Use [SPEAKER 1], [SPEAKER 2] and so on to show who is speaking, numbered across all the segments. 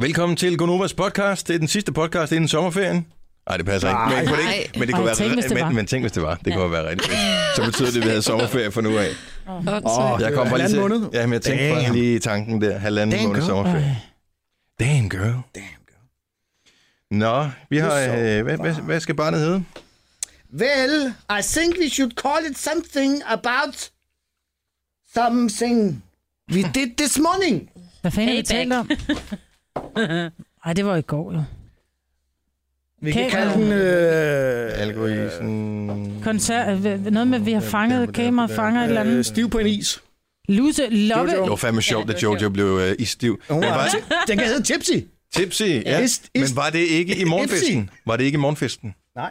[SPEAKER 1] Velkommen til Gonovas podcast. Det er den sidste podcast inden sommerferien. Nej, det passer ikke. Men,
[SPEAKER 2] Nej.
[SPEAKER 1] kunne det ikke. men det kunne
[SPEAKER 3] Ej,
[SPEAKER 1] være
[SPEAKER 3] tænk, hvis det var.
[SPEAKER 1] men, men tænk, hvis det var. Det ja. kunne være rigtigt. Så betyder det, at vi havde sommerferie for nu af.
[SPEAKER 2] Åh,
[SPEAKER 1] Jeg kom bare lige til.
[SPEAKER 2] måned.
[SPEAKER 1] Ja, men jeg tænkte bare
[SPEAKER 2] Damn.
[SPEAKER 1] lige i tanken der. Halvanden
[SPEAKER 2] Damn,
[SPEAKER 1] måned
[SPEAKER 2] girl.
[SPEAKER 1] sommerferie. Damn girl.
[SPEAKER 2] Damn, girl.
[SPEAKER 1] Nå, vi har...
[SPEAKER 2] så
[SPEAKER 1] Øh, hvad, hvad, hvad skal barnet hedde?
[SPEAKER 2] Well, I think we should call it something about something we did this morning.
[SPEAKER 3] Hvad fanden har vi
[SPEAKER 4] Payback.
[SPEAKER 3] talt om? Ej, det var i går jo.
[SPEAKER 2] Vi kan
[SPEAKER 3] Kamera.
[SPEAKER 2] kalde den... Øh,
[SPEAKER 1] Algoisen...
[SPEAKER 3] Koncert, øh, noget med, at vi har fanget kamera, fanger et eller
[SPEAKER 2] øh,
[SPEAKER 3] andet.
[SPEAKER 2] stiv på en is.
[SPEAKER 1] Øh,
[SPEAKER 3] Luse, loppe.
[SPEAKER 2] Jojo.
[SPEAKER 1] Det var fandme sjovt,
[SPEAKER 4] Ja,
[SPEAKER 1] at
[SPEAKER 4] det var
[SPEAKER 1] Jojo blev øh, isstiv.
[SPEAKER 2] Hun
[SPEAKER 1] Men
[SPEAKER 2] var,
[SPEAKER 1] var,
[SPEAKER 2] den kan hedde Gypsy.
[SPEAKER 1] tipsy, ja.
[SPEAKER 2] is- is-
[SPEAKER 1] Men var det ikke i morgenfesten? Var det ikke i morgenfesten?
[SPEAKER 2] Nej.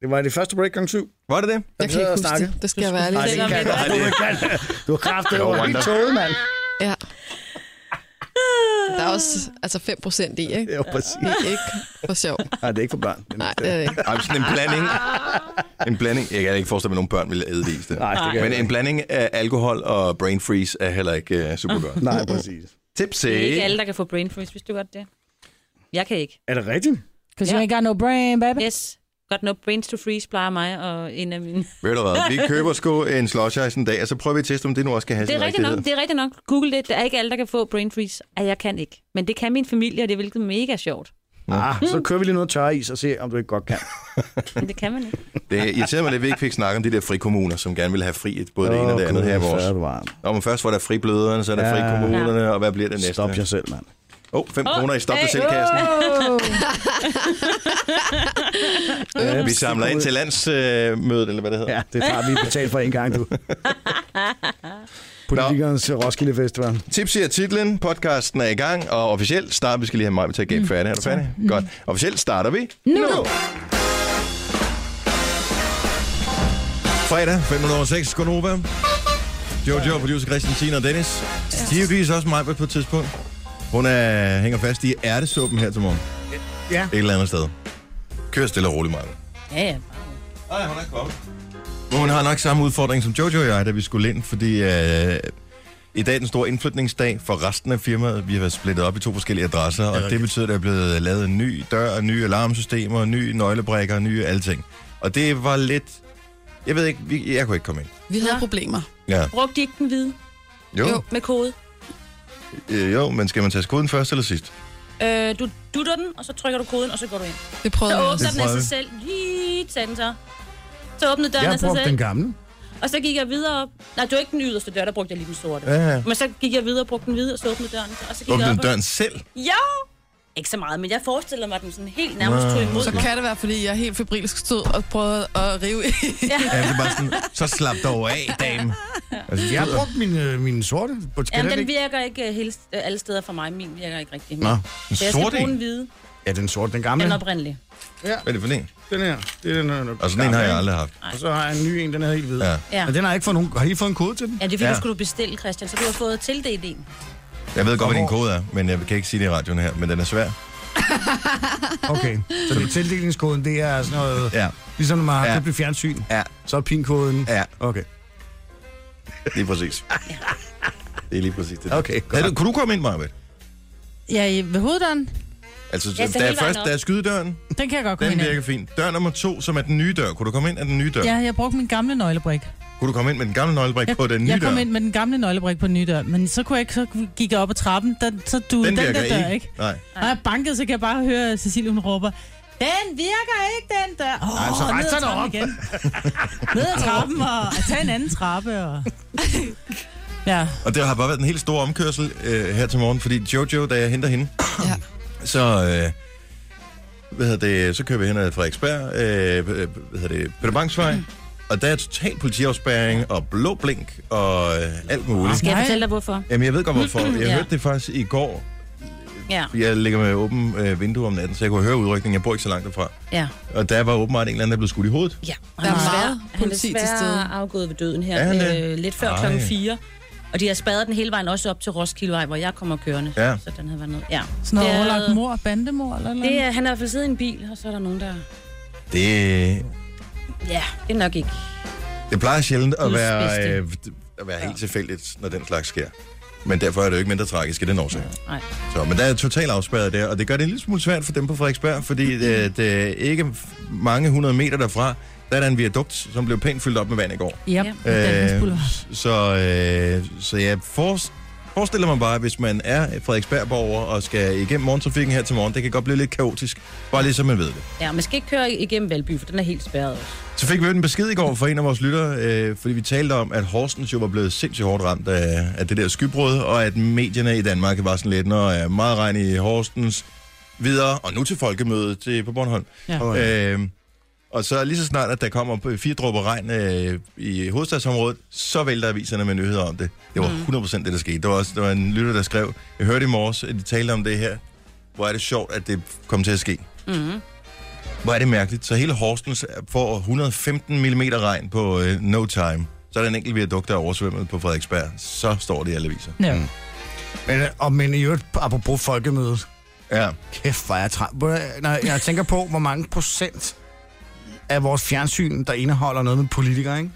[SPEAKER 2] Det var det første break kl. 7.
[SPEAKER 1] Var det det?
[SPEAKER 5] Jeg kan ikke huske
[SPEAKER 2] snakke.
[SPEAKER 5] det. Det skal jeg være
[SPEAKER 2] Nej,
[SPEAKER 5] ærlig.
[SPEAKER 2] det kan
[SPEAKER 1] Nej,
[SPEAKER 2] du
[SPEAKER 1] det-
[SPEAKER 2] ikke. Du har kraftet over
[SPEAKER 1] Wanda.
[SPEAKER 2] helt tåget, mand.
[SPEAKER 5] Ja. Der er også altså 5 procent i, ikke?
[SPEAKER 2] Ja, præcis.
[SPEAKER 5] Det er ikke for sjov.
[SPEAKER 2] Nej, det er ikke for børn.
[SPEAKER 5] Nej, det er det ikke.
[SPEAKER 1] Ej, men sådan en blanding. En blanding. Jeg kan ikke forestille mig, at nogen børn ville æde det. i stedet.
[SPEAKER 2] Nej, det kan
[SPEAKER 1] Men
[SPEAKER 2] jeg
[SPEAKER 1] en blanding af alkohol og brain freeze er heller ikke uh, super godt.
[SPEAKER 2] ikke. Nej, præcis.
[SPEAKER 1] Tipsy.
[SPEAKER 4] Det er ikke alle, der kan få brain freeze, hvis du godt det. Jeg kan ikke.
[SPEAKER 2] Er det rigtigt?
[SPEAKER 3] Cause you ain't got no brain, baby.
[SPEAKER 4] Yes. Godt nok brains to freeze plejer mig og en af mine.
[SPEAKER 1] Ved du hvad, vi køber sgu en slush ice en dag, og så prøver vi at teste, om det nu også skal have
[SPEAKER 4] Det
[SPEAKER 1] sin
[SPEAKER 4] er rigtigt nok,
[SPEAKER 1] rigtighed.
[SPEAKER 4] det er rigtigt nok. Google det. Der er ikke alle, der kan få brain freeze. Ej, jeg kan ikke. Men det kan min familie, og det er hvilket mega sjovt.
[SPEAKER 2] Ah, så kører vi lige noget tørre is og ser, om du ikke godt kan.
[SPEAKER 4] Men det kan man ikke.
[SPEAKER 1] Det irriterer mig lidt, at vi ikke fik snakket om de der frikommuner, som gerne vil have fri et- både det ene og det
[SPEAKER 2] Åh,
[SPEAKER 1] andet her i
[SPEAKER 2] Gud,
[SPEAKER 1] vores.
[SPEAKER 2] så er du varm.
[SPEAKER 1] Nå, men først var der fribløderne, så er der
[SPEAKER 2] Ja.
[SPEAKER 1] frikommunerne, og hvad bliver det næste?
[SPEAKER 2] Stop jer selv, mand.
[SPEAKER 1] Åh, oh, 5
[SPEAKER 4] Åh,
[SPEAKER 1] kroner i stop dig
[SPEAKER 4] hey,
[SPEAKER 1] selv kassen.
[SPEAKER 2] Ja,
[SPEAKER 1] Vi samler ind til landsmødet, øh, eller hvad det hedder.
[SPEAKER 2] Ja, det tager vi betalt for en gang, du. Politikernes Roskilde Festival.
[SPEAKER 1] Tips er titlen, podcasten er i gang, og officielt starter, vi skal lige have mig til at gabe færdig. Er du færdig? Godt. Officielt starter vi
[SPEAKER 3] Nu!
[SPEAKER 1] fredag, 506, Gonova. Jojo, producer Christian, Sina og Dennis. Givetvis også mig på et tidspunkt. Hun er, hænger fast i ærtesuppen her til morgen.
[SPEAKER 2] Ja.
[SPEAKER 1] Et eller andet sted. Kør stille og roligt, Maja.
[SPEAKER 4] Ja, ja.
[SPEAKER 1] Nej, hun er kommet. Men hun har nok samme udfordring som Jojo og jeg, da vi skulle ind, fordi øh, i dag er den store indflytningsdag for resten af firmaet. Vi har været splittet op i to forskellige adresser, og det betyder, at der er blevet lavet en ny dør, nye alarmsystemer, nye nøglebrækker, nye alting. Og det var lidt... Jeg ved ikke, vi- jeg kunne ikke komme ind.
[SPEAKER 5] Vi havde problemer.
[SPEAKER 1] Ja.
[SPEAKER 4] Brugte de ikke den hvide
[SPEAKER 1] Jo,
[SPEAKER 5] Jo.
[SPEAKER 4] med kode?
[SPEAKER 1] øh, jo men skal man tage koden først eller sidst?
[SPEAKER 4] Øh, du dutter den, og så trykker du koden, og så går du ind. Mm.
[SPEAKER 5] Det prøvede
[SPEAKER 4] Så
[SPEAKER 5] vi også.
[SPEAKER 4] åbner den af
[SPEAKER 1] prøver
[SPEAKER 4] sig
[SPEAKER 1] vi.
[SPEAKER 4] selv. Lige tag den så. Så åbnede døren
[SPEAKER 2] Jeg
[SPEAKER 4] af sig
[SPEAKER 2] brugte
[SPEAKER 4] selv.
[SPEAKER 2] den gamle.
[SPEAKER 4] Og så gik jeg videre op. Nej, det var ikke den yderste dør, der brugte jeg lige den sorte.
[SPEAKER 1] Ja, ja.
[SPEAKER 4] Men så gik jeg videre og brugte den hvide, og så åbnede døren. Og så gik
[SPEAKER 1] Åbne
[SPEAKER 4] jeg
[SPEAKER 1] den
[SPEAKER 4] op og...
[SPEAKER 1] døren selv?
[SPEAKER 4] Jo! Ikke så meget, men jeg forestillede mig, at den sådan helt nærmest
[SPEAKER 1] Nå,
[SPEAKER 4] tog imod
[SPEAKER 5] Så
[SPEAKER 4] mig.
[SPEAKER 5] kan det være, fordi jeg helt febrilsk stod og prøvede at rive i.
[SPEAKER 1] Ja, det er bare sådan, så slap dog af, dame. Altså,
[SPEAKER 2] Jeg har brugt min, øh, min sorte. På skal
[SPEAKER 4] Jamen,
[SPEAKER 2] den
[SPEAKER 4] den
[SPEAKER 2] ikke?
[SPEAKER 4] virker ikke øh, hele, øh, alle steder for mig. Min virker ikke rigtig.
[SPEAKER 1] Nå, en
[SPEAKER 4] så
[SPEAKER 1] sort
[SPEAKER 4] jeg skal bruge den
[SPEAKER 1] en?
[SPEAKER 4] hvide,
[SPEAKER 2] Ja, den sorte, den gamle.
[SPEAKER 4] den oprindelige.
[SPEAKER 1] Hvad er det for en?
[SPEAKER 2] Den her. Det er den, her,
[SPEAKER 1] Og sådan en har jeg aldrig haft.
[SPEAKER 2] Og så har jeg en ny en, den er helt hvid.
[SPEAKER 1] Ja.
[SPEAKER 4] Ja.
[SPEAKER 2] Men den har jeg ikke fået nogen... Har I fået en kode til den?
[SPEAKER 4] Ja, det er fordi,
[SPEAKER 1] Ja.
[SPEAKER 4] ja. skulle du bestille, Christian, så du har fået tildelt en.
[SPEAKER 1] Jeg ved godt, hvad din kode er, men jeg kan ikke sige det i radioen her, men den er svær.
[SPEAKER 2] Okay. Så det er tildelingskoden, det er sådan noget...
[SPEAKER 1] Ja,
[SPEAKER 2] Ligesom når man har
[SPEAKER 1] Ja.
[SPEAKER 2] købt et fjernsyn,
[SPEAKER 1] ja,
[SPEAKER 2] så er pinkoden...
[SPEAKER 1] ja,
[SPEAKER 2] Okay.
[SPEAKER 1] det er præcis. Det er lige præcis det.
[SPEAKER 2] Okay,
[SPEAKER 1] Havde du, kunne du komme ind, Marvitt?
[SPEAKER 3] Ja, i- ved hoveddøren.
[SPEAKER 1] Altså,
[SPEAKER 4] Ja, så
[SPEAKER 1] der er
[SPEAKER 4] hele vejen
[SPEAKER 1] først,
[SPEAKER 4] op.
[SPEAKER 1] der er skydedøren,
[SPEAKER 3] Den kan jeg godt komme
[SPEAKER 1] den
[SPEAKER 3] ind af.
[SPEAKER 1] virker fint. Dør nummer to, som er den nye dør. Kunne du komme ind af den nye dør?
[SPEAKER 3] Ja, jeg brugte min gamle nøglebrik.
[SPEAKER 1] Kunne du komme ind med den gamle nøglebrik
[SPEAKER 3] Jeg,
[SPEAKER 1] på den nye
[SPEAKER 3] jeg
[SPEAKER 1] dør?
[SPEAKER 3] kom ind med den gamle nøglebrik på den nye dør, men så kunne jeg ikke, så gik jeg op ad trappen, der, så du den, der
[SPEAKER 1] virker
[SPEAKER 3] dør, ikke? ikke?
[SPEAKER 1] Nej.
[SPEAKER 3] Og jeg bankede, så kan jeg bare høre at Cecilie, hun råber, den virker ikke, den dør. Åh, oh,
[SPEAKER 2] så rejs
[SPEAKER 3] ned
[SPEAKER 2] dig
[SPEAKER 3] ad trappen igen. ned ad trappen og, og tag en anden trappe. Og... Ja,
[SPEAKER 1] Og det har bare været en helt stor omkørsel øh, her til morgen, fordi Jojo, da jeg henter hende,
[SPEAKER 5] Ja.
[SPEAKER 1] så, øh, hvad hedder det, så kører vi hen ad Frederiksberg, øh, hvad hedder det, Peter Bangsvej, og der er total politiafspæring og blå blink og øh, alt muligt.
[SPEAKER 4] Kan jeg
[SPEAKER 3] Nej.
[SPEAKER 4] fortælle dig, hvorfor?
[SPEAKER 1] Jamen, jeg ved godt, hvorfor. Jeg
[SPEAKER 4] Ja.
[SPEAKER 1] hørte det faktisk i går.
[SPEAKER 4] Ja,
[SPEAKER 1] Jeg ligger med åben øh, vindue om natten, så jeg kunne høre udrykningen. Jeg bor ikke så langt derfra.
[SPEAKER 4] ja.
[SPEAKER 1] Og der var åbenbart en eller anden, der blev skudt i hovedet.
[SPEAKER 4] ja.
[SPEAKER 5] Der er
[SPEAKER 4] Han
[SPEAKER 5] meget
[SPEAKER 4] desværre-
[SPEAKER 5] politi til
[SPEAKER 4] han er desværre
[SPEAKER 5] stede.
[SPEAKER 4] afgået ved døden her,
[SPEAKER 1] Er han det?
[SPEAKER 4] øh, lidt før
[SPEAKER 1] Ej.
[SPEAKER 4] klokken 4. Og de har spadet den hele vejen også op til Roskildevej, hvor jeg kommer kørende.
[SPEAKER 1] Ja.
[SPEAKER 4] Så den havde været ned. Ja.
[SPEAKER 3] sådan noget
[SPEAKER 4] Det er-
[SPEAKER 3] overlagt mor, bandemor eller noget.
[SPEAKER 4] Det er, han har i hvert fald siddet i en bil, og så er der nogen, der...
[SPEAKER 1] Det,
[SPEAKER 4] Ja, det er nok ikke.
[SPEAKER 1] det plejer sjældent at være,
[SPEAKER 4] Udspidste.
[SPEAKER 1] øh, at være helt tilfældigt, når den slags sker. Men derfor er det jo ikke mindre tragisk af den årsag.
[SPEAKER 4] Nej.
[SPEAKER 1] Så, men der er totalt afspærret der, og det gør det en lille smule svært for dem på Frederiksberg, fordi
[SPEAKER 4] Mm-hmm.
[SPEAKER 1] øh, det er ikke mange hundrede meter derfra, der er der en viadukt, som blev pænt fyldt op med vand i går.
[SPEAKER 3] Yep.
[SPEAKER 4] Ja.
[SPEAKER 1] Øh, så, øh, så jeg forst, forestiller mig bare, hvis man er Frederiksberg-borger og skal igennem morgentrafikken her til morgen, det kan godt blive lidt kaotisk, bare lige så man ved det.
[SPEAKER 4] Ja, man skal ikke køre igennem Valby, for den er helt spærret også.
[SPEAKER 1] Så fik vi jo en besked i går fra en af vores lyttere, øh, fordi vi talte om, at Horsens jo var blevet sindssygt hårdt ramt af, af det der skybrud, og at medierne i Danmark var sådan lidt, når er meget regn i Horsens, videre, og nu til folkemødet til, på Bornholm.
[SPEAKER 3] Ja.
[SPEAKER 2] Åh,
[SPEAKER 1] Øh, og så lige så snart, at der kommer fire dråber regn øh, i hovedstadsområdet, så vælter aviserne med nyheder om det. Det
[SPEAKER 3] Mm.
[SPEAKER 1] var 100% det, der skete. Der var, også, der var en lytter, der skrev, jeg hørte i morges, at de talte om det her. Hvor er det sjovt, at det kom til at ske.
[SPEAKER 4] Mm-hmm.
[SPEAKER 1] Hvor er det mærkeligt. Så hele Horsens får 115 mm regn på øh, no time. Så er der en enkelt viadukt, der er oversvømmet på Frederiksberg. Så står det i alle viser.
[SPEAKER 3] Ja.
[SPEAKER 2] Mm. Men, øh, og men i øvrigt, apropos folkemødet.
[SPEAKER 1] Ja.
[SPEAKER 2] Kæft, hvor er jeg træt. Ved du hvad, Når jeg tænker på, hvor mange procent af vores fjernsyn, der indeholder noget med politikere, ikke?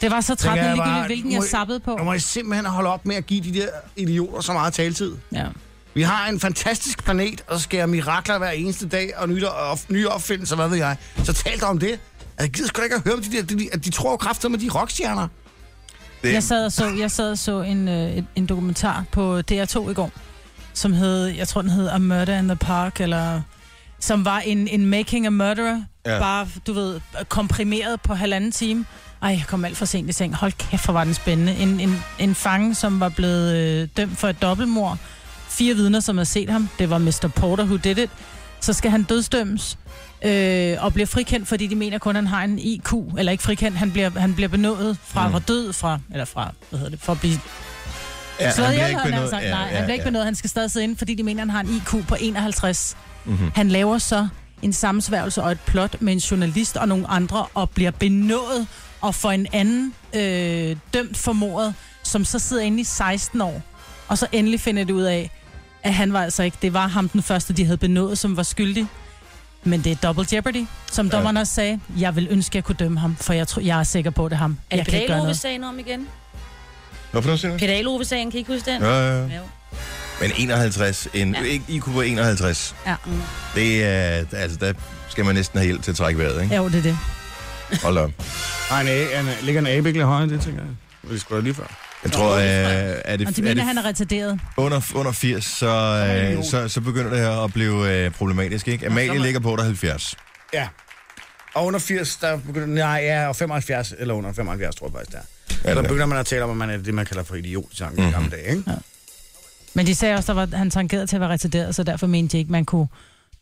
[SPEAKER 3] Det var så træt,
[SPEAKER 2] Tænker jeg
[SPEAKER 3] men ligegyldigt,
[SPEAKER 2] bare,
[SPEAKER 3] hvilken
[SPEAKER 2] nu
[SPEAKER 3] jeg
[SPEAKER 2] må I-
[SPEAKER 3] sappede på.
[SPEAKER 2] Nu må I simpelthen holde op med at give de der idioter så meget taletid.
[SPEAKER 3] Ja.
[SPEAKER 2] Vi har en fantastisk planet, og så sker mirakler hver eneste dag, og nye, og nye opfindelser, hvad ved jeg. Så tal dig om det. Altså, Jeg gider sgu da ikke at høre om de der, de, at de tror kræfter med de rockstjerner.
[SPEAKER 1] Det,
[SPEAKER 3] Jeg sad og så, jeg sad og så en, øh, en- en dokumentar på DR2 i går, som hed, jeg tror den hed A Murder in the Park, eller som var en, en Making a Murderer,
[SPEAKER 1] Ja.
[SPEAKER 3] ja. bare, du ved, komprimeret på halvanden time. Ej, jeg kom alt for sent i seng. Hold kæft, hvor var den spændende. En, en, en fange, som var blevet øh, dømt for et dobbeltmord. Fire vidner, som havde set ham. Det var Mr. Porter, who did it. Så skal han dødsdømmes øh, og bliver frikendt, fordi de mener kun, at han har en IQ. Eller ikke frikendt, han bliver, han bliver benået fra
[SPEAKER 1] Mm.
[SPEAKER 3] mm. at død fra, eller fra, hvad hedder det, for at blive
[SPEAKER 1] ja,
[SPEAKER 3] slået
[SPEAKER 1] han
[SPEAKER 3] ihjel,
[SPEAKER 1] bliver
[SPEAKER 3] havde
[SPEAKER 1] ikke
[SPEAKER 3] han nær
[SPEAKER 1] benådet.
[SPEAKER 3] sagt.
[SPEAKER 1] Ja,
[SPEAKER 3] Nej,
[SPEAKER 1] ja,
[SPEAKER 3] han bliver ikke
[SPEAKER 1] ja.
[SPEAKER 3] benået, han skal stadig sidde inde, fordi de mener, han har en IQ på 51.
[SPEAKER 1] Mhm.
[SPEAKER 3] Han laver så en sammensværgelse og et plot med en journalist og nogle andre, og bliver benået og får en anden øh, dømt for mordet, som så sidder inde i 16 år, og så endelig finder det ud af, at han var altså ikke, det var ham den første, de havde benået, som var skyldig. Men det er double jeopardy, som
[SPEAKER 1] Ja.
[SPEAKER 3] dommeren også sagde. Jeg vil ønske, at jeg kunne dømme ham, for jeg, tror, jeg er sikker på, at det er ham.
[SPEAKER 4] Er
[SPEAKER 3] Jeg
[SPEAKER 4] det
[SPEAKER 3] kan ikke
[SPEAKER 4] Pedal
[SPEAKER 3] gøre
[SPEAKER 4] Ove
[SPEAKER 3] noget.
[SPEAKER 4] sagen om igen?
[SPEAKER 1] Hvorfor nu siger du?
[SPEAKER 4] Pedal Ove sagen, kan I ikke huske den?
[SPEAKER 1] Ja, ja, ja.
[SPEAKER 4] Jo.
[SPEAKER 1] Men 51, en
[SPEAKER 4] Ja.
[SPEAKER 1] ja. IQ på 51,
[SPEAKER 3] Ja.
[SPEAKER 1] det er, altså der skal man næsten have hjælp til at trække vejret, ikke?
[SPEAKER 3] Jo, det er det.
[SPEAKER 1] Hold op.
[SPEAKER 2] Nej, nej, han ligger en abe ikke lidt højere, det tænker jeg. Det skulle da lige før.
[SPEAKER 1] Jeg tror, øh, er det,
[SPEAKER 3] Og de
[SPEAKER 1] er
[SPEAKER 3] mener,
[SPEAKER 1] det
[SPEAKER 3] han er retarderet.
[SPEAKER 1] under, under 80, så, øh, så, så begynder det her at blive øh, problematisk, ikke?
[SPEAKER 2] så
[SPEAKER 1] Amalie
[SPEAKER 2] må-
[SPEAKER 1] ligger på 78.
[SPEAKER 2] Ja. Og under 80, der begynder... Nej, ja, og 75, eller under 75, tror jeg faktisk, der.
[SPEAKER 1] det
[SPEAKER 2] Ja,
[SPEAKER 1] er. Mhm.
[SPEAKER 2] der begynder man at tale om, at man er det, man kalder for idiot i mm-hmm. gamle dage, ikke?
[SPEAKER 3] Men de sagde også, at han tangerede til at være retarderet, så derfor mente de ikke, man kunne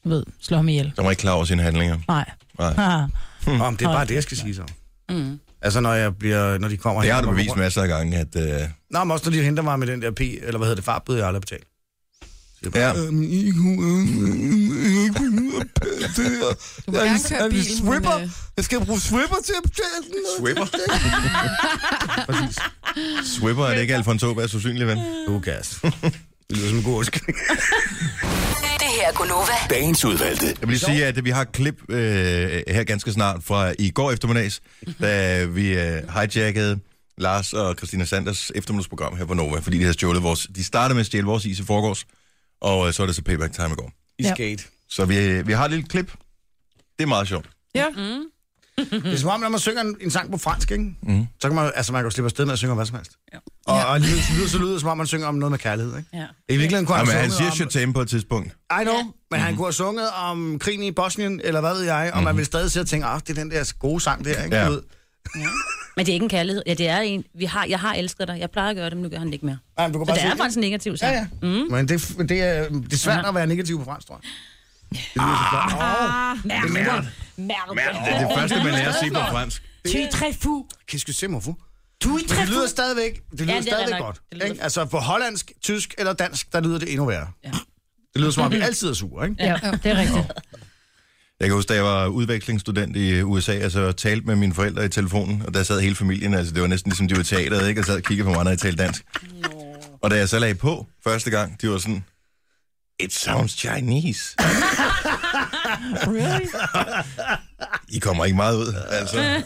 [SPEAKER 3] du ved, slå ham ihjel.
[SPEAKER 1] Så var ikke klar over sine handlinger.
[SPEAKER 3] Nej.
[SPEAKER 1] Nej.
[SPEAKER 3] Ah.
[SPEAKER 2] Mm. Om det er
[SPEAKER 3] Hold
[SPEAKER 2] bare det, jeg skal sige så.
[SPEAKER 4] Mm.
[SPEAKER 5] Mhm.
[SPEAKER 2] Altså, når jeg bliver... Når de kommer...
[SPEAKER 1] Det
[SPEAKER 2] hen
[SPEAKER 1] har
[SPEAKER 2] og
[SPEAKER 1] du
[SPEAKER 2] kommer
[SPEAKER 1] bevist
[SPEAKER 2] rundt-
[SPEAKER 1] masser af gange, at... Øh,
[SPEAKER 2] Nå, men også når de henter mig med den der P, eller hvad hedder det, farbøde, jeg aldrig har betalt. Så jeg bare,
[SPEAKER 1] Ja.
[SPEAKER 2] "Øh, men I kunne, øh, øh, I kunne ud og pille det her.
[SPEAKER 5] Du må
[SPEAKER 2] Er I-
[SPEAKER 5] gerne køre
[SPEAKER 2] er I
[SPEAKER 5] bil, men,
[SPEAKER 2] swipper?
[SPEAKER 5] øh,
[SPEAKER 2] Jeg skal bruge swipper til at betale den.
[SPEAKER 1] Swipper?
[SPEAKER 2] Præcis.
[SPEAKER 1] Swipper er det ikke Alfonso Tobas sandsynlig ven.
[SPEAKER 2] Lukas. Det lyder som en god undskyldning.
[SPEAKER 6] Det her er Gunova.
[SPEAKER 7] Dagens udvalgte.
[SPEAKER 1] Jeg vil lige sige, at vi har et klip øh, her ganske snart fra i går eftermiddags, da vi øh, hijackede Lars og Christina Sanders eftermiddagsprogram her på Nova, fordi de havde stjålet vores... De startede med at stjæle vores is i forgårs, og øh, så er det så payback time i går.
[SPEAKER 2] I
[SPEAKER 3] Ja.
[SPEAKER 2] skate.
[SPEAKER 1] Så vi, vi har et lille klip. Det er meget sjovt.
[SPEAKER 5] Ja,
[SPEAKER 2] Det er som om, når man synger en, en sang på fransk, ikke?
[SPEAKER 1] Mhm.
[SPEAKER 2] Så kan man, altså, man kan jo slippe afsted med at synge om hvad som helst.
[SPEAKER 4] Ja.
[SPEAKER 2] Og, og alligevel så lyder, så lyder det, som om man synger om noget med kærlighed, ikke?
[SPEAKER 4] Ja.
[SPEAKER 2] I virkeligheden kunne han,
[SPEAKER 1] Jamen,
[SPEAKER 2] have
[SPEAKER 1] han siger Mm.
[SPEAKER 2] sunget om...
[SPEAKER 1] Shotame på et tidspunkt.
[SPEAKER 2] I know, men han kunne have sunget om krigen i Bosnien, eller hvad ved jeg, og man ville stadig sidde og tænke, ah, det er den der gode sang der, ikke?
[SPEAKER 1] Mm-hmm. Ja.
[SPEAKER 2] Du ved.
[SPEAKER 4] Men det er ikke en kærlighed. Ja, det er en... Vi har, jeg har elsket dig. Jeg plejer at gøre det, men nu gør han det ikke mere.
[SPEAKER 2] Nej, men du kan
[SPEAKER 4] Så
[SPEAKER 2] bare
[SPEAKER 4] det er
[SPEAKER 2] synge-
[SPEAKER 4] faktisk en negativ
[SPEAKER 2] Ja,
[SPEAKER 4] sang.
[SPEAKER 2] ja. Mm. Men det, det, er, det er svært at være negativ på fransk, tror jeg.
[SPEAKER 4] Ah.
[SPEAKER 3] Ah,
[SPEAKER 1] Det er det første, man lærer at sige på fransk.
[SPEAKER 3] Tu es très fou.
[SPEAKER 2] Qu'est-ce que c'est, mon fou?
[SPEAKER 3] Tu es
[SPEAKER 2] Det
[SPEAKER 3] très
[SPEAKER 2] lyder
[SPEAKER 3] fou.
[SPEAKER 2] stadigvæk, det lyder
[SPEAKER 4] det
[SPEAKER 2] ja,
[SPEAKER 4] er
[SPEAKER 2] det stadigvæk
[SPEAKER 4] nok.
[SPEAKER 2] godt.
[SPEAKER 4] Det lyder-
[SPEAKER 2] Ikke? Altså, på hollandsk, tysk eller dansk, der lyder det endnu værre.
[SPEAKER 4] Ja.
[SPEAKER 2] Det lyder som om, vi altid er sure, ikke?
[SPEAKER 3] Ja, det er rigtigt.
[SPEAKER 1] Jeg kan huske, da jeg var udvekslingsstudent i USA, altså jeg talte med mine forældre i telefonen, og der sad hele familien, altså det var næsten ligesom, de var i teateret, ikke? Og sad og kiggede på mig, når jeg talte dansk. Og da jeg så lagde på første gang, de var sådan, it sounds Chinese.
[SPEAKER 3] Really?
[SPEAKER 1] I kommer ikke meget ud, altså.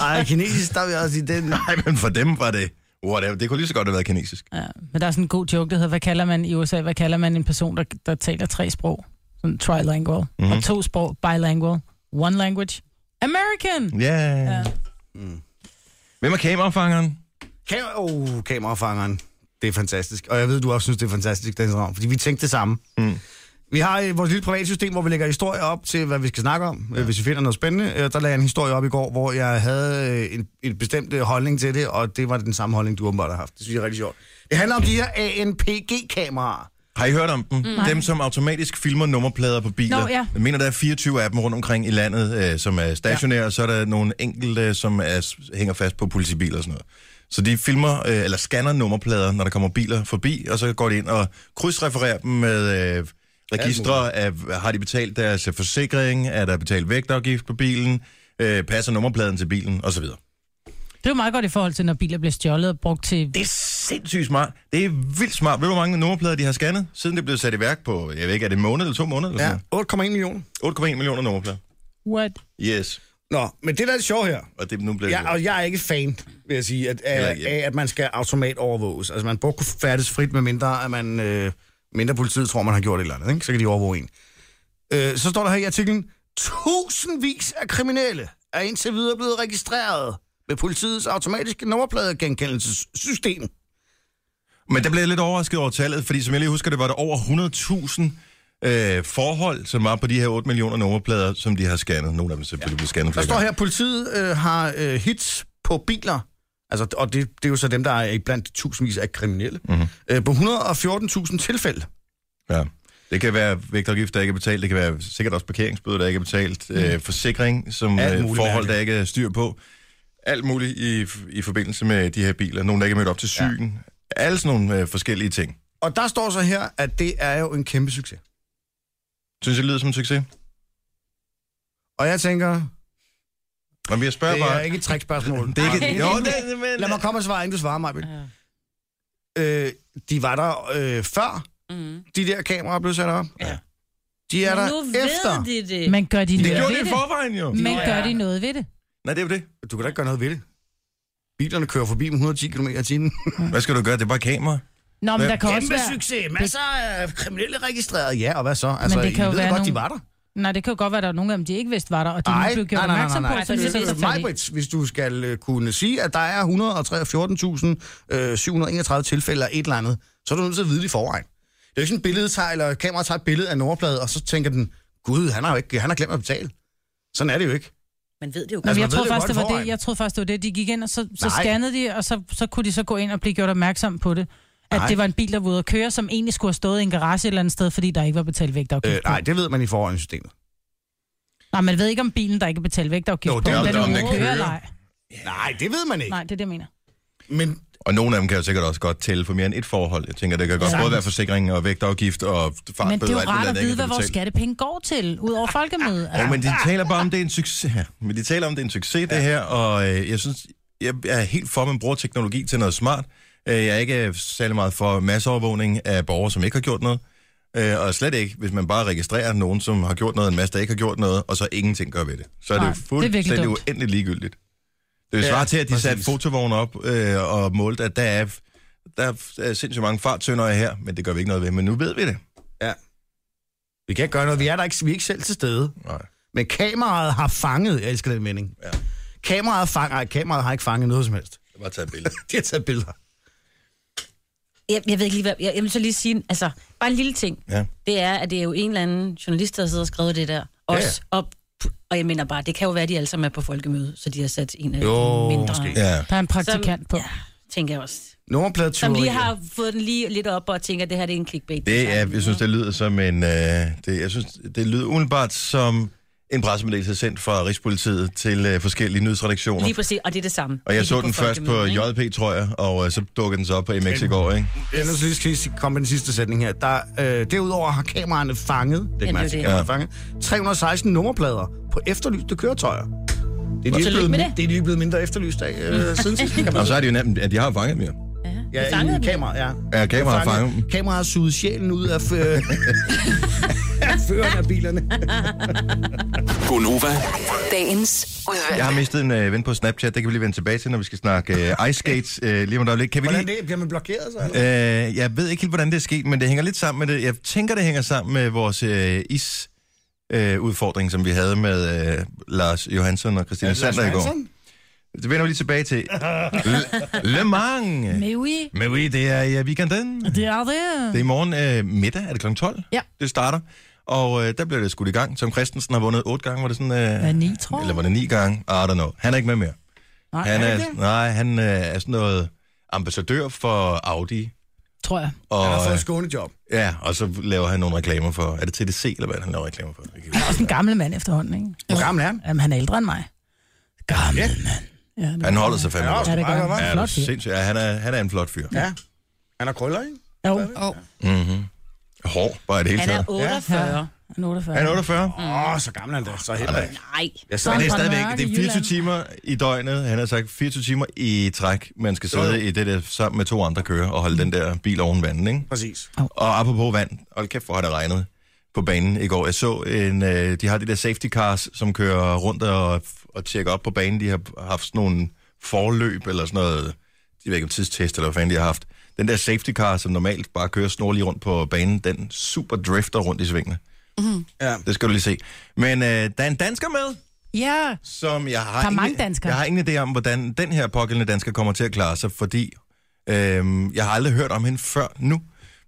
[SPEAKER 2] Ej, kinesisk, der vil jeg også sige, den...
[SPEAKER 1] Nej, men for dem var det, Whatever. Det kunne lige så godt have været kinesisk.
[SPEAKER 3] Ja, men der er sådan en god joke, der hedder, hvad kalder man i USA, hvad kalder man en person, der, der taler tre sprog? Sådan trilingual.
[SPEAKER 1] Mhm.
[SPEAKER 3] Mm-hmm. Og to sprog, bilingual. One language. American!
[SPEAKER 1] Yeah.
[SPEAKER 3] Ja.
[SPEAKER 1] Ja. Hvem er kamerafangeren?
[SPEAKER 2] Kam- oh, kamerafangeren. Det er fantastisk. Og jeg ved, du også synes, det er fantastisk, Dennis Ravn, fordi vi tænkte det samme.
[SPEAKER 1] Mm.
[SPEAKER 2] Vi har øh, vores lille privatsystem, hvor vi lægger historier op til, hvad vi skal snakke om, ja. hvis vi finder noget spændende. Øh, der lagde jeg en historie op i går, hvor jeg havde øh, en, en bestemt øh, holdning til det, og det var den samme holdning, du åbenbart har haft. Det synes jeg er rigtig sjovt. Det handler om de her ANPG-kameraer.
[SPEAKER 1] Har I hørt om dem? Mm. Dem, som automatisk filmer nummerplader på biler.
[SPEAKER 3] Nå, ja.
[SPEAKER 1] Jeg mener, der er 24 af dem rundt omkring i landet, øh, som er stationære, ja. og så er der nogle enkelte, som er, s- hænger fast på politibiler og sådan noget. Så de filmer, øh, eller scanner nummerplader, når der kommer biler forbi, og så går de ind og krydsrefererer dem med øh, registre af, har de betalt deres øh, forsikring, er der betalt vægtafgift på bilen, øh, passer nummerpladen til bilen, osv.
[SPEAKER 3] Det er jo meget godt i forhold til, når biler bliver stjålet og brugt til...
[SPEAKER 1] Det er sindssygt smart. Det er vildt smart. Ved du, hvor mange nummerplader de har scannet, siden det blev sat i værk på, jeg ved ikke, er det en måned eller to måneder? Eller
[SPEAKER 2] Ja,
[SPEAKER 1] sådan
[SPEAKER 2] 8,1 millioner.
[SPEAKER 1] noget? 8,1 millioner nummerplader.
[SPEAKER 3] What?
[SPEAKER 1] Yes.
[SPEAKER 2] Nå, men det der er det sjove her,
[SPEAKER 1] Og det nu blev
[SPEAKER 2] Ja, og jeg er ikke fan, vil jeg sige, at,
[SPEAKER 1] Heller
[SPEAKER 2] af,
[SPEAKER 1] ikke jeg.
[SPEAKER 2] af, at man skal automat overvåges. Altså, man burde kunne færdes frit, med mindre, at man, øh, mindre politiet tror, man har gjort et eller andet. Ikke? Så kan de overvåge en. Øh, så står der her i artiklen, tusindvis af kriminelle er indtil videre blevet registreret med politiets automatiske nummerpladegenkendelsessystem.
[SPEAKER 1] Men der blev jeg lidt overrasket over tallet, fordi som jeg lige husker, det var der over 100.000 øh, forhold, som var på de her 8 millioner nummerplader, som de har scannet. Nogle af dem selvfølgelig ja. blev scannet
[SPEAKER 2] Der
[SPEAKER 1] flere
[SPEAKER 2] står
[SPEAKER 1] gange.
[SPEAKER 2] her, at politiet øh, har øh, hits på biler, altså, og det, det er jo så dem, der er blandt tusindvis af kriminelle,
[SPEAKER 1] Mhm.
[SPEAKER 2] mm-hmm. øh, på 114.000 tilfælde.
[SPEAKER 1] Ja. Det kan være vægtafgift, der ikke er betalt. Det kan være sikkert også parkeringsbøde, der ikke er betalt. Mm. Øh, forsikring, som
[SPEAKER 2] Alt
[SPEAKER 1] øh,
[SPEAKER 2] muligt
[SPEAKER 1] forhold, der
[SPEAKER 2] mærkeligt.
[SPEAKER 1] ikke er styr på. Alt muligt i, i forbindelse med de her biler. Nogle, der ikke er mødt op til syn. Ja. Alle sådan nogle øh, forskellige ting.
[SPEAKER 2] Og der står så her, at det er jo en kæmpe succes.
[SPEAKER 1] Synes I, det lyder som en succes?
[SPEAKER 2] Og jeg tænker,
[SPEAKER 1] Nå, men jeg spørger
[SPEAKER 2] det er
[SPEAKER 1] bare...
[SPEAKER 2] ikke et trickspørgsmål.
[SPEAKER 1] Det er ikke... Jo, det, men...
[SPEAKER 2] Lad mig komme og svare, inden du svarer mig. Ja. Øh, de var der øh, før,
[SPEAKER 4] Mm.
[SPEAKER 2] de der kameraer blev sat op.
[SPEAKER 4] Ja.
[SPEAKER 2] De er der
[SPEAKER 4] nu
[SPEAKER 2] efter.
[SPEAKER 4] ved de det.
[SPEAKER 3] Men gør de
[SPEAKER 1] Det
[SPEAKER 3] noget
[SPEAKER 1] gjorde
[SPEAKER 3] ved
[SPEAKER 1] det i
[SPEAKER 3] det?
[SPEAKER 1] forvejen, jo.
[SPEAKER 3] Men gør de noget ved det?
[SPEAKER 1] Nej, det er jo det.
[SPEAKER 2] Du kan da ikke gøre noget ved det. Bilerne kører forbi med 110 km i timen.
[SPEAKER 1] Hvad skal du gøre? Det er bare kamera.
[SPEAKER 3] Nå, men
[SPEAKER 1] Hvem-
[SPEAKER 3] der kan også være...
[SPEAKER 2] succes. Masser af kriminelle registreret. Ja, og hvad så? Altså,
[SPEAKER 3] det kan
[SPEAKER 2] I
[SPEAKER 3] jo
[SPEAKER 2] ved
[SPEAKER 3] være
[SPEAKER 2] godt,
[SPEAKER 3] nogle-
[SPEAKER 2] de var der.
[SPEAKER 3] Nej, det kan jo godt være, at der er nogle af dem, de ikke vidste var der, og de nu blev gjort opmærksom på, så de
[SPEAKER 2] Så Altså,
[SPEAKER 3] så
[SPEAKER 2] det
[SPEAKER 3] sig fat i.
[SPEAKER 2] Majbrits, hvis du skal øh, kunne sige, at der øh, er 114.731 tilfælde af et eller andet, så er du nødt til at vide det i forvejen. Det er jo ikke sådan, at billedet tager, eller kameraet tager et billede af nummerpladen, og så tænker den, gud, han har jo ikke, han har glemt at betale. Sådan er det jo ikke.
[SPEAKER 4] Man ved det jo
[SPEAKER 3] Nå,
[SPEAKER 4] godt.
[SPEAKER 2] Altså, man
[SPEAKER 3] men jeg
[SPEAKER 2] ved
[SPEAKER 3] tror
[SPEAKER 2] det
[SPEAKER 3] først,
[SPEAKER 2] godt
[SPEAKER 3] det
[SPEAKER 2] i
[SPEAKER 3] var det.
[SPEAKER 2] forvejen.
[SPEAKER 3] Jeg troede først, det var det, de gik ind, og så, så
[SPEAKER 2] Nej.
[SPEAKER 3] scannede de, og så, så kunne de så gå ind og blive gjort opmærksom på det. At
[SPEAKER 2] Nej.
[SPEAKER 3] det var en bil, der var ude at køre, som egentlig skulle have stået i en garage et eller andet sted, fordi der ikke var betalt vægtafgift
[SPEAKER 2] Øh,
[SPEAKER 3] øh,
[SPEAKER 2] nej,
[SPEAKER 3] nej.
[SPEAKER 2] det ved man i forvejen i systemet.
[SPEAKER 3] nej, man ved ikke, om bilen, der ikke er betalt vægtafgift
[SPEAKER 2] Nå,
[SPEAKER 3] på,
[SPEAKER 2] det er
[SPEAKER 3] om
[SPEAKER 2] jo
[SPEAKER 3] den
[SPEAKER 2] der, om
[SPEAKER 3] overhovedet
[SPEAKER 2] den
[SPEAKER 1] kører.
[SPEAKER 3] kører eller ej.
[SPEAKER 2] Nej, det ved man ikke.
[SPEAKER 3] Nej, det er det, jeg mener.
[SPEAKER 2] Men
[SPEAKER 1] Og nogle af dem kan jo sikkert også godt tælle for mere end et forhold. Jeg tænker, det kan godt
[SPEAKER 3] Ja.
[SPEAKER 1] både være forsikring og vægtafgift og fartbøder.
[SPEAKER 3] Men det er
[SPEAKER 1] og
[SPEAKER 3] jo
[SPEAKER 1] alt
[SPEAKER 3] rart
[SPEAKER 1] andet,
[SPEAKER 3] at
[SPEAKER 1] ikke
[SPEAKER 3] vide, hvad
[SPEAKER 1] kan
[SPEAKER 3] vores
[SPEAKER 1] betale.
[SPEAKER 3] skattepenge går til, ud over folkemødet.
[SPEAKER 1] Ja,
[SPEAKER 3] Altså.
[SPEAKER 1] men de taler bare om, det er en succes. Ja, men de taler om, det er en succes, det her. Og øh, jeg synes, jeg er helt for, at man bruger teknologi til noget smart. Øh, Jeg er ikke øh, særlig meget for masseovervågning af borgere, som ikke har gjort noget. Øh, Og slet ikke, hvis man bare registrerer nogen, som har gjort noget, en masse, der ikke har gjort noget, og så ingenting gør ved det. Så er det
[SPEAKER 3] Nej,
[SPEAKER 1] jo
[SPEAKER 3] det er virkelig
[SPEAKER 1] fuldstændig
[SPEAKER 3] dumt.
[SPEAKER 1] uendeligt ligegyldigt. Det vil
[SPEAKER 2] Ja,
[SPEAKER 1] svare til, at de
[SPEAKER 2] præcis.
[SPEAKER 1] satte fotovogne op øh, og målte, at der er, der er sindssygt mange fartsøndere her, men det gør vi ikke noget ved. Men nu ved vi det.
[SPEAKER 2] ja. vi kan ikke gøre noget. Vi er der ikke, vi er ikke selv til stede.
[SPEAKER 1] Nej.
[SPEAKER 2] Men kameraet har fanget, jeg elsker den mening. Ja. Kameraet, fang, nej, kameraet har ikke fanget noget som helst.
[SPEAKER 1] Jeg bare tage et billede.
[SPEAKER 2] De har taget billeder.
[SPEAKER 4] Jeg, jeg ved ikke lige, hvad... Jeg, jeg vil så lige sige... Altså, bare en lille ting.
[SPEAKER 1] Ja.
[SPEAKER 4] Det er, at det er jo en eller anden journalist, der sidder og skriver det der. Også ja. op... Og jeg mener bare, det kan jo være, at de alle sammen er på folkemøde, så de har sat en af
[SPEAKER 2] Jo,
[SPEAKER 4] de mindre...
[SPEAKER 2] måske.
[SPEAKER 1] Ja.
[SPEAKER 3] Der er en praktikant på.
[SPEAKER 4] ja, tænker jeg også.
[SPEAKER 2] Nummerpladetyverier.
[SPEAKER 4] Som lige har fået den lige lidt op og tænker, at det her det er en clickbait.
[SPEAKER 1] Det er, jeg synes, det lyder som en... Øh, det, jeg synes, det lyder umiddelbart som en pressemeddelelse sendt fra Rigspolitiet til øh, forskellige nyhedsredaktioner.
[SPEAKER 4] Lige præcis, og det er det samme.
[SPEAKER 1] Og jeg
[SPEAKER 4] Det er
[SPEAKER 1] så
[SPEAKER 4] på
[SPEAKER 1] den først på
[SPEAKER 4] folkemødet, ikke?
[SPEAKER 1] JP, tror jeg, og øh, så dukkede den så op på MX i går, ikke?
[SPEAKER 2] Jeg er nødt til lige at sige- komme med den sidste sætning her. Der, øh, derudover har kameraerne fanget, det
[SPEAKER 4] det er
[SPEAKER 2] kan man sige,
[SPEAKER 4] det.
[SPEAKER 2] kameraerne fanget, 316 nummerplader på efterlyste køretøjer. Det er, de ikke
[SPEAKER 4] Tillykke
[SPEAKER 2] blevet,
[SPEAKER 4] med det.
[SPEAKER 2] det er de ikke blevet mindre efterlyst af øh, siden sidst. kan man
[SPEAKER 1] Og så
[SPEAKER 2] sige.
[SPEAKER 1] er det jo nemt, at de har fanget mere.
[SPEAKER 2] Ja,
[SPEAKER 4] fangede
[SPEAKER 2] i
[SPEAKER 4] dem.
[SPEAKER 2] kamera, ja.
[SPEAKER 1] Ja, kameraet fangede dem.
[SPEAKER 2] Kameraet har suget sjælen ud af... Øh, Førerne af bilerne.
[SPEAKER 7] Gonova,
[SPEAKER 6] Dagens
[SPEAKER 1] Jeg
[SPEAKER 6] udvalgte.
[SPEAKER 1] har mistet en øh, ven på Snapchat, det kan vi lige vende tilbage til, når vi skal snakke øh, ice skates øh, lige om et øjeblik. Kan vi
[SPEAKER 2] Hvordan
[SPEAKER 1] lige...
[SPEAKER 2] det? Bliver man blokeret så? Eller?
[SPEAKER 1] Øh, jeg ved ikke helt, hvordan det er sket, men det hænger lidt sammen med det. Jeg tænker, det hænger sammen med vores øh, is øh, udfordring, som vi havde med øh, Lars Johansson og Christina Sander i går. Det vender vi lige tilbage til. Le, Le Mans!
[SPEAKER 3] Mais oui,
[SPEAKER 1] Men oui, det er i øh, weekenden.
[SPEAKER 3] det er det.
[SPEAKER 1] Det er i morgen øh, middag, er det kl. 12?
[SPEAKER 3] Ja.
[SPEAKER 1] Det starter. Og øh, der bliver det skudt i gang. Tom Christensen har vundet otte gange, var det sådan... Øh,
[SPEAKER 3] Hvad ni, tror
[SPEAKER 1] Eller
[SPEAKER 3] jeg?
[SPEAKER 1] var det ni gange? I don't know. Han er ikke med mere.
[SPEAKER 3] Nej,
[SPEAKER 1] Han
[SPEAKER 3] er
[SPEAKER 1] er,
[SPEAKER 3] det det?
[SPEAKER 1] nej, han øh, er sådan noget ambassadør for Audi.
[SPEAKER 3] Tror jeg.
[SPEAKER 1] Og, øh,
[SPEAKER 2] Han har fået et skånejob.
[SPEAKER 1] ja, og så laver han nogle reklamer for... Er det TDC, eller hvad er det, han laver reklamer for? Jeg kan ikke
[SPEAKER 3] Han er også en gammel mand efterhånden, ikke?
[SPEAKER 2] Hvor gammel er han?
[SPEAKER 3] Jamen, han er ældre end mig. Gammel
[SPEAKER 2] Ja.
[SPEAKER 3] mand. Ja, det
[SPEAKER 1] huske. Han holder sig fandme
[SPEAKER 2] Ja,
[SPEAKER 1] godt.
[SPEAKER 3] Ja, det gør
[SPEAKER 2] Meget gammel.
[SPEAKER 3] han.
[SPEAKER 1] Ja,
[SPEAKER 3] Flot
[SPEAKER 1] det er
[SPEAKER 3] fyr.
[SPEAKER 1] sindssygt. Ja, han, er, han er en flot fyr.
[SPEAKER 2] Ja. Han har krøller, ikke?
[SPEAKER 3] Jo,
[SPEAKER 5] Og
[SPEAKER 1] Mm-hmm. Hår, bare i det hele
[SPEAKER 4] Han er
[SPEAKER 1] taget.
[SPEAKER 4] 48. Ja.
[SPEAKER 3] han er 48.
[SPEAKER 1] Han er 48. Mm.
[SPEAKER 2] Åh, oh, så gammel er han da. Så helt
[SPEAKER 1] Nej.
[SPEAKER 4] Nej.
[SPEAKER 2] Jeg
[SPEAKER 1] Men det er
[SPEAKER 3] Fra det
[SPEAKER 1] stadigvæk
[SPEAKER 3] mørke
[SPEAKER 1] det er 24
[SPEAKER 3] Jylland.
[SPEAKER 1] timer i døgnet. Han har sagt 24 timer i træk. Man skal
[SPEAKER 2] Jo, jo.
[SPEAKER 1] sidde i det der sammen med to andre kører og holde den der bil oven vandet, ikke?
[SPEAKER 2] Præcis.
[SPEAKER 1] Og apropos vand, hold kæft, hvor har det regnet på banen i går. Jeg så, en, øh, de har de der safety cars, som kører rundt og, og tjekker op på banen. De har haft sådan nogle forløb eller sådan noget, de ved ikke om tidstest eller hvad fanden de har haft. Den der safety car, som normalt bare kører snorlig rundt på banen, den super drifter rundt i svingene.
[SPEAKER 2] Ja.
[SPEAKER 1] Det skal du lige se. Men øh, der er en dansker med,
[SPEAKER 3] Ja,
[SPEAKER 1] som jeg har,
[SPEAKER 3] Der er mange danskere.
[SPEAKER 1] jeg har ingen idé om, hvordan den her pågældende dansker kommer til at klare sig, fordi øh, jeg har aldrig hørt om hende før nu,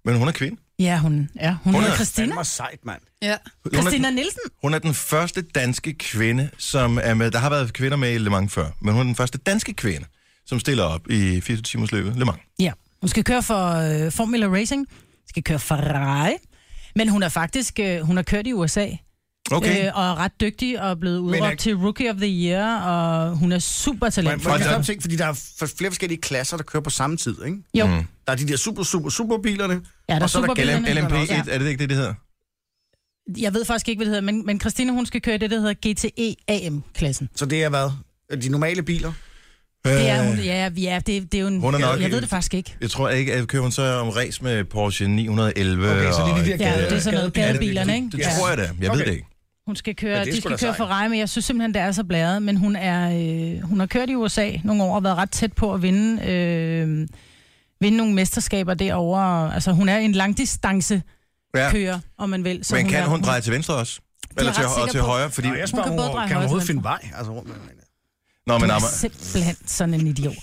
[SPEAKER 1] men hun er kvinde.
[SPEAKER 3] ja hun, ja, hun,
[SPEAKER 1] Hun
[SPEAKER 3] hedder
[SPEAKER 1] er-
[SPEAKER 3] Christina.
[SPEAKER 2] Fandme sejt, mand.
[SPEAKER 5] ja.
[SPEAKER 1] Hun er-
[SPEAKER 3] Christina Nielsen.
[SPEAKER 1] Hun er den første danske kvinde, som er med. Der har været kvinder med i Le Mans før, men hun er den første danske kvinde, som stiller op i 24 timers løbet Le Mans.
[SPEAKER 3] Ja, hun skal køre for øh, Formula Racing, skal køre Ferrari, men hun er faktisk, øh, hun har kørt i USA,
[SPEAKER 1] Okay. Øh,
[SPEAKER 3] og er ret dygtig, og er blevet udråbt
[SPEAKER 2] er-
[SPEAKER 3] til Rookie of the Year, og hun er super
[SPEAKER 2] Man, man
[SPEAKER 3] talentfuld.
[SPEAKER 2] kan
[SPEAKER 1] Fra-
[SPEAKER 2] stoppe ting, fordi der er f- flere forskellige klasser, der kører på samme tid, ikke?
[SPEAKER 3] Jo,
[SPEAKER 2] Der er de der super, super, superbilerne.
[SPEAKER 3] ja, der er
[SPEAKER 2] og så er der
[SPEAKER 3] superbilerne.
[SPEAKER 1] LM, LMP1,
[SPEAKER 3] Ja.
[SPEAKER 1] ja. er det ikke det, det hedder?
[SPEAKER 3] Jeg ved faktisk ikke, hvad det hedder, men, men Christina, hun skal køre i det, der hedder E GTE AM-klassen.
[SPEAKER 2] Så det er hvad? De normale biler?
[SPEAKER 3] Det er hun, ja, ja det, det er jo en...
[SPEAKER 1] Hun er nok
[SPEAKER 3] jeg ved
[SPEAKER 1] en-
[SPEAKER 3] det faktisk ikke.
[SPEAKER 1] Øh, Jeg tror ikke, at kører hun så om race med Porsche 911.
[SPEAKER 2] Okay, så det er de der
[SPEAKER 1] og-
[SPEAKER 3] Ja,
[SPEAKER 2] gade-
[SPEAKER 3] det er sådan noget
[SPEAKER 2] gadebiler.
[SPEAKER 3] gadebilerne, ikke?
[SPEAKER 1] Det
[SPEAKER 3] Ja.
[SPEAKER 1] tror jeg da. Jeg okay. ved
[SPEAKER 2] Okay.
[SPEAKER 1] det ikke.
[SPEAKER 3] Hun skal køre,
[SPEAKER 2] Ja, det er sgu
[SPEAKER 3] de skal
[SPEAKER 2] da
[SPEAKER 3] køre
[SPEAKER 2] sejt.
[SPEAKER 3] Ferrari, men jeg synes simpelthen, det er så blæret. Men hun, er, øh, hun har kørt i USA nogle år og været ret tæt på at vinde, øh, vinde nogle mesterskaber derovre. Altså, hun er en langdistance
[SPEAKER 1] Ja.
[SPEAKER 3] kører, om man vil. Så
[SPEAKER 1] Men kan
[SPEAKER 3] er,
[SPEAKER 1] hun dreje til venstre også?
[SPEAKER 3] er
[SPEAKER 1] Eller til,
[SPEAKER 3] ret
[SPEAKER 1] og
[SPEAKER 3] sikker
[SPEAKER 1] til
[SPEAKER 3] på-
[SPEAKER 1] højre? Fordi,
[SPEAKER 2] Nå, jeg spørger,
[SPEAKER 3] kan
[SPEAKER 2] kan,
[SPEAKER 3] både
[SPEAKER 2] kan hun
[SPEAKER 3] dreje højre
[SPEAKER 2] overhovedet
[SPEAKER 3] til
[SPEAKER 2] finde vej? Altså, rundt med
[SPEAKER 1] nå, men
[SPEAKER 3] Hun er
[SPEAKER 1] Amma,
[SPEAKER 3] simpelthen sådan en idiot.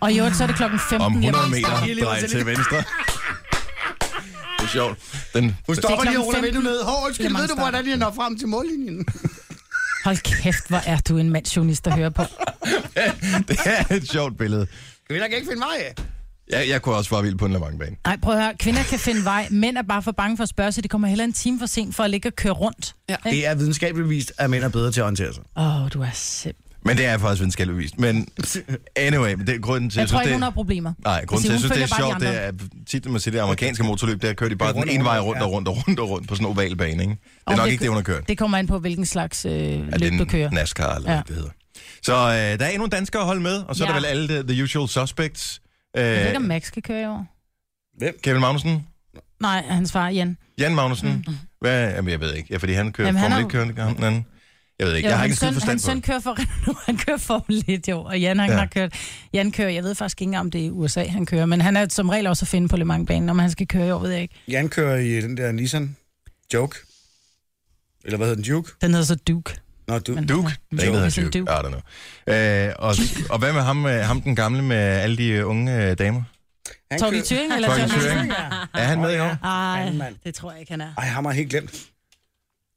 [SPEAKER 3] Og i øvrigt, så er det klokken 15.
[SPEAKER 1] om
[SPEAKER 3] jeg må
[SPEAKER 1] 100
[SPEAKER 3] lige starte.
[SPEAKER 1] meter drej til venstre. Det er sjovt. Den,
[SPEAKER 2] Hun stopper lige og
[SPEAKER 3] klokken
[SPEAKER 2] ruller vinduet
[SPEAKER 3] 15.
[SPEAKER 2] ned. Hår, undskyld,
[SPEAKER 3] Lad mig
[SPEAKER 2] ved du,
[SPEAKER 3] starte.
[SPEAKER 2] hvordan jeg når frem til mållinjen?
[SPEAKER 3] Hold kæft, hvor er du en mandsjournalist, der hører på.
[SPEAKER 1] det er et sjovt billede.
[SPEAKER 2] Kan vi da ikke finde vej af?
[SPEAKER 1] Jeg, jeg kunne også være vild på en lavangbanen.
[SPEAKER 3] Nej, prøv at høre. Kvinder kan finde vej. Mænd er bare for bange for at spørge, så de kommer heller en time for sent for at ligge og køre rundt.
[SPEAKER 5] Ja.
[SPEAKER 3] Ikke?
[SPEAKER 2] Det er videnskabeligt vist, at mænd er bedre til at orientere sig.
[SPEAKER 3] Åh, oh, du er simpelthen...
[SPEAKER 1] Men det er faktisk videnskabeligt vist. Men anyway, det er grunden til,
[SPEAKER 3] Jeg tror
[SPEAKER 1] synes,
[SPEAKER 3] ikke,
[SPEAKER 1] det,
[SPEAKER 3] hun har problemer.
[SPEAKER 1] Nej, grunden til,
[SPEAKER 3] siger,
[SPEAKER 1] jeg
[SPEAKER 3] hun
[SPEAKER 1] synes, det er
[SPEAKER 3] følger
[SPEAKER 1] sjovt,
[SPEAKER 3] bare de
[SPEAKER 1] det er tit, når man ser det amerikanske motorløb, der kører de bare den ene vej rundt og rundt og rundt og rundt på sådan en oval bane, ikke? Det er
[SPEAKER 3] Om
[SPEAKER 1] nok
[SPEAKER 3] det
[SPEAKER 1] ikke det, hun har kørt.
[SPEAKER 3] Det kommer an på, hvilken slags øh,
[SPEAKER 1] Er
[SPEAKER 3] løb,
[SPEAKER 1] det
[SPEAKER 3] du kører.
[SPEAKER 1] en NASCAR, eller
[SPEAKER 3] Ja.
[SPEAKER 1] hvad det hedder? Så øh, der er endnu en dansker at holde med, og så er der
[SPEAKER 3] Ja.
[SPEAKER 1] vel alle the, the usual suspects.
[SPEAKER 3] Jeg ved ikke,
[SPEAKER 1] Øh,
[SPEAKER 3] om Max skal køre i år.
[SPEAKER 1] Kevin Magnussen,
[SPEAKER 3] Nej, hans far, Jan.
[SPEAKER 1] Jan Magnussen, hvad, jamen, jeg ved ikke, ja, fordi han kører
[SPEAKER 3] Mm-hmm. Jamen, han
[SPEAKER 1] Formel
[SPEAKER 3] er
[SPEAKER 1] 1 kørende, ham den anden. Jeg ved ikke,
[SPEAKER 3] Jo,
[SPEAKER 1] jeg har ikke en
[SPEAKER 3] hans
[SPEAKER 1] skid
[SPEAKER 3] søn,
[SPEAKER 1] forstand
[SPEAKER 3] hans
[SPEAKER 1] på
[SPEAKER 3] søn
[SPEAKER 1] det.
[SPEAKER 3] kører for Renault, han kører Formel 1 jo, og Jan, han
[SPEAKER 1] Ja.
[SPEAKER 3] ja. har kørt, Jan kører, jeg ved faktisk ikke engang, om det er i USA, han kører, men han er som regel også at finde på Le Mans-banen, om han skal køre i år, ved jeg ikke.
[SPEAKER 2] Jan kører i den der Nissan Joke. Eller hvad hedder den? Juke?
[SPEAKER 3] Den hedder så Duke.
[SPEAKER 2] Nå, du.
[SPEAKER 3] Men-
[SPEAKER 1] Duke? Der er en, der
[SPEAKER 3] Joe.
[SPEAKER 1] hedder Duke.
[SPEAKER 3] Duke.
[SPEAKER 1] I don't know. Øh, og, og hvad med ham, øh, ham den gamle med alle de øh, unge øh, damer?
[SPEAKER 2] Han
[SPEAKER 3] Torgny Thuring, eller
[SPEAKER 1] Torgny
[SPEAKER 3] John
[SPEAKER 1] Thuring.
[SPEAKER 3] Hansen?
[SPEAKER 1] Er han med i år?
[SPEAKER 2] Fanden,
[SPEAKER 3] Ej,
[SPEAKER 2] mand.
[SPEAKER 3] det tror jeg ikke, han er.
[SPEAKER 2] Ej, ham har jeg helt glemt.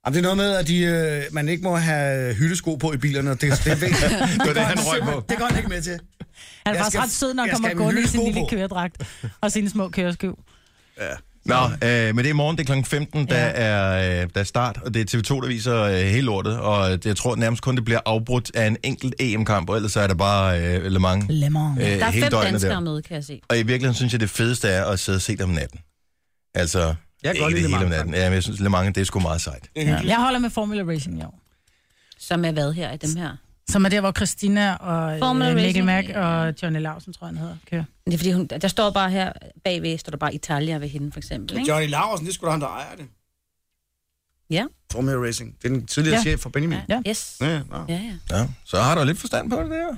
[SPEAKER 2] Jamen, det er noget med, at de, øh, man ikke må have hyldesko på i bilerne. og Det, det, er væsentligt.
[SPEAKER 1] Det var det, han røg på.
[SPEAKER 2] det går han ikke med til.
[SPEAKER 3] Han er
[SPEAKER 2] Jeg
[SPEAKER 3] faktisk
[SPEAKER 2] skal-
[SPEAKER 3] ret sød, når han
[SPEAKER 2] jeg skal
[SPEAKER 3] kommer
[SPEAKER 2] have
[SPEAKER 3] gående i
[SPEAKER 2] min
[SPEAKER 3] sin lille
[SPEAKER 2] hyldesko på.
[SPEAKER 3] køredragt og sine små køreskiv.
[SPEAKER 1] Nå, øh, men det er i morgen, det er kl. 15, der, er, øh, der er start, og det er TV2, der viser øh, hele lortet, og det, jeg tror nærmest kun, det bliver afbrudt af en enkelt EM-kamp, og ellers så er der bare øh, Le Mans øh,
[SPEAKER 3] Le Mans.
[SPEAKER 4] Der er
[SPEAKER 1] hele
[SPEAKER 4] fem
[SPEAKER 1] døgnet
[SPEAKER 4] danskere
[SPEAKER 1] der.
[SPEAKER 4] med, kan jeg se.
[SPEAKER 1] Og i virkeligheden synes jeg, det fedeste er at sidde og se det om natten. Altså, jeg
[SPEAKER 2] kan
[SPEAKER 1] ikke
[SPEAKER 2] godt
[SPEAKER 1] det
[SPEAKER 2] lide Le
[SPEAKER 1] hele om
[SPEAKER 2] Mans,
[SPEAKER 1] natten. Ja, men jeg synes, Le Mans, det er sgu meget sejt.
[SPEAKER 3] Ja. Jeg holder med Formula Racing i år.
[SPEAKER 4] Som er hvad her i dem her?
[SPEAKER 3] Som er der, hvor Christina og
[SPEAKER 4] Formula
[SPEAKER 3] øh, Mikkel
[SPEAKER 4] Racing,
[SPEAKER 3] Mack
[SPEAKER 4] ja.
[SPEAKER 3] og Johnny Lausen, tror jeg, han hedder, kører.
[SPEAKER 4] Det er fordi, hun, der står bare her bagved, står der bare Italia ved hende, for eksempel. Ikke?
[SPEAKER 2] Johnny Larsen, det skulle da han, der ejer det.
[SPEAKER 4] Ja,
[SPEAKER 2] Formel Racing. Det er den tidligere ja.
[SPEAKER 3] Ja.
[SPEAKER 2] chef for Benjamin.
[SPEAKER 4] ja.
[SPEAKER 2] Ja,
[SPEAKER 4] ja. yes.
[SPEAKER 2] ja. Ja, nå.
[SPEAKER 4] Ja, ja.
[SPEAKER 1] Ja, så har du lidt forstand på det der.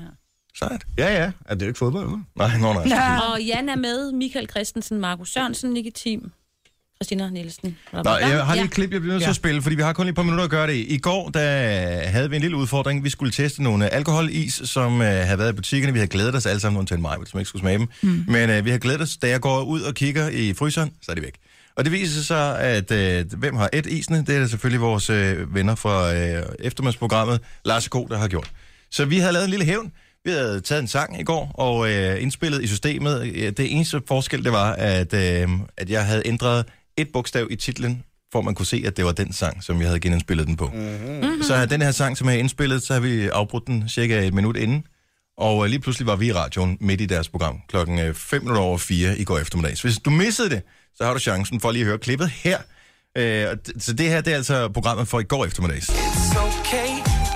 [SPEAKER 1] Sejt.
[SPEAKER 2] ja. ja. Er det er jo ikke fodbold, eller?
[SPEAKER 1] Nej, nå, nej.
[SPEAKER 3] Ja.
[SPEAKER 4] Og Jan er med, Michael Christensen, Markus Sørensen, Nicky Thiem, Christina Nielsen.
[SPEAKER 1] Nå, jeg har lige et
[SPEAKER 4] Ja.
[SPEAKER 1] klip, jeg bliver nødt til at spille, fordi vi har kun lige et par minutter at gøre det i. I går der havde vi en lille udfordring. Vi skulle teste nogle øh, alkoholis, som øh, havde været i butikkerne. Vi havde glædet os alle sammen, undtagen mig, som ikke skulle smage dem. Mm. Men øh, vi havde glædet os, da jeg går ud og kigger i fryseren, så er de væk. Og det viser sig, at øh, hvem har et isene? Det er selvfølgelig vores øh, venner fra øh, eftermiddagsprogrammet, Lars K., der har gjort. Så vi havde lavet en lille hævn. Vi havde taget en sang i går og øh, indspillet i systemet. Øh, Det eneste forskel, det var, at, øh, at jeg havde ændret et bogstav i titlen, for at man kunne se, at det var den sang, som jeg havde genindspillet den på. Mm-hmm. Så den her sang, som jeg havde indspillet, så har vi afbrudt den cirka et minut inden. Og øh, lige pludselig var vi i radioen midt i deres program klokken øh, fem minutter over fire i går eftermiddag. Så hvis du missede det, så har du chancen for lige at høre klippet her. Øh, og d- så det her, det er altså programmet for i går eftermiddags.
[SPEAKER 7] It's okay,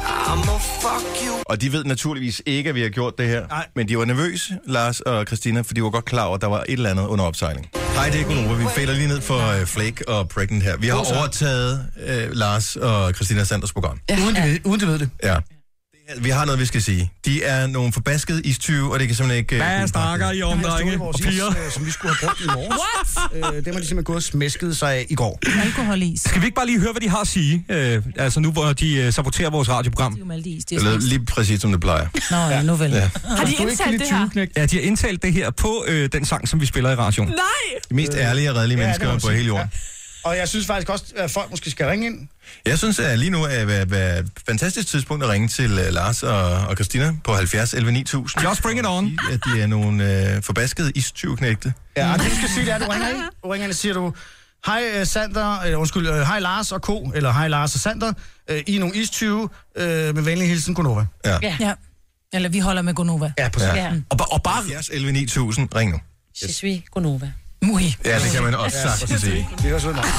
[SPEAKER 7] I'ma fuck you.
[SPEAKER 1] Og de ved naturligvis ikke, at vi har gjort det her.
[SPEAKER 2] Nej.
[SPEAKER 1] Men de var nervøse, Lars og Christina, for de var godt klar over, at der var et eller andet under opsejling. Hej, det er Gunova. Vi falder lige ned for uh, Flake og Pregnant her. Vi har overtaget uh, Lars og Christina Sanders program.
[SPEAKER 2] Ja. Uden, de ved, uden de ved det.
[SPEAKER 1] Ja. Vi har noget, vi skal sige. De er nogle forbaskede istyve, og det kan simpelthen ikke... øh, kunne pakke det.
[SPEAKER 2] om, drenge og piger. øh, Som vi skulle have brugt i morges. What? Øh, det var de simpelthen gået og smæsket sig af i går.
[SPEAKER 3] Alkoholis.
[SPEAKER 8] Skal vi ikke bare lige høre, hvad de har at sige? Øh, altså nu, hvor de øh, saboterer vores radioprogram.
[SPEAKER 3] Det er jo med alle de is, de
[SPEAKER 1] Det
[SPEAKER 3] har
[SPEAKER 1] lød
[SPEAKER 3] smagt.
[SPEAKER 1] lige præcis, som det plejer.
[SPEAKER 3] Nå, ja, nu vel.
[SPEAKER 1] Ja.
[SPEAKER 9] Har de indsat det her?
[SPEAKER 8] Ja, de har indtalt det her på øh, den sang, som vi spiller i radioen.
[SPEAKER 9] Nej!
[SPEAKER 1] De mest ærlige og redelige
[SPEAKER 2] Øh, Ja, det må
[SPEAKER 1] mennesker
[SPEAKER 2] man
[SPEAKER 1] på
[SPEAKER 2] sige.
[SPEAKER 1] hele jorden.
[SPEAKER 2] Og jeg synes faktisk også, at folk måske skal ringe ind.
[SPEAKER 1] Jeg synes, at lige nu er er- er et fantastisk tidspunkt at ringe til øh, Lars og, og Christina på 70 11 9000.
[SPEAKER 8] Just bring it on.
[SPEAKER 1] Sige, At de er nogle øh, forbaskede istyvknægte.
[SPEAKER 2] Ja, og det du skal sige, det er, at du ringer ind. Du ringer ind og siger, du, hej øh, Sander, eller undskyld, øh, hej Lars og Co, eller hej Lars og Sander, øh, I er nogle istyve, øh, med venlig hilsen, Gunova.
[SPEAKER 3] Ja. Eller vi holder med Gonova.
[SPEAKER 2] Ja, på
[SPEAKER 1] Ja.
[SPEAKER 2] ja.
[SPEAKER 4] Ja.
[SPEAKER 8] Og, ba- og bare...
[SPEAKER 1] 70 11 9000. Ring nu.
[SPEAKER 4] Je suis Gonova.
[SPEAKER 3] Mui.
[SPEAKER 1] Ja, det kan man også sagtens sige.
[SPEAKER 2] Det er også meget.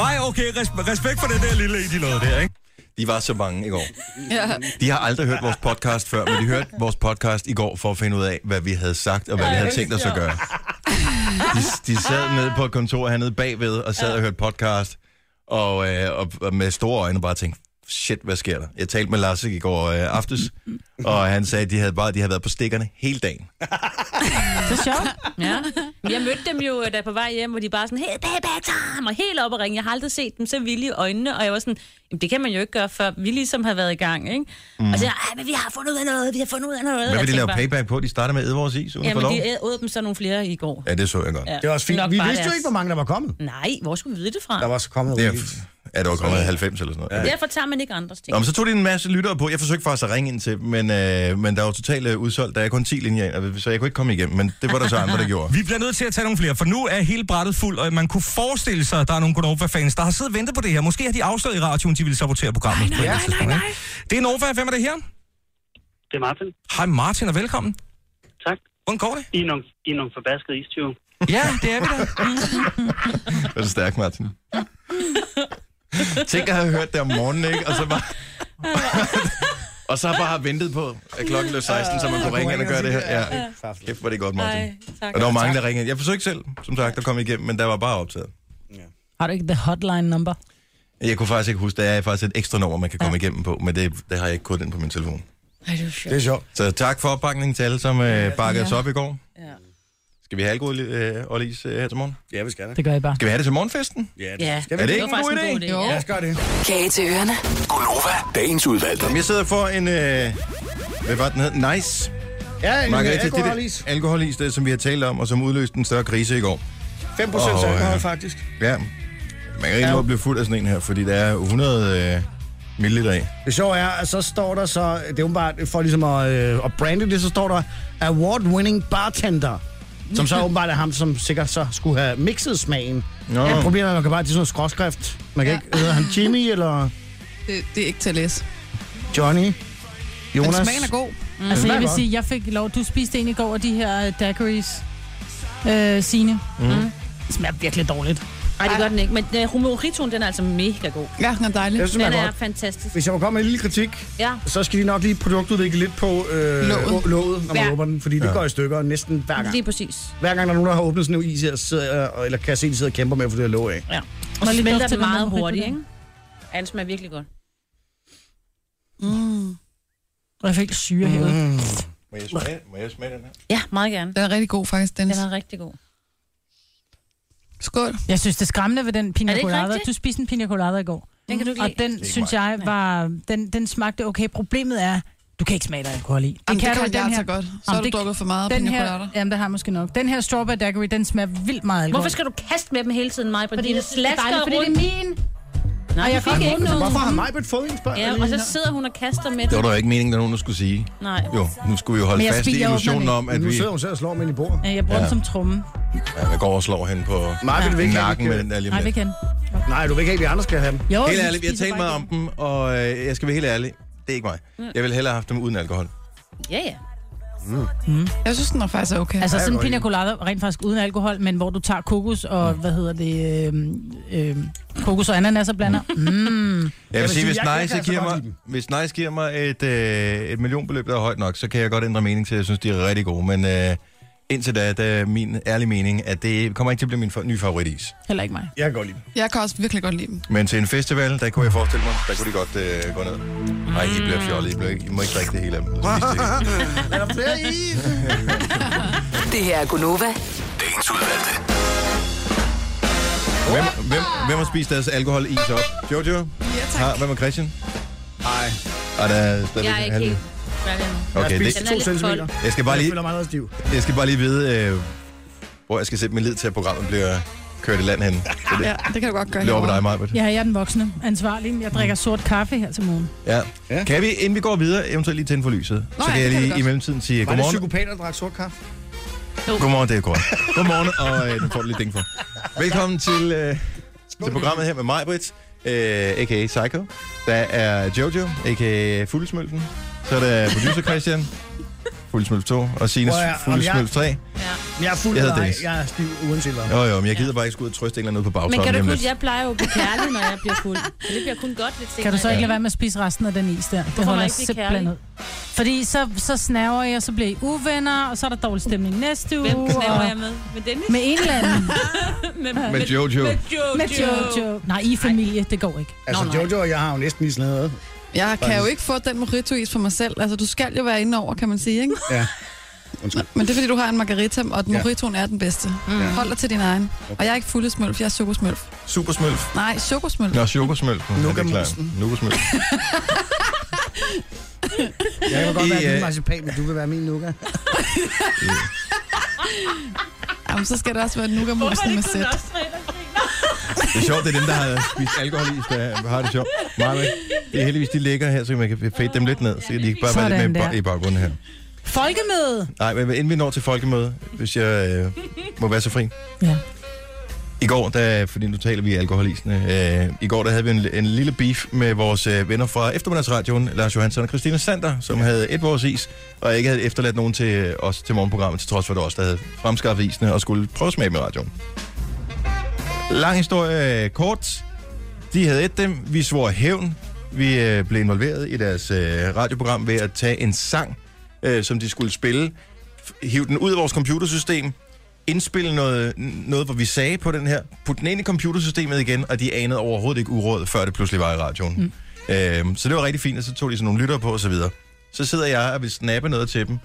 [SPEAKER 8] Ej, okay, res- respekt for den der lille en, de lavede der, ikke?
[SPEAKER 1] De var så bange i går.
[SPEAKER 5] Ja.
[SPEAKER 1] De har aldrig hørt vores podcast før, men de hørte vores podcast i går for at finde ud af, hvad vi havde sagt og hvad vi havde tænkt os at gøre. De, de sad nede på et kontor hernede bagved og sad og hørte podcast, og, øh, og, og med store øjne bare tænkte, shit, hvad sker der? Jeg talte med Lasse i går øh, aftes, og han sagde, at de havde, bare, de havde været på stikkerne hele dagen.
[SPEAKER 3] Det er sjovt.
[SPEAKER 4] Ja. Men Jeg mødte dem jo øh, da på vej hjem, hvor de bare sådan, hey, baby time, og helt op og ringe. Jeg har aldrig set dem så vilde i øjnene, og jeg var sådan, Jamen, det kan man jo ikke gøre, før vi ligesom har været i gang, ikke? Mm. Og så ej, men vi har fundet ud af noget, vi har fundet ud af noget.
[SPEAKER 1] Hvad
[SPEAKER 4] Jeg
[SPEAKER 1] vil de
[SPEAKER 4] tænkte
[SPEAKER 1] lave
[SPEAKER 4] bare,
[SPEAKER 1] payback på? De starter med Edvards Is uden for
[SPEAKER 4] Jamen,
[SPEAKER 1] lov?
[SPEAKER 4] de åd dem så nogle flere i går.
[SPEAKER 1] Ja, det så jeg godt.
[SPEAKER 4] Ja.
[SPEAKER 2] Det er også fint.
[SPEAKER 4] Nok
[SPEAKER 2] Vi
[SPEAKER 4] bare
[SPEAKER 2] vidste jo
[SPEAKER 4] deres-
[SPEAKER 2] ikke, hvor mange der var kommet.
[SPEAKER 4] Nej, hvor skulle vi vide det fra?
[SPEAKER 2] Der var så kommet
[SPEAKER 1] Det er,
[SPEAKER 2] rigeligt.
[SPEAKER 1] ja, det var kommet i 90 eller sådan noget.
[SPEAKER 4] Derfor tager man ikke andres ting.
[SPEAKER 1] Nå, men så tog de en masse lyttere på. Jeg forsøgte faktisk at ringe ind til, dem, men, øh, men der var totalt øh, udsolgt. Der er kun 10 linjer, ind, så jeg kunne ikke komme igennem. Men det var der så andre, der gjorde.
[SPEAKER 8] Vi bliver nødt til at tage nogle flere, for nu er hele brættet fuld, og man kunne forestille sig, at der er nogle Gonova-fans, der har siddet og ventet på det her. Måske har de afsløret i radioen, de ville sabotere programmet. Nej, nej, nej, nej, nej. Det er Nova, hvem er det her?
[SPEAKER 10] Det er Martin.
[SPEAKER 8] Hej Martin, og velkommen.
[SPEAKER 10] Tak.
[SPEAKER 8] Hvordan går det?
[SPEAKER 10] I er nogle, I er nogle forbaskede istyve.
[SPEAKER 8] Ja, det er vi da.
[SPEAKER 1] Det var så stærkt, Martin. Tænk at have hørt det om morgenen, ikke? Og så bare... og så bare have ventet på, at klokken blev 16, så man kunne ringe ind og gøre det her. Ja. Kæft, hvor er det godt, Martin.
[SPEAKER 4] tak.
[SPEAKER 1] Og der var mange, der ringede. Jeg forsøgte selv, som sagt, at komme igennem, men der var bare optaget.
[SPEAKER 3] Har du ikke the hotline number?
[SPEAKER 1] Jeg kunne faktisk ikke huske, der er faktisk et ekstra nummer, man kan komme igennem på, men det, det har jeg ikke kodet ind på min telefon.
[SPEAKER 4] Ej, det var sjovt.
[SPEAKER 2] Det er sjovt.
[SPEAKER 1] Så tak for opbakningen til alle, som øh, bakkede os op i går. Ja. Skal vi have alkohol øh, og is øh, her til morgen?
[SPEAKER 2] Ja, vi skal da.
[SPEAKER 3] Det gør I bare.
[SPEAKER 1] Skal vi have det til morgenfesten?
[SPEAKER 2] Ja,
[SPEAKER 4] Ja,
[SPEAKER 2] skal vi.
[SPEAKER 1] Er det
[SPEAKER 4] det
[SPEAKER 1] ikke
[SPEAKER 4] var
[SPEAKER 1] en god
[SPEAKER 4] faktisk
[SPEAKER 1] idé?
[SPEAKER 4] en god idé.
[SPEAKER 5] Jo.
[SPEAKER 4] Ja.
[SPEAKER 2] Lad os gøre det.
[SPEAKER 6] Kage til ørerne.
[SPEAKER 7] Gunova, dagens udvalgte.
[SPEAKER 1] Jamen, Jeg sidder for en... Øh, hvad var den hed? Nice.
[SPEAKER 2] Ja, en
[SPEAKER 1] Margarita,
[SPEAKER 2] alkoholis.
[SPEAKER 1] Det, det, alkoholis, det, som vi har talt om, og som udløste en større krise i går.
[SPEAKER 2] 5
[SPEAKER 1] Åh, ja.
[SPEAKER 2] alkohol, faktisk.
[SPEAKER 1] Ja. Man kan ikke nå at blive fuld af sådan en her, fordi der er 100 øh, milliliter i.
[SPEAKER 2] Det sjove er, at så står der så, det er åbenbart, for ligesom at, øh, at brande det, så står der award-winning bartender. Som så åbenbart er ham, som sikkert så skulle have mixet smagen.
[SPEAKER 1] Nå.
[SPEAKER 2] Ja, problemet er, at man kan bare, det er sådan noget skråskrift. Man kan ja.
[SPEAKER 5] Ja.
[SPEAKER 2] ikke, hedder han Jimmy eller
[SPEAKER 5] Det, det er ikke til at læse.
[SPEAKER 2] Johnny?
[SPEAKER 5] Men
[SPEAKER 2] Jonas?
[SPEAKER 5] smagen er god.
[SPEAKER 3] Altså,
[SPEAKER 2] smager
[SPEAKER 3] jeg vil
[SPEAKER 2] godt.
[SPEAKER 3] sige, jeg fik lov. Du spiste en i Mm. går af de her øh, daiquiris, øh, Signe. Mm. Det smager virkelig dårligt.
[SPEAKER 4] Nej, det gør den ikke. Men uh, mojitoen, den er altså mega god.
[SPEAKER 5] Ja, den er dejlig.
[SPEAKER 2] Jeg synes,
[SPEAKER 4] Den
[SPEAKER 2] den er
[SPEAKER 4] er
[SPEAKER 2] godt.
[SPEAKER 4] fantastisk.
[SPEAKER 2] Hvis jeg må komme med en lille kritik,
[SPEAKER 4] Ja.
[SPEAKER 2] så skal de nok lige produktudvikle lidt på øh,
[SPEAKER 5] Låget.
[SPEAKER 2] låget. låget, når man
[SPEAKER 4] Ja.
[SPEAKER 2] åbner den, fordi det går i stykker næsten hver gang.
[SPEAKER 4] Lige præcis.
[SPEAKER 2] Hver gang der er nogen, der har åbnet sådan en is her, så sidder, jeg- eller kan jeg se, de sidder og kæmper med at få det her låg af.
[SPEAKER 4] Ja.
[SPEAKER 3] Og
[SPEAKER 4] Og
[SPEAKER 3] så
[SPEAKER 4] så
[SPEAKER 3] smelter
[SPEAKER 4] smelter
[SPEAKER 3] den
[SPEAKER 4] den meget
[SPEAKER 3] med
[SPEAKER 4] hurtigt,
[SPEAKER 3] mojitoen.
[SPEAKER 4] ikke? Ja, den smager virkelig godt.
[SPEAKER 3] Og jeg fik syre
[SPEAKER 2] Mm.
[SPEAKER 3] herude.
[SPEAKER 1] Må jeg smage, må jeg smage den her?
[SPEAKER 4] Ja, meget gerne.
[SPEAKER 5] Den er rigtig god, faktisk, Dennis.
[SPEAKER 4] Den er rigtig god.
[SPEAKER 5] Skål.
[SPEAKER 3] Jeg synes, det er skræmmende ved den
[SPEAKER 4] Er
[SPEAKER 3] pina
[SPEAKER 4] det ikke
[SPEAKER 3] colada.
[SPEAKER 4] rigtigt?
[SPEAKER 3] Du spiste en pina colada i går.
[SPEAKER 4] Den kan du ikke
[SPEAKER 3] Og
[SPEAKER 4] lide.
[SPEAKER 3] den, synes jeg, var, den, den smagte okay. Problemet er, du kan ikke smage dig alkohol i. Det
[SPEAKER 5] Jamen,
[SPEAKER 3] kan
[SPEAKER 5] det
[SPEAKER 3] du
[SPEAKER 5] kan
[SPEAKER 3] i
[SPEAKER 5] jeg
[SPEAKER 3] den her.
[SPEAKER 5] altså godt. Så
[SPEAKER 3] Jamen,
[SPEAKER 5] har du
[SPEAKER 3] det-
[SPEAKER 5] drukket for meget
[SPEAKER 3] Den
[SPEAKER 5] pina
[SPEAKER 3] her,
[SPEAKER 5] colada.
[SPEAKER 3] jamen, det har jeg måske nok. Den her strawberry daiquiri, den smager vildt meget alkohol.
[SPEAKER 4] Hvorfor skal du kaste med dem hele tiden, Maja? Fordi det slasker
[SPEAKER 3] dejligt, fordi det
[SPEAKER 4] rundt.
[SPEAKER 3] er
[SPEAKER 4] min. Nej,
[SPEAKER 3] Og
[SPEAKER 4] jeg
[SPEAKER 3] jeg
[SPEAKER 4] fik
[SPEAKER 3] kan
[SPEAKER 4] ikke nogen.
[SPEAKER 2] Hvorfor har Majbet fået en spørg?
[SPEAKER 4] Ja, og så sidder hun og kaster med
[SPEAKER 1] Det var
[SPEAKER 4] den.
[SPEAKER 1] der jo ikke meningen, at nogen skulle sige.
[SPEAKER 4] Nej.
[SPEAKER 1] Jo, nu skulle vi jo holde
[SPEAKER 3] Men jeg
[SPEAKER 1] fast i
[SPEAKER 3] spiser
[SPEAKER 1] illusionen
[SPEAKER 3] åbner
[SPEAKER 1] om, at
[SPEAKER 2] Nu
[SPEAKER 1] vi
[SPEAKER 2] sidder hun selv og slår mig ind i bordet.
[SPEAKER 3] Øh, Jeg bruger ja. den som tromme.
[SPEAKER 1] ja, jeg går og slår hende på
[SPEAKER 2] Majbet vil ikke have,
[SPEAKER 1] nakken
[SPEAKER 2] vi
[SPEAKER 1] med
[SPEAKER 2] kan-
[SPEAKER 1] den der lige om
[SPEAKER 3] Nej, vi
[SPEAKER 1] lidt.
[SPEAKER 3] kan.
[SPEAKER 2] Nej, du vil ikke have, at vi andre skal have dem.
[SPEAKER 3] Jo,
[SPEAKER 1] Helt
[SPEAKER 3] vi
[SPEAKER 1] ærligt, vi har
[SPEAKER 3] spiser
[SPEAKER 1] talt
[SPEAKER 3] bare
[SPEAKER 1] meget om dem, og øh, jeg skal være helt ærlig. Det er ikke mig. Jeg ville hellere have haft dem uden alkohol.
[SPEAKER 4] Ja, ja.
[SPEAKER 5] Jeg synes, den er faktisk okay.
[SPEAKER 3] Altså sådan en
[SPEAKER 2] hvor
[SPEAKER 3] pina
[SPEAKER 2] I-
[SPEAKER 3] colada, rent faktisk uden alkohol, men hvor du tager kokos og,
[SPEAKER 1] Mm.
[SPEAKER 3] hvad hedder det, øhm, øhm, kokos og ananas og blander. Mm.
[SPEAKER 1] Jeg vil sige, hvis
[SPEAKER 2] jeg- jeg kan
[SPEAKER 1] Nice
[SPEAKER 2] altså
[SPEAKER 1] giver
[SPEAKER 2] godt lide
[SPEAKER 1] mig, hvis Nice giver mig et, øh, et millionbeløb, der er højt nok, så kan jeg godt ændre mening til, at jeg synes, de er rigtig gode. Men øh, indtil da, det er min ærlige mening, at det kommer ikke til at blive min fa- nye favoritis.
[SPEAKER 3] Heller ikke mig.
[SPEAKER 2] Jeg kan godt lide dem.
[SPEAKER 5] Jeg kan også virkelig godt lide dem.
[SPEAKER 1] Men til en festival, der kunne jeg forestille mig, der kunne de godt øh, gå ned. Nej, I bliver fjollet. I, bliver ikke, I må ikke drikke det hele af dem. Spis det hele.
[SPEAKER 2] Er der flere i?
[SPEAKER 6] Det her er Gunova.
[SPEAKER 7] Dagens udvalgte.
[SPEAKER 1] Hvem, hvem, hvem har spist deres alkohol is op? Jojo? Ja,
[SPEAKER 5] tak.
[SPEAKER 1] Hvem er Christian?
[SPEAKER 2] Nej,
[SPEAKER 1] Og der er stadigvæk
[SPEAKER 4] Jeg er ikke
[SPEAKER 1] halv-
[SPEAKER 4] helt færdig endnu.
[SPEAKER 1] Okay,
[SPEAKER 2] jeg
[SPEAKER 1] det,
[SPEAKER 2] spiste
[SPEAKER 4] Den er
[SPEAKER 2] to
[SPEAKER 4] lidt
[SPEAKER 2] centimeter.
[SPEAKER 4] kold.
[SPEAKER 1] jeg, skal bare
[SPEAKER 2] Jeg
[SPEAKER 1] lige,
[SPEAKER 2] føler mig allerede stiv.
[SPEAKER 1] jeg skal bare lige vide, øh, hvor jeg skal sætte min lid til, at programmet bliver kørt i land hen. Så det
[SPEAKER 5] Ja, det kan du godt gøre
[SPEAKER 1] bliver over ved dig,
[SPEAKER 5] herovre.
[SPEAKER 1] Majbert.
[SPEAKER 3] Ja, jeg er den voksne ansvarlig. Jeg drikker sort kaffe her til morgen.
[SPEAKER 1] Ja.
[SPEAKER 2] Ja.
[SPEAKER 1] Kan vi, inden vi går videre, eventuelt lige tænde for lyset?
[SPEAKER 5] Nå,
[SPEAKER 1] så
[SPEAKER 5] ja,
[SPEAKER 1] kan jeg
[SPEAKER 5] det kan vi
[SPEAKER 1] lige
[SPEAKER 5] godt.
[SPEAKER 1] i mellemtiden sige
[SPEAKER 2] Var det
[SPEAKER 1] godmorgen.
[SPEAKER 2] psykopater, der drak sort kaffe?
[SPEAKER 1] Godmorgen, det er godt. Godmorgen, og øh, den får du lidt ding for. Velkommen til, øh, til programmet her med mig, Britt, øh, a.k.a. Psycho. Der er Jojo, a.k.a. Fuglesmølfen. Så er der producer Christian, Fuglesmølf 2, og Sines
[SPEAKER 2] Prøv at høre, om
[SPEAKER 1] Fuglesmølf 3.
[SPEAKER 2] Jeg er fuld
[SPEAKER 1] Jeg
[SPEAKER 2] af
[SPEAKER 1] hedder
[SPEAKER 2] dig.
[SPEAKER 1] Dennis.
[SPEAKER 2] Jeg er stiv uanset hvad.
[SPEAKER 1] Jo, jo, men jeg gider bare ikke skulle ud og trøste en eller anden ude på
[SPEAKER 4] Men
[SPEAKER 1] bagtoppen.
[SPEAKER 4] kan du
[SPEAKER 1] lige om
[SPEAKER 4] huske,
[SPEAKER 1] lidt.
[SPEAKER 4] jeg plejer jo at blive kærlig, når jeg bliver fuld. Så det bliver kun godt lidt senere.
[SPEAKER 3] Kan du så
[SPEAKER 4] i
[SPEAKER 3] ikke
[SPEAKER 4] dag.
[SPEAKER 3] lade være med at spise resten af den is der? Det
[SPEAKER 4] må
[SPEAKER 3] holder
[SPEAKER 4] jeg
[SPEAKER 3] jeg
[SPEAKER 4] ikke blive
[SPEAKER 3] simpelthen
[SPEAKER 4] kærlig?
[SPEAKER 3] ud. Fordi så, så snæver jeg, så bliver I uvenner, og så er der dårlig stemning næste uge.
[SPEAKER 4] Hvem knæver
[SPEAKER 3] og-
[SPEAKER 4] jeg med? Med Dennis?
[SPEAKER 3] Med en eller anden.
[SPEAKER 4] ligesom Med,
[SPEAKER 1] Med Jojo.
[SPEAKER 4] Med Jojo.
[SPEAKER 3] Med Jojo. Nej, I er familie, det går ikke.
[SPEAKER 2] Altså,
[SPEAKER 4] Nå, nej.
[SPEAKER 2] Jojo og jeg har jo næsten lige sådan noget.
[SPEAKER 5] Jeg kan jo ikke få den mojitois for mig selv. Altså, du skal jo være inde over, kan man sige, ikke?
[SPEAKER 2] Ja. Undskyld.
[SPEAKER 5] Men det er, fordi du har en margarita, og den mojitoen er den bedste. Mm. Hold dig til din egen. Og jeg er ikke fuldesmølf, jeg er sukkersmølf.
[SPEAKER 1] Supersmølf.
[SPEAKER 5] Nej, sukkersmølf.
[SPEAKER 1] Nå, chokosmølfen. Ja, det er klart.
[SPEAKER 2] Nukamusen.
[SPEAKER 1] Nukasmølfen.
[SPEAKER 2] Jeg kan godt
[SPEAKER 1] I,
[SPEAKER 2] være
[SPEAKER 1] øh,
[SPEAKER 2] din marcipan, men du vil være min nuka.
[SPEAKER 5] Jamen, så skal det også være nukamusene med sæt.
[SPEAKER 1] Det er sjovt, det er dem, der har spist alkohol i, der har det sjovt. Meget Det er heldigvis, de ligger her, så man kan fade dem lidt ned, så de ikke bare være lidt
[SPEAKER 3] Sådan
[SPEAKER 1] med i
[SPEAKER 3] der.
[SPEAKER 1] ba- i baggrunden her.
[SPEAKER 3] Folkemøde!
[SPEAKER 1] Nej, men inden vi når til folkemøde, hvis jeg øh, må være så fri.
[SPEAKER 3] Ja.
[SPEAKER 1] I går, der, fordi nu taler vi alkoholisene, øh, i går der havde vi en, en lille beef med vores øh, venner fra eftermiddagsradioen, Lars Johansson og Christina Sander, som havde et vores is, og ikke havde efterladt nogen til øh, os til morgenprogrammet, til trods for at det var os, der havde fremskaffet isene og skulle prøve at smage dem i radioen. Lang historie øh, kort. De havde et dem, vi svor hævn, vi øh, blev involveret i deres øh, radioprogram ved at tage en sang, øh, som de skulle spille, f- hive den ud af vores computersystem, indspille noget, noget, hvor vi sagde på den her, put den ind i computersystemet igen, og de anede overhovedet ikke uråd, før det pludselig var i radioen. Mm. Øhm, så det var rigtig fint, og så tog de sådan nogle lytter på osv. Så, videre. så sidder jeg og vil snappe noget til dem,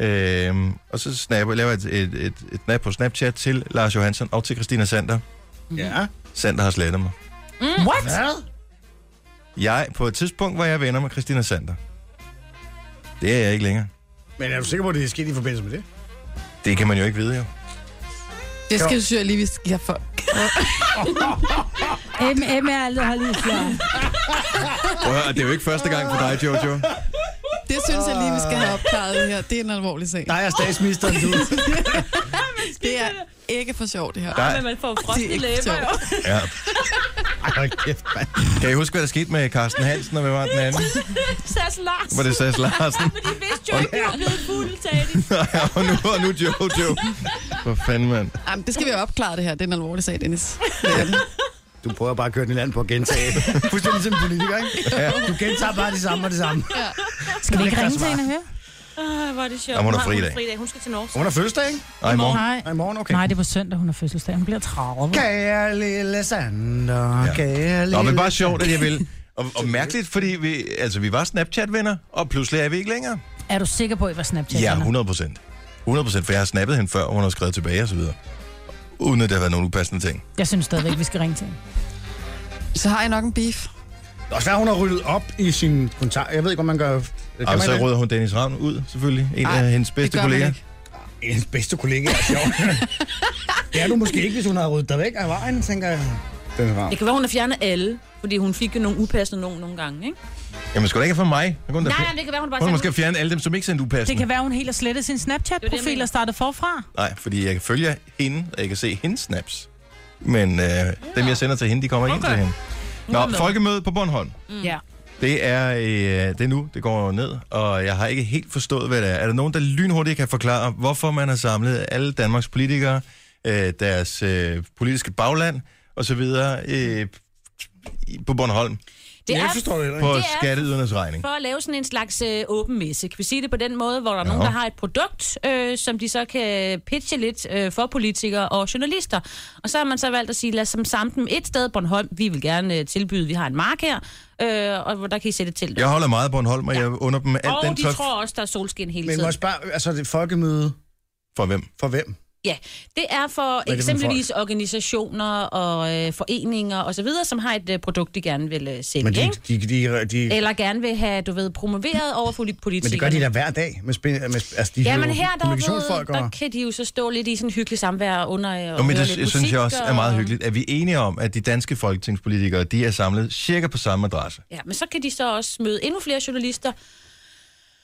[SPEAKER 1] øhm, og så snapper, laver jeg et, et, et, et snap på Snapchat til Lars Johansson og til Christina Sander.
[SPEAKER 2] Ja.
[SPEAKER 1] Sander har slettet mig.
[SPEAKER 3] What?
[SPEAKER 2] Hvad?
[SPEAKER 1] Jeg, på et tidspunkt var jeg venner med Christina Sander. Det er jeg ikke længere.
[SPEAKER 2] Men er du sikker på, at det er sket i forbindelse med det?
[SPEAKER 1] Det kan man jo ikke vide, jo.
[SPEAKER 5] Det skal du jeg lige, vi skal give for.
[SPEAKER 3] MM er aldrig har lige slået.
[SPEAKER 1] Prøv at høre, det er jo ikke første gang for dig, Jojo.
[SPEAKER 5] Det synes jeg lige, vi skal have opklaret her. Det er en alvorlig sag.
[SPEAKER 2] Der er statsministeren, du.
[SPEAKER 5] Det det er ikke for sjovt, det her.
[SPEAKER 1] Der-
[SPEAKER 4] Men man får frost
[SPEAKER 5] Det er
[SPEAKER 4] i
[SPEAKER 5] ikke
[SPEAKER 4] læber jo.
[SPEAKER 1] Ja.
[SPEAKER 2] Ej, hold kæft, mand.
[SPEAKER 1] Kan I huske, hvad der skete med Carsten Hansen, og hvad var den anden?
[SPEAKER 4] Sass Lars.
[SPEAKER 1] Var det Sass Larsen?
[SPEAKER 4] Men de vidste jo ikke, at de var blevet fulde, sagde de.
[SPEAKER 1] Nej, og nu, og nu Jojo. Hvor fanden, mand.
[SPEAKER 5] Jamen, det skal vi jo opklare, det her. Det er en alvorlig sag, Dennis. Det er det.
[SPEAKER 2] Du prøver bare at køre den i land på at gentage. Fuldstændig som en politiker, ikke? Ja. Du gentager bare det samme og det samme.
[SPEAKER 5] Ja.
[SPEAKER 3] Skal vi
[SPEAKER 2] Det
[SPEAKER 3] ikke
[SPEAKER 2] er
[SPEAKER 3] ringe til
[SPEAKER 2] klart
[SPEAKER 3] hende og høre?
[SPEAKER 4] Åh, hvor er det sjovt.
[SPEAKER 1] Jamen, hun har
[SPEAKER 4] Har
[SPEAKER 1] fridag.
[SPEAKER 4] Hun skal til Norge.
[SPEAKER 2] Hun har fødselsdag, ikke?
[SPEAKER 1] Ej, i morgen.
[SPEAKER 3] Nej.
[SPEAKER 2] Nej, i morgen, okay.
[SPEAKER 3] Nej, det var søndag, hun har fødselsdag. Hun bliver 30.
[SPEAKER 2] Kære lille Sander, ja. kære lille...
[SPEAKER 1] Nå, men bare sjovt, at jeg vil. Og, og mærkeligt, fordi vi, altså, vi var Snapchat-venner, og pludselig er vi ikke længere.
[SPEAKER 3] Er du sikker på, at I var Snapchat?
[SPEAKER 1] Ja, 100 procent. 100 procent, for jeg har snappet hende før, og hun har skrevet tilbage og så videre. Uden at der har været nogen upassende ting.
[SPEAKER 3] Jeg synes stadigvæk, vi skal ringe til hende.
[SPEAKER 5] Så har jeg nok en beef.
[SPEAKER 2] Det er også svært, hun har ryddet op i sin kontar. Jeg ved ikke, om man gør... Kan
[SPEAKER 1] Og
[SPEAKER 2] man
[SPEAKER 1] så
[SPEAKER 2] det?
[SPEAKER 1] rydder hun Dennis Ravn ud, selvfølgelig. En
[SPEAKER 5] Ej,
[SPEAKER 1] af hendes
[SPEAKER 5] det
[SPEAKER 1] bedste
[SPEAKER 5] gør man
[SPEAKER 1] kolleger.
[SPEAKER 5] ikke.
[SPEAKER 2] Ens bedste kollega er sjov. det er du måske ikke, hvis hun har ryddet dig væk af vejen, tænker jeg. Den er rar.
[SPEAKER 4] Det kan være, hun har fjernet alle, fordi hun fik jo nogle upassende nogen nogle gange, ikke?
[SPEAKER 1] Jamen, skulle det ikke være for mig? Hun kunne da
[SPEAKER 4] Nej,
[SPEAKER 1] fjer-
[SPEAKER 4] nej, det kan være, hun bare
[SPEAKER 1] Hun har
[SPEAKER 4] sagde-
[SPEAKER 1] måske fjerne alle dem, som ikke sendte upassende.
[SPEAKER 3] Det kan være, hun helt har slettet sin
[SPEAKER 4] Det var det, jeg
[SPEAKER 3] Snapchat-profil
[SPEAKER 4] mener. Mm.
[SPEAKER 3] og startet forfra.
[SPEAKER 1] Nej, fordi jeg kan følge hende, og jeg kan se hendes snaps. Men øh, dem, jeg sender til hende, de kommer ikke ind til hende. Nå, folkemødet på Bornholm.
[SPEAKER 3] Mm. Ja.
[SPEAKER 1] Det er, øh, det er nu, det går ned, og jeg har ikke helt forstået, hvad det er. Er der nogen, der lynhurtigt kan forklare, hvorfor man har samlet alle Danmarks politikere, øh, deres øh, politiske bagland osv. Øh, i- på Bornholm,
[SPEAKER 4] Det
[SPEAKER 2] Jeg
[SPEAKER 4] er
[SPEAKER 2] forstår det heller ikke.
[SPEAKER 1] på
[SPEAKER 4] er-
[SPEAKER 1] skatteydernes regning?
[SPEAKER 4] for at lave sådan en slags øh, åben messe. Kan vi sige det på den måde, hvor der er nogen,
[SPEAKER 1] Ja.
[SPEAKER 4] der har et produkt, øh, som de så kan pitche lidt øh, for politikere og journalister. Og så har man så valgt at sige, lad os som samle dem et sted, Bornholm, vi vil gerne øh, tilbyde, vi har en mark her, øh, og hvor der kan I sætte et telt.
[SPEAKER 1] Jeg holder meget af Bornholm, og jeg under dem alt
[SPEAKER 4] og
[SPEAKER 1] den
[SPEAKER 4] de
[SPEAKER 1] tøf.
[SPEAKER 4] tror også, der er solskin hele
[SPEAKER 2] Men
[SPEAKER 4] tiden.
[SPEAKER 2] må jeg spørge, altså det er folkemøde
[SPEAKER 1] For hvem?
[SPEAKER 2] for hvem?
[SPEAKER 4] Ja, det er for
[SPEAKER 2] for
[SPEAKER 4] det eksempelvis for organisationer og øh, foreninger osv., som har et øh, produkt, de gerne vil øh, sælge,
[SPEAKER 2] Men de,
[SPEAKER 4] ikke?
[SPEAKER 2] de, de, de,
[SPEAKER 4] Eller gerne vil have, du ved, promoveret over for politikere.
[SPEAKER 2] men det gør de da hver dag. Med, spin- med, sp- altså, de er
[SPEAKER 4] Ja,
[SPEAKER 2] jo
[SPEAKER 4] men her der, ved,
[SPEAKER 2] kommunikationsfolk
[SPEAKER 4] der
[SPEAKER 2] og...
[SPEAKER 4] kan de jo så stå lidt i sådan en hyggelig samvær under og
[SPEAKER 1] Nå, men
[SPEAKER 4] høre
[SPEAKER 1] det
[SPEAKER 4] lidt
[SPEAKER 1] jeg synes jeg
[SPEAKER 4] musik
[SPEAKER 1] også er
[SPEAKER 4] og-
[SPEAKER 1] meget hyggeligt. Er vi enige om, at de danske folketingspolitikere, de er samlet cirka på samme adresse?
[SPEAKER 4] Ja, men så kan de så også møde endnu flere journalister.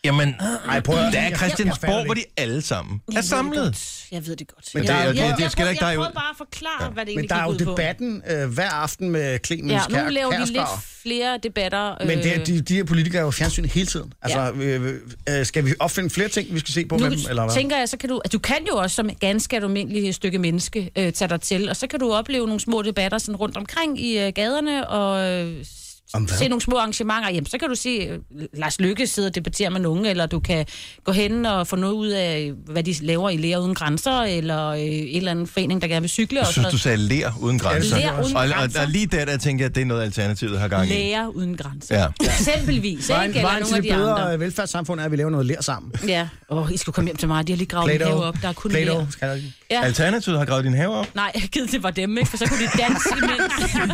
[SPEAKER 1] Jamen,
[SPEAKER 2] Ej, prøv at...
[SPEAKER 1] der er
[SPEAKER 2] Jeg fatter
[SPEAKER 1] Christiansborg,
[SPEAKER 2] det
[SPEAKER 1] hvor de alle sammen er
[SPEAKER 4] Jeg ved det
[SPEAKER 1] samlet.
[SPEAKER 4] godt. Jeg ved det godt.
[SPEAKER 2] Men
[SPEAKER 4] Jeg-
[SPEAKER 2] der er jo-
[SPEAKER 4] jeg-
[SPEAKER 2] det-
[SPEAKER 4] jeg-
[SPEAKER 1] det skal
[SPEAKER 4] jeg-
[SPEAKER 1] da ikke dig
[SPEAKER 4] Jeg
[SPEAKER 1] ud.
[SPEAKER 4] prøver bare at forklare, hvad det
[SPEAKER 2] Men
[SPEAKER 4] egentlig
[SPEAKER 2] der er jo
[SPEAKER 4] gik ud på.
[SPEAKER 2] debatten øh, hver aften med Clemens
[SPEAKER 4] Ja,
[SPEAKER 2] ja, Kær,
[SPEAKER 4] nu laver de lidt
[SPEAKER 2] Kærsgaard.
[SPEAKER 4] flere debatter.
[SPEAKER 2] Men det, er-
[SPEAKER 4] øh,
[SPEAKER 2] de, de her politikere er jo fjernsyn hele tiden. Altså, ja. øh, øh, skal vi opfinde flere ting, vi skal se på med dem, eller hvad?
[SPEAKER 4] tænker jeg, så kan du, at du kan jo også som ganske almindelig stykke menneske øh, tage dig til, og så kan du opleve nogle små debatter sådan rundt omkring i øh, gaderne, og øh, s-
[SPEAKER 2] Om hvad?
[SPEAKER 4] se nogle små arrangementer. Jamen, så kan du se øh, Lars Lykke sidde og debattere med nogen, eller du kan gå hen og få noget ud af, hvad de laver i Læger Uden Grænser, eller øh, en eller anden forening, der gerne vil cykle.
[SPEAKER 1] Jeg
[SPEAKER 4] og
[SPEAKER 1] synes,
[SPEAKER 4] sådan
[SPEAKER 1] du sagde lær uden grænser.
[SPEAKER 4] Ler uden
[SPEAKER 1] og, og,
[SPEAKER 4] grænser.
[SPEAKER 1] og lige der, der tænker jeg, at det er noget, Alternativet har gang
[SPEAKER 4] noget.
[SPEAKER 1] i.
[SPEAKER 4] Læger Uden Grænser.
[SPEAKER 1] Ja.
[SPEAKER 4] Eksempelvis, ikke?
[SPEAKER 2] Vejen,
[SPEAKER 4] Eller
[SPEAKER 2] vejen
[SPEAKER 4] nogle
[SPEAKER 2] til
[SPEAKER 4] af
[SPEAKER 2] det
[SPEAKER 4] de
[SPEAKER 2] bedre
[SPEAKER 4] andre.
[SPEAKER 2] øh, velfærdssamfund er, at vi laver noget lær sammen.
[SPEAKER 4] Ja. Åh, oh, I skulle komme hjem til mig. De har lige gravet min have op. Der er kun mere.
[SPEAKER 2] Plato, skal der ikke?
[SPEAKER 4] Ja.
[SPEAKER 1] Alternativet har gravet din have op.
[SPEAKER 4] Nej, jeg gider det var dem, ikke? For så kunne de danse imens.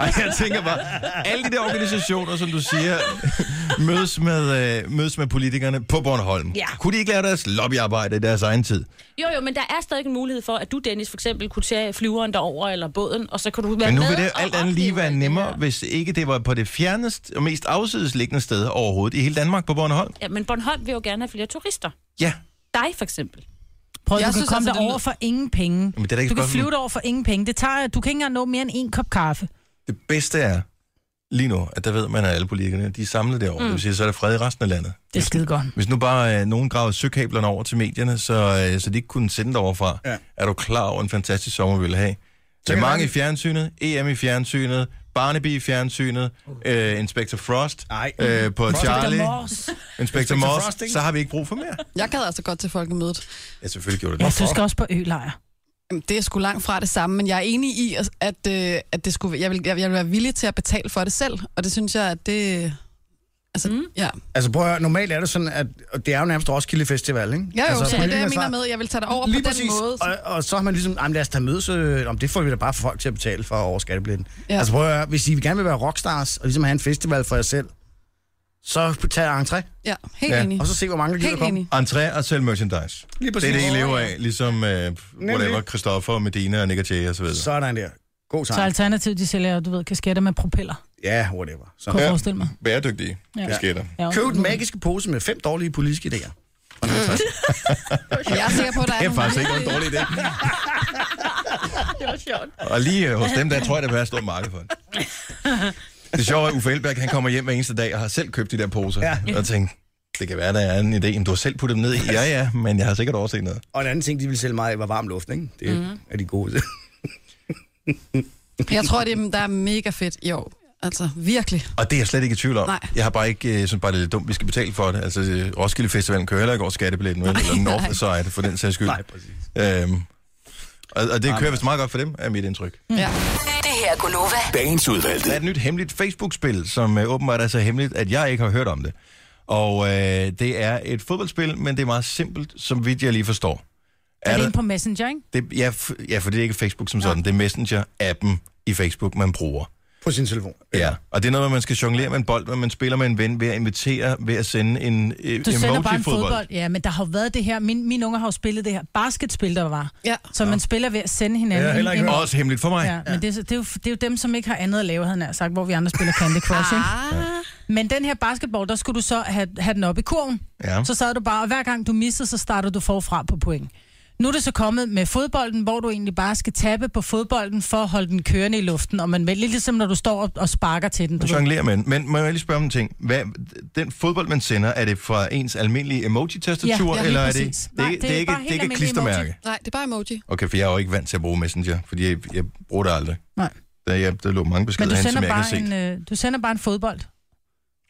[SPEAKER 1] Ej, jeg tænker bare, alle de der organisationer, som du siger, mødes med, øh, mødes med politikerne på Bornholm.
[SPEAKER 4] Ja.
[SPEAKER 1] Kunne de ikke lave deres lobbyarbejde i deres egen tid?
[SPEAKER 4] Jo, jo, men der er stadig en mulighed for, at du, Dennis, for eksempel kunne tage flyveren derover eller båden, og så kan du være
[SPEAKER 1] Men nu
[SPEAKER 4] med
[SPEAKER 1] vil det
[SPEAKER 4] og
[SPEAKER 1] alt andet lige
[SPEAKER 4] opleve
[SPEAKER 1] være
[SPEAKER 4] alt det
[SPEAKER 1] nemmere,
[SPEAKER 4] her.
[SPEAKER 1] hvis ikke det var på det fjernest og mest afsides liggende sted overhovedet i hele Danmark på Bornholm.
[SPEAKER 4] Ja, men Bornholm vil jo gerne have flere turister.
[SPEAKER 1] Ja,
[SPEAKER 4] Dig, for eksempel. Ah,
[SPEAKER 3] Prøv,
[SPEAKER 5] Jeg
[SPEAKER 3] jeg du
[SPEAKER 5] synes
[SPEAKER 3] kan komme
[SPEAKER 5] altså, det
[SPEAKER 3] derover
[SPEAKER 5] lyder-
[SPEAKER 3] for ingen penge.
[SPEAKER 1] men det er da ikke
[SPEAKER 3] Du kan
[SPEAKER 1] spørgsmål.
[SPEAKER 3] flyve derover for ingen penge. Det tager, du kan ikke engang nå mere end en kop kaffe.
[SPEAKER 1] Det bedste er lige nu, at der ved man, at alle politikerne de er samlet derovre. Mm. Det vil sige, så er der fred i resten af landet.
[SPEAKER 3] Det er skide godt.
[SPEAKER 1] Hvis nu bare øh, nogen gravede søkablerne over til medierne, så, øh, så de ikke kunne sende deroverfra, ja.
[SPEAKER 2] Ja.
[SPEAKER 1] er du klar over en fantastisk sommer, vi vil have? Så
[SPEAKER 2] kan
[SPEAKER 1] mange
[SPEAKER 2] man-
[SPEAKER 1] i fjernsynet, EM i fjernsynet, Barnaby i fjernsynet, øh, Inspector Frost
[SPEAKER 2] Ej.
[SPEAKER 1] øh, på
[SPEAKER 2] Frost.
[SPEAKER 1] Charlie,
[SPEAKER 3] Der mors.
[SPEAKER 1] Inspector
[SPEAKER 2] Inspector
[SPEAKER 1] Moss,
[SPEAKER 2] Frost, ikke?
[SPEAKER 1] så har vi ikke brug for mere.
[SPEAKER 5] Jeg gad altså godt til folkemødet.
[SPEAKER 1] Ja, selvfølgelig gjorde det
[SPEAKER 3] Ja,
[SPEAKER 1] det.
[SPEAKER 3] du skal også på ølejr.
[SPEAKER 5] Jamen, det er sgu langt fra det samme, men jeg er enig i, at, at, øh, at det skulle, jeg, vil, jeg, jeg vil være villig til at betale for det selv, og det synes jeg, at det... Altså, mm. ja.
[SPEAKER 2] Altså prøv at høre, normalt er det sådan, at og det er jo nærmest Roskilde Festival, ikke?
[SPEAKER 5] Jeg er jo,
[SPEAKER 2] altså,
[SPEAKER 5] altså, det er det, jeg
[SPEAKER 2] politikerne
[SPEAKER 5] mener
[SPEAKER 2] så-
[SPEAKER 5] med, jeg vil tage dig over
[SPEAKER 2] Lige
[SPEAKER 5] på
[SPEAKER 2] præcis,
[SPEAKER 5] den måde.
[SPEAKER 2] og, og så har man ligesom, jamen lad os tage mødes, øh, om det får vi da bare for folk til at betale for over skattebilletten.
[SPEAKER 5] Ja.
[SPEAKER 2] Ja. Altså prøv at høre, hvis I gerne vil være rockstars, og ligesom have en festival for jer selv, så tag entré,
[SPEAKER 5] Ja, helt
[SPEAKER 1] Ja,
[SPEAKER 5] enig.
[SPEAKER 2] og så se, hvor mange der gider
[SPEAKER 5] Helt
[SPEAKER 2] komme.
[SPEAKER 5] enig.
[SPEAKER 1] Entré og sælge merchandise.
[SPEAKER 2] Lige
[SPEAKER 1] Det er
[SPEAKER 2] præcis.
[SPEAKER 1] det, I lever af, ligesom øh, whatever,
[SPEAKER 2] Nemlig.
[SPEAKER 1] Christoffer, Medina og Nick og Jay og så videre.
[SPEAKER 2] Sådan der. God
[SPEAKER 3] Så
[SPEAKER 5] altså-
[SPEAKER 2] tanke.
[SPEAKER 3] alternativt, de sælger, du ved, kasketter med propeller.
[SPEAKER 2] Ja, whatever. Så.
[SPEAKER 3] Kunne
[SPEAKER 1] Ja.
[SPEAKER 3] ja. forestille mig.
[SPEAKER 1] Bæredygtige
[SPEAKER 3] Ja.
[SPEAKER 1] kasketter.
[SPEAKER 3] Ja.
[SPEAKER 2] Køb den magiske pose med fem dårlige politiske idéer.
[SPEAKER 5] Jeg er sikker på, at
[SPEAKER 1] Det
[SPEAKER 5] der er
[SPEAKER 1] er
[SPEAKER 5] nogle
[SPEAKER 1] faktisk ikke en dårlig idé.
[SPEAKER 4] Det var sjovt.
[SPEAKER 1] Og lige øh, hos dem, der tror jeg, der vil være et stort marked for det. Det sjove er, at Uffe Elberg, han kommer hjem hver eneste dag og har selv købt de der poser. Ja. Og tænkt, det kan være, der er en idé. Men du har selv puttet dem ned i. Ja, ja, men jeg har sikkert overset noget.
[SPEAKER 2] Og en anden ting, de ville sælge meget af, var varm luft, ikke? Det mm. er de gode til.
[SPEAKER 5] Jeg tror, det er, der er mega fedt i år. Altså, virkelig.
[SPEAKER 1] Og det er jeg slet ikke i tvivl om.
[SPEAKER 5] Nej.
[SPEAKER 1] Jeg har bare ikke, øh, synes bare, det er lidt dumt, vi skal betale for det. Altså, øh, Roskilde Festivalen kører heller ikke over skattebilletten, vel? eller
[SPEAKER 5] nej.
[SPEAKER 1] North Side, for den sags skyld.
[SPEAKER 2] Nej, præcis.
[SPEAKER 1] Øhm, og, og, det kører vist meget godt for dem, er mit indtryk.
[SPEAKER 5] Ja.
[SPEAKER 6] Det her er Gunova.
[SPEAKER 7] Dagens udvalgte.
[SPEAKER 1] Der er et nyt hemmeligt Facebook-spil, som øh, åbenbart er så hemmeligt, at jeg ikke har hørt om det. Og øh, det er et fodboldspil, men det er meget simpelt, som vidt jeg lige forstår.
[SPEAKER 3] Er det
[SPEAKER 1] der-
[SPEAKER 3] en på Messenger, ikke?
[SPEAKER 1] det, ja, f- ja, for det er ikke Facebook som sådan. Det er Messenger-appen i Facebook, man bruger.
[SPEAKER 2] På sin telefon.
[SPEAKER 1] Ja. Og det er noget, hvor man skal jonglere med en bold, hvor man spiller med en ven ved at invitere, ved at sende en øh,
[SPEAKER 3] Du sender bare en
[SPEAKER 1] emoji-fodbold.
[SPEAKER 3] fodbold. fodbold. Ja, men der har jo været det her. Min, mine unger har jo spillet det her basketspil, der var.
[SPEAKER 5] Ja.
[SPEAKER 3] Så man spiller ved at sende hinanden.
[SPEAKER 2] Ja,
[SPEAKER 3] en-
[SPEAKER 2] heller ikke
[SPEAKER 3] en-
[SPEAKER 2] hørt.
[SPEAKER 1] Også hemmeligt for mig.
[SPEAKER 3] Ja, men det, er så- det, er jo, det er jo dem, som ikke har andet at lave, havde jeg nær sagt, hvor vi andre spiller Candy Crush, ikke?
[SPEAKER 5] Ah.
[SPEAKER 3] Men den her basketball, der skulle du så have, have den op i kurven.
[SPEAKER 1] Ja.
[SPEAKER 3] Så sad du bare, og hver gang du missede, så startede du forfra på point. Nu er det så kommet med fodbolden, hvor du egentlig bare skal tappe på fodbolden for at holde den kørende i luften, og man vælger ligesom, når du står og, og sparker til den. Du
[SPEAKER 1] Man
[SPEAKER 3] ved.
[SPEAKER 1] jonglerer med den. Men må jeg lige spørge om en ting? Hvad, den fodbold, man sender, er det fra ens almindelige emoji-tastatur,
[SPEAKER 3] Ja, ja,
[SPEAKER 1] eller er
[SPEAKER 3] lige
[SPEAKER 1] det, det,
[SPEAKER 3] præcis.
[SPEAKER 1] det,
[SPEAKER 3] Nej,
[SPEAKER 1] det, det,
[SPEAKER 3] det
[SPEAKER 1] er
[SPEAKER 3] er
[SPEAKER 1] ikke,
[SPEAKER 3] bare
[SPEAKER 1] det
[SPEAKER 3] helt
[SPEAKER 1] er ikke et
[SPEAKER 3] almindelig
[SPEAKER 1] klistermærke?
[SPEAKER 5] Nej, det er bare emoji.
[SPEAKER 1] Okay, for jeg er jo ikke vant til at bruge Messenger, fordi jeg, jeg bruger det aldrig.
[SPEAKER 3] Nej.
[SPEAKER 1] Der, jeg, der lå mange
[SPEAKER 3] Men
[SPEAKER 1] beskeder
[SPEAKER 3] du
[SPEAKER 1] hen,
[SPEAKER 3] sender,
[SPEAKER 1] som jeg ikke har
[SPEAKER 3] bare
[SPEAKER 1] set.
[SPEAKER 3] en, øh, du sender bare en fodbold,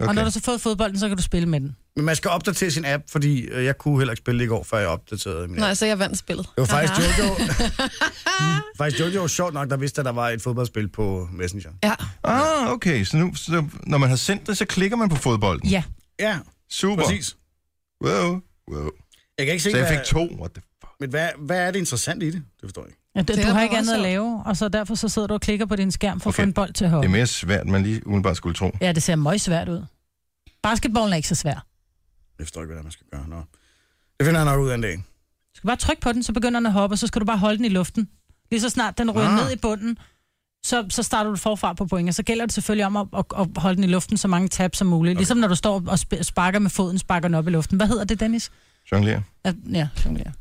[SPEAKER 3] okay. og
[SPEAKER 1] Okay.
[SPEAKER 3] når
[SPEAKER 1] Mm.
[SPEAKER 3] du så har fået fodbolden, så kan du spille med den.
[SPEAKER 2] Men man skal opdatere sin app, fordi øh, jeg kunne heller ikke spille det i går, før jeg opdaterede min app.
[SPEAKER 5] Nej, så altså, jeg vandt spillet.
[SPEAKER 2] Det var faktisk Jojo. Mm, faktisk Jojo var sjovt nok, der vidste, at der var et fodboldspil på Messenger.
[SPEAKER 5] Ja.
[SPEAKER 1] Ah, okay. Så, nu, så når man har sendt det, så klikker man på fodbolden.
[SPEAKER 3] Ja,
[SPEAKER 2] Ja,
[SPEAKER 1] Super.
[SPEAKER 2] præcis.
[SPEAKER 1] Wow. wow.
[SPEAKER 2] Jeg kan ikke se,
[SPEAKER 1] Så jeg
[SPEAKER 2] hvad,
[SPEAKER 1] fik to. What the fuck?
[SPEAKER 2] men hvad, hvad er det interessante i det? Det forstår jeg ikke.
[SPEAKER 3] ja du,
[SPEAKER 5] Det er
[SPEAKER 3] du har
[SPEAKER 5] da
[SPEAKER 3] ikke andet at
[SPEAKER 5] voldsomt.
[SPEAKER 3] lave, og så derfor så sidder du og klikker på din skærm for okay.
[SPEAKER 1] Okay.
[SPEAKER 3] at få en bold til at
[SPEAKER 1] Det er
[SPEAKER 3] hoppe.
[SPEAKER 1] mere svært, end man lige umiddelbart skulle tro.
[SPEAKER 3] Ja, det ser meget svært ud. Basketballen er ikke så svær.
[SPEAKER 2] Jeg forstår ikke, hvad det er, man skal gøre. Nå. Det finder jeg nok ud af en dag.
[SPEAKER 3] Du skal bare trykke på den, så begynder den at hoppe, og så skal du bare holde den i luften. Lige så snart den ryger
[SPEAKER 2] Ah.
[SPEAKER 3] ah. ned i bunden, så, så starter du forfra på point, og så gælder det selvfølgelig om at, at, at holde den i luften så mange tab som muligt. Okay. Ligesom når du står og sp- sparker med foden, sparker den op i luften. Hvad hedder det, Dennis?
[SPEAKER 1] Jonglere.
[SPEAKER 3] Ja, Ja, jonglere.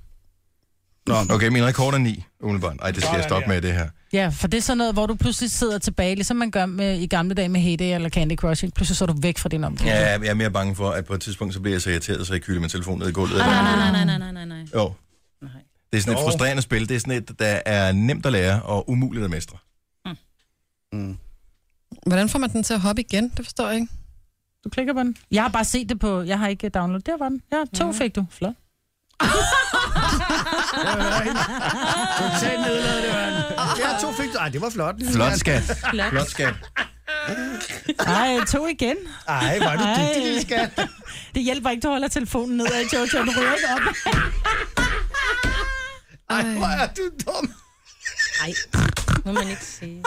[SPEAKER 2] Nå,
[SPEAKER 1] Okay, min rekord er ni, umiddelbart. Ej, det skal jeg stoppe med, det her.
[SPEAKER 3] ja, for det er sådan noget, hvor du pludselig sidder tilbage, ligesom man gør med, i gamle dage med Heyday eller Candy Crush. Ikke? Pludselig så er du væk fra din omgivelse.
[SPEAKER 1] Ja, jeg er mere bange for, at på et tidspunkt, så bliver jeg så irriteret, så jeg kylder min telefon ned i gulvet.
[SPEAKER 4] Nej, nej, nej, nej, nej, nej, nej, nej.
[SPEAKER 1] Jo.
[SPEAKER 4] Nej.
[SPEAKER 1] Det er sådan et
[SPEAKER 2] Jo.
[SPEAKER 1] frustrerende spil. Det er sådan et, der er nemt at lære og umuligt at mestre.
[SPEAKER 2] Mm.
[SPEAKER 5] Hvordan får man den til at hoppe igen? Det forstår jeg ikke.
[SPEAKER 3] Du klikker på den. Jeg har bare set det på, jeg har ikke downloadet. Der var den. Ja, to mm. fik du. Flot.
[SPEAKER 2] totalt nedladet, det var en- Ja, to fik du. Ej, det var flot.
[SPEAKER 1] Flot skat. Flot skat.
[SPEAKER 3] Ej, to igen.
[SPEAKER 2] Ej, var du dygtig, lille skat.
[SPEAKER 3] Det hjælper ikke, du holder telefonen ned, og Jojo den ryger ikke op.
[SPEAKER 2] Ej, hvor er du dum.
[SPEAKER 4] Nej, må man ikke sige.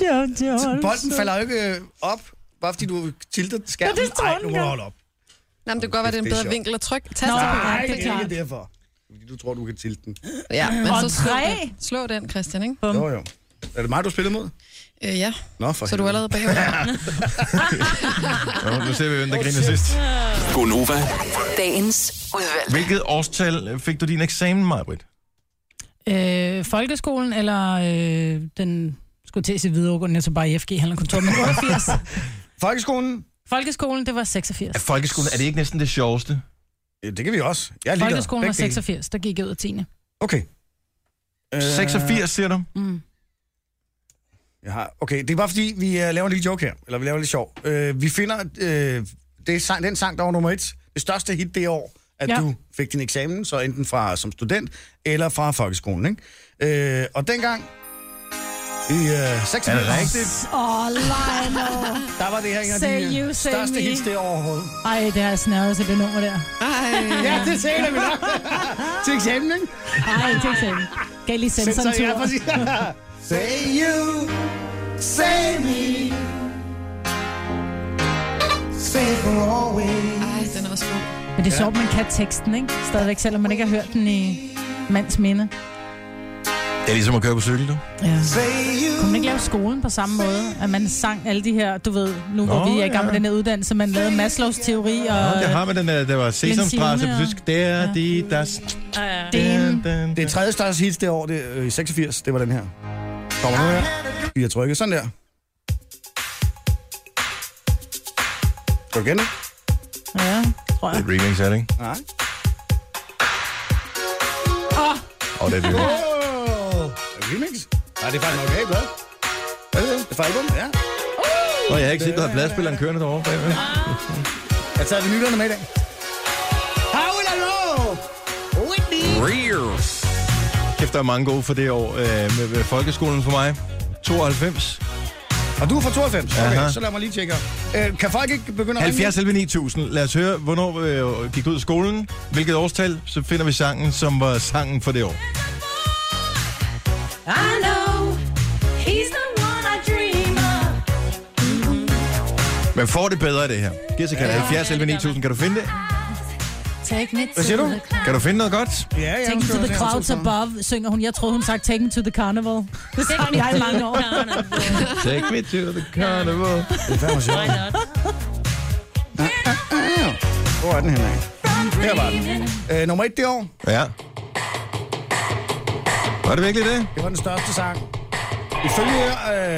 [SPEAKER 3] Jojo.
[SPEAKER 2] Bolden falder jo ikke øh, op, bare fordi du tilter skærmen.
[SPEAKER 3] Ja, det tror
[SPEAKER 2] Ej,
[SPEAKER 3] den
[SPEAKER 2] nu må du
[SPEAKER 3] gør.
[SPEAKER 2] holde op.
[SPEAKER 5] Nå, men det kan godt være, det er en
[SPEAKER 2] Det er
[SPEAKER 5] bedre
[SPEAKER 2] sjovt.
[SPEAKER 5] vinkel at trykke. Tast
[SPEAKER 3] Nå.
[SPEAKER 5] på.
[SPEAKER 3] Nej,
[SPEAKER 2] Nej,
[SPEAKER 3] det er
[SPEAKER 2] det er
[SPEAKER 3] klart.
[SPEAKER 2] ikke derfor. Fordi du tror, du kan tilte den.
[SPEAKER 5] Ja, men
[SPEAKER 3] Og
[SPEAKER 5] så slå
[SPEAKER 3] tre.
[SPEAKER 5] den. Slå den, Christian, ikke?
[SPEAKER 2] Jo, jo. Er det mig, du spillede mod?
[SPEAKER 5] Øh, ja,
[SPEAKER 2] Nå, for
[SPEAKER 5] så du er allerede bagud.
[SPEAKER 1] Jo, nu ser vi, hvem der griner sidst.
[SPEAKER 7] Gonova.
[SPEAKER 6] Dagens udvalgte.
[SPEAKER 1] Hvilket årstal øh, fik du din eksamen, Majbrit?
[SPEAKER 3] Øh, folkeskolen, eller øh, den skulle til at se videregående, jeg så bare i FG, han kontor, men 88.
[SPEAKER 2] Folkeskolen?
[SPEAKER 3] folkeskolen, det var 86.
[SPEAKER 1] Er folkeskolen, er det ikke næsten det sjoveste?
[SPEAKER 2] Ja, det kan vi også. Jeg er ligeglad.
[SPEAKER 3] Folkeskolen var
[SPEAKER 2] Begge dele.
[SPEAKER 3] 86, der gik jeg ud af 10.
[SPEAKER 2] Okay. Øh,
[SPEAKER 1] 86, siger du?
[SPEAKER 3] Mm.
[SPEAKER 2] Jeg har, okay, det er bare fordi, vi øh, laver en lille joke her. Eller vi laver lidt sjov. Øh, vi finder øh, det er sang, den sang, der var nummer et. Det største hit det år, at ja.
[SPEAKER 3] Ja.
[SPEAKER 2] du fik din eksamen, så enten fra som student eller fra folkeskolen. Ikke? Øh, og dengang i øh, 86,
[SPEAKER 1] Er det rigtigt?
[SPEAKER 3] Åh, oh, Lionel.
[SPEAKER 2] der var det her en af
[SPEAKER 3] Say
[SPEAKER 2] de
[SPEAKER 3] you,
[SPEAKER 2] øh,
[SPEAKER 3] say
[SPEAKER 2] største
[SPEAKER 3] me.
[SPEAKER 2] hits det år overhovedet.
[SPEAKER 3] Ej, det har jeg snæret til det nummer der.
[SPEAKER 5] Ej,
[SPEAKER 2] Ja, det sagde vi nok. Til eksamen, ikke?
[SPEAKER 3] Ej, det er ikke Gav lige sende sådan en
[SPEAKER 2] Sensor, ja,
[SPEAKER 3] tur.
[SPEAKER 2] præcis. say you, say me. Say for always.
[SPEAKER 5] Ej, den er også god.
[SPEAKER 3] Men det er sjovt, man kan teksten, ikke? Stadigvæk, selvom man ikke har hørt den i mands minde.
[SPEAKER 1] Det er ligesom at køre på cykel, du.
[SPEAKER 3] Ja. Kunne man ikke lave skolen på samme måde? At man sang alle de her, du ved, nu
[SPEAKER 1] Nå,
[SPEAKER 3] går vi er i gang med
[SPEAKER 1] ja.
[SPEAKER 3] den her uddannelse, man lavede Maslows teori og
[SPEAKER 1] Nå, det har man den der, der var sesamstrasse på
[SPEAKER 3] Signe og-
[SPEAKER 1] tysk. Det er de, der...
[SPEAKER 3] den.
[SPEAKER 1] Det
[SPEAKER 2] Det er tredje største hits det år, det, øh, i 86, det var den her. Kommer nu her. Vi har trykket sådan der. Skal du kende den?
[SPEAKER 3] Ja, tror jeg.
[SPEAKER 1] et remix, er det ikke?
[SPEAKER 2] Nej.
[SPEAKER 1] Og det er det.
[SPEAKER 2] Oh, remix? Nej, det er faktisk nok okay, blad. Er det det? Det er fra album, ja.
[SPEAKER 1] Og jeg har ikke set, der er pladspilleren kørende derovre bagved.
[SPEAKER 2] Jeg tager vinylerne med i dag. How will I know? Whitney.
[SPEAKER 1] Kæft, der er mange gode for det år øh, med, med folkeskolen for mig. 92.
[SPEAKER 2] Og du er fra 92? Okay,
[SPEAKER 1] Aha.
[SPEAKER 2] så lad mig lige tjekke. Øh, kan folk ikke begynde at
[SPEAKER 1] 70 11 9000. Lad os høre, hvornår øh, gik du ud af skolen, hvilket årstal, så finder vi sangen, som var sangen for det år.
[SPEAKER 4] I know he's the one I dream of.
[SPEAKER 1] Men får det bedre af det her. Giv så kan 70 11 9000. Kan du finde det?
[SPEAKER 3] Take me
[SPEAKER 2] Hvad siger du?
[SPEAKER 1] Kan du finde noget godt?
[SPEAKER 2] Ja, ja.
[SPEAKER 3] Take me to the clouds above, synger hun. Jeg troede, hun sagde, take me to the carnival. Det sang jeg i mange år.
[SPEAKER 1] Take me to the carnival.
[SPEAKER 2] Det er fandme sjovt. Hvor er den henne? Her var den. Øh, nummer et det år.
[SPEAKER 1] Ja. Var det virkelig det?
[SPEAKER 2] Det var den største sang. Ifølge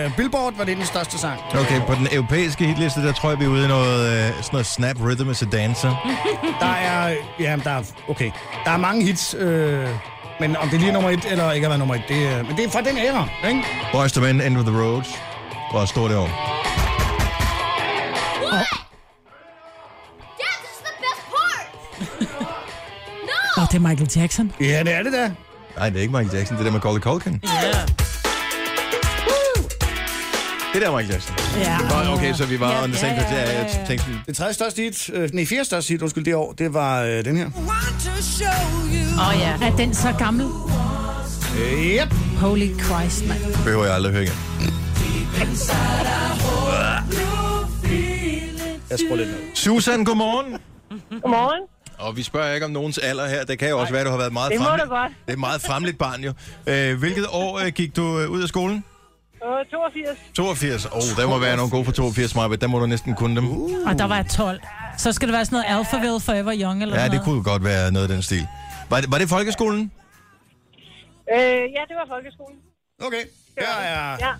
[SPEAKER 2] øh, Billboard var det den største sang.
[SPEAKER 1] Okay, på den europæiske hitliste, der tror jeg, vi er ude i noget, øh, sådan noget Snap Rhythm is a Dancer.
[SPEAKER 2] Der er, ja, der er, okay. Der er mange hits, øh, men om det lige er nummer et eller ikke har været nummer et, det, øh, men det er fra den æra, ikke?
[SPEAKER 1] Boys to Men, End of the Road. Hvor stort det år.
[SPEAKER 9] Dad, this is the best part!
[SPEAKER 3] Nå, det er Michael Jackson.
[SPEAKER 2] Ja, det er det da.
[SPEAKER 1] Nej, det er ikke Michael Jackson, det er der Macaulay Culkin. Ja. Det der er Michael Jackson.
[SPEAKER 3] Ja.
[SPEAKER 1] Nå, okay, så vi var on the same page. Ja, ja, ja. Jeg tænkte sådan,
[SPEAKER 2] Det tredje største hit, øh, nej, fjerde største hit, undskyld, det år, det var øh, den her.
[SPEAKER 4] Åh ja.
[SPEAKER 3] Er den så gammel?
[SPEAKER 2] Øh, yep.
[SPEAKER 3] Holy Christ, mand.
[SPEAKER 1] behøver jeg aldrig høre igen.
[SPEAKER 2] Jeg skruer lidt ned.
[SPEAKER 1] Susan, godmorgen.
[SPEAKER 11] Godmorgen.
[SPEAKER 1] Og vi spørger ikke om nogens alder her. Det kan jo også være, du har været meget
[SPEAKER 11] Det må
[SPEAKER 1] frem-
[SPEAKER 11] du godt.
[SPEAKER 1] Det er meget fremligt barn jo. Øh, hvilket år øh, gik du øh, ud af skolen?
[SPEAKER 11] Øh, 82.
[SPEAKER 1] 82. Åh, oh, der må være nogle gode på 82, Maja. Der må du næsten kunne dem.
[SPEAKER 11] Uh-huh.
[SPEAKER 3] Og der var jeg 12. Så skal det være sådan noget Alphaville Forever Young eller
[SPEAKER 1] Ja,
[SPEAKER 3] sådan
[SPEAKER 1] det kunne godt være noget af den stil. Var det, var det folkeskolen?
[SPEAKER 11] Øh, ja, det var folkeskolen.
[SPEAKER 2] Okay, her er
[SPEAKER 11] Ja.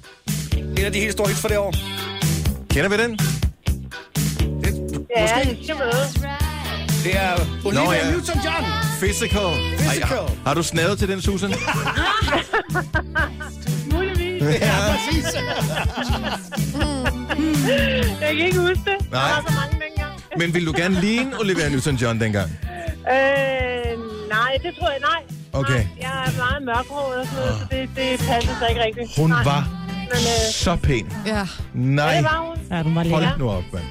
[SPEAKER 2] en af de helt store hits for det år.
[SPEAKER 1] Kender vi den?
[SPEAKER 11] Ja, det kan man høre.
[SPEAKER 2] Det er Olivia
[SPEAKER 1] ja.
[SPEAKER 2] Newton-John.
[SPEAKER 1] Physical.
[SPEAKER 2] Physical.
[SPEAKER 1] har, har du snavet til den, Susan?
[SPEAKER 11] Muligvis.
[SPEAKER 2] Ja, præcis.
[SPEAKER 11] Jeg kan ikke huske det.
[SPEAKER 1] Nej.
[SPEAKER 11] Der var så mange dengang.
[SPEAKER 1] Men ville du gerne ligne Olivia Newton-John dengang?
[SPEAKER 11] Øh, nej, det tror jeg, nej.
[SPEAKER 1] Okay.
[SPEAKER 11] Nej, jeg er meget mørkhåret og sådan noget, så det, det passer sig ikke rigtigt.
[SPEAKER 1] Hun
[SPEAKER 11] nej.
[SPEAKER 1] var
[SPEAKER 11] Men øh,
[SPEAKER 1] så pæn.
[SPEAKER 5] Ja.
[SPEAKER 11] ja,
[SPEAKER 1] Nej,
[SPEAKER 11] det var hun.
[SPEAKER 3] Ja, den var lækker.
[SPEAKER 1] hold nu op, mand.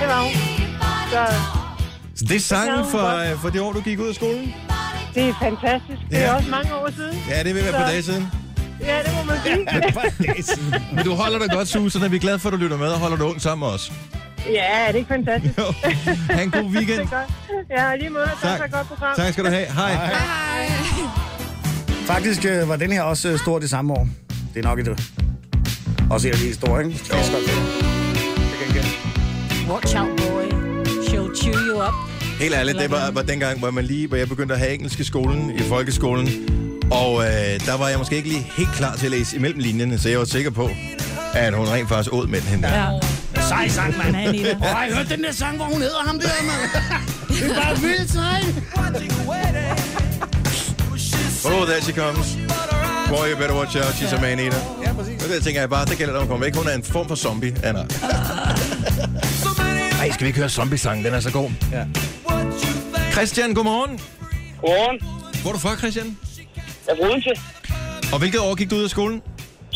[SPEAKER 11] Det var hun. Så
[SPEAKER 1] Så det er sangen
[SPEAKER 11] Ja,
[SPEAKER 1] for,
[SPEAKER 11] godt.
[SPEAKER 1] øh, for det år, du gik ud af skolen?
[SPEAKER 11] det er fantastisk. Det er
[SPEAKER 1] Ja.
[SPEAKER 11] også mange år siden.
[SPEAKER 1] Ja, det er ved at være på
[SPEAKER 11] Så-
[SPEAKER 1] dage siden.
[SPEAKER 11] Ja, det må man sige.
[SPEAKER 1] Men du holder dig godt, Susan, og vi er glade for, at du lytter med og holder dig ung sammen med os.
[SPEAKER 11] Ja, er det er ikke fantastisk.
[SPEAKER 1] Jo. Ha' en god
[SPEAKER 11] Det
[SPEAKER 1] weekend.
[SPEAKER 11] er godt. Ja, og lige måde.
[SPEAKER 1] Tak.
[SPEAKER 11] Tak. for et godt program.
[SPEAKER 1] Tak skal du have. Hej. Hej.
[SPEAKER 2] Faktisk øh, var den her også øh, stor det samme år. Det er nok et... øh, Også en af de helt store, ikke? Det er godt. Det kan jeg ikke.
[SPEAKER 3] Watch out, boy. She'll chew you up.
[SPEAKER 1] Helt ærligt, det var, var dengang, hvor, man lige, hvor jeg begyndte at have engelsk i skolen, i folkeskolen. Og øh, der var jeg måske ikke lige helt klar til at læse imellem linjerne, så jeg var sikker på, at hun rent faktisk åd med hende der.
[SPEAKER 3] Ja.
[SPEAKER 2] Sej sang, mand.
[SPEAKER 3] Nej, Nina.
[SPEAKER 2] Og har I hørt den der sang, hvor hun hedder ham der, mand? Det er bare vildt, sej.
[SPEAKER 1] Oh, there she comes. Boy, you better watch out, she's a man eater.
[SPEAKER 2] Ja, præcis.
[SPEAKER 1] Og der tænker jeg bare, der gælder det om at komme væk. Hun er en form for zombie, Anna. Ej, skal vi ikke høre zombie-sangen? Den er så god.
[SPEAKER 2] Ja.
[SPEAKER 1] Christian, godmorgen.
[SPEAKER 11] Godmorgen.
[SPEAKER 1] Hvor er du fra, Christian?
[SPEAKER 11] Jeg bruger til
[SPEAKER 1] Og hvilket år gik du ud af skolen?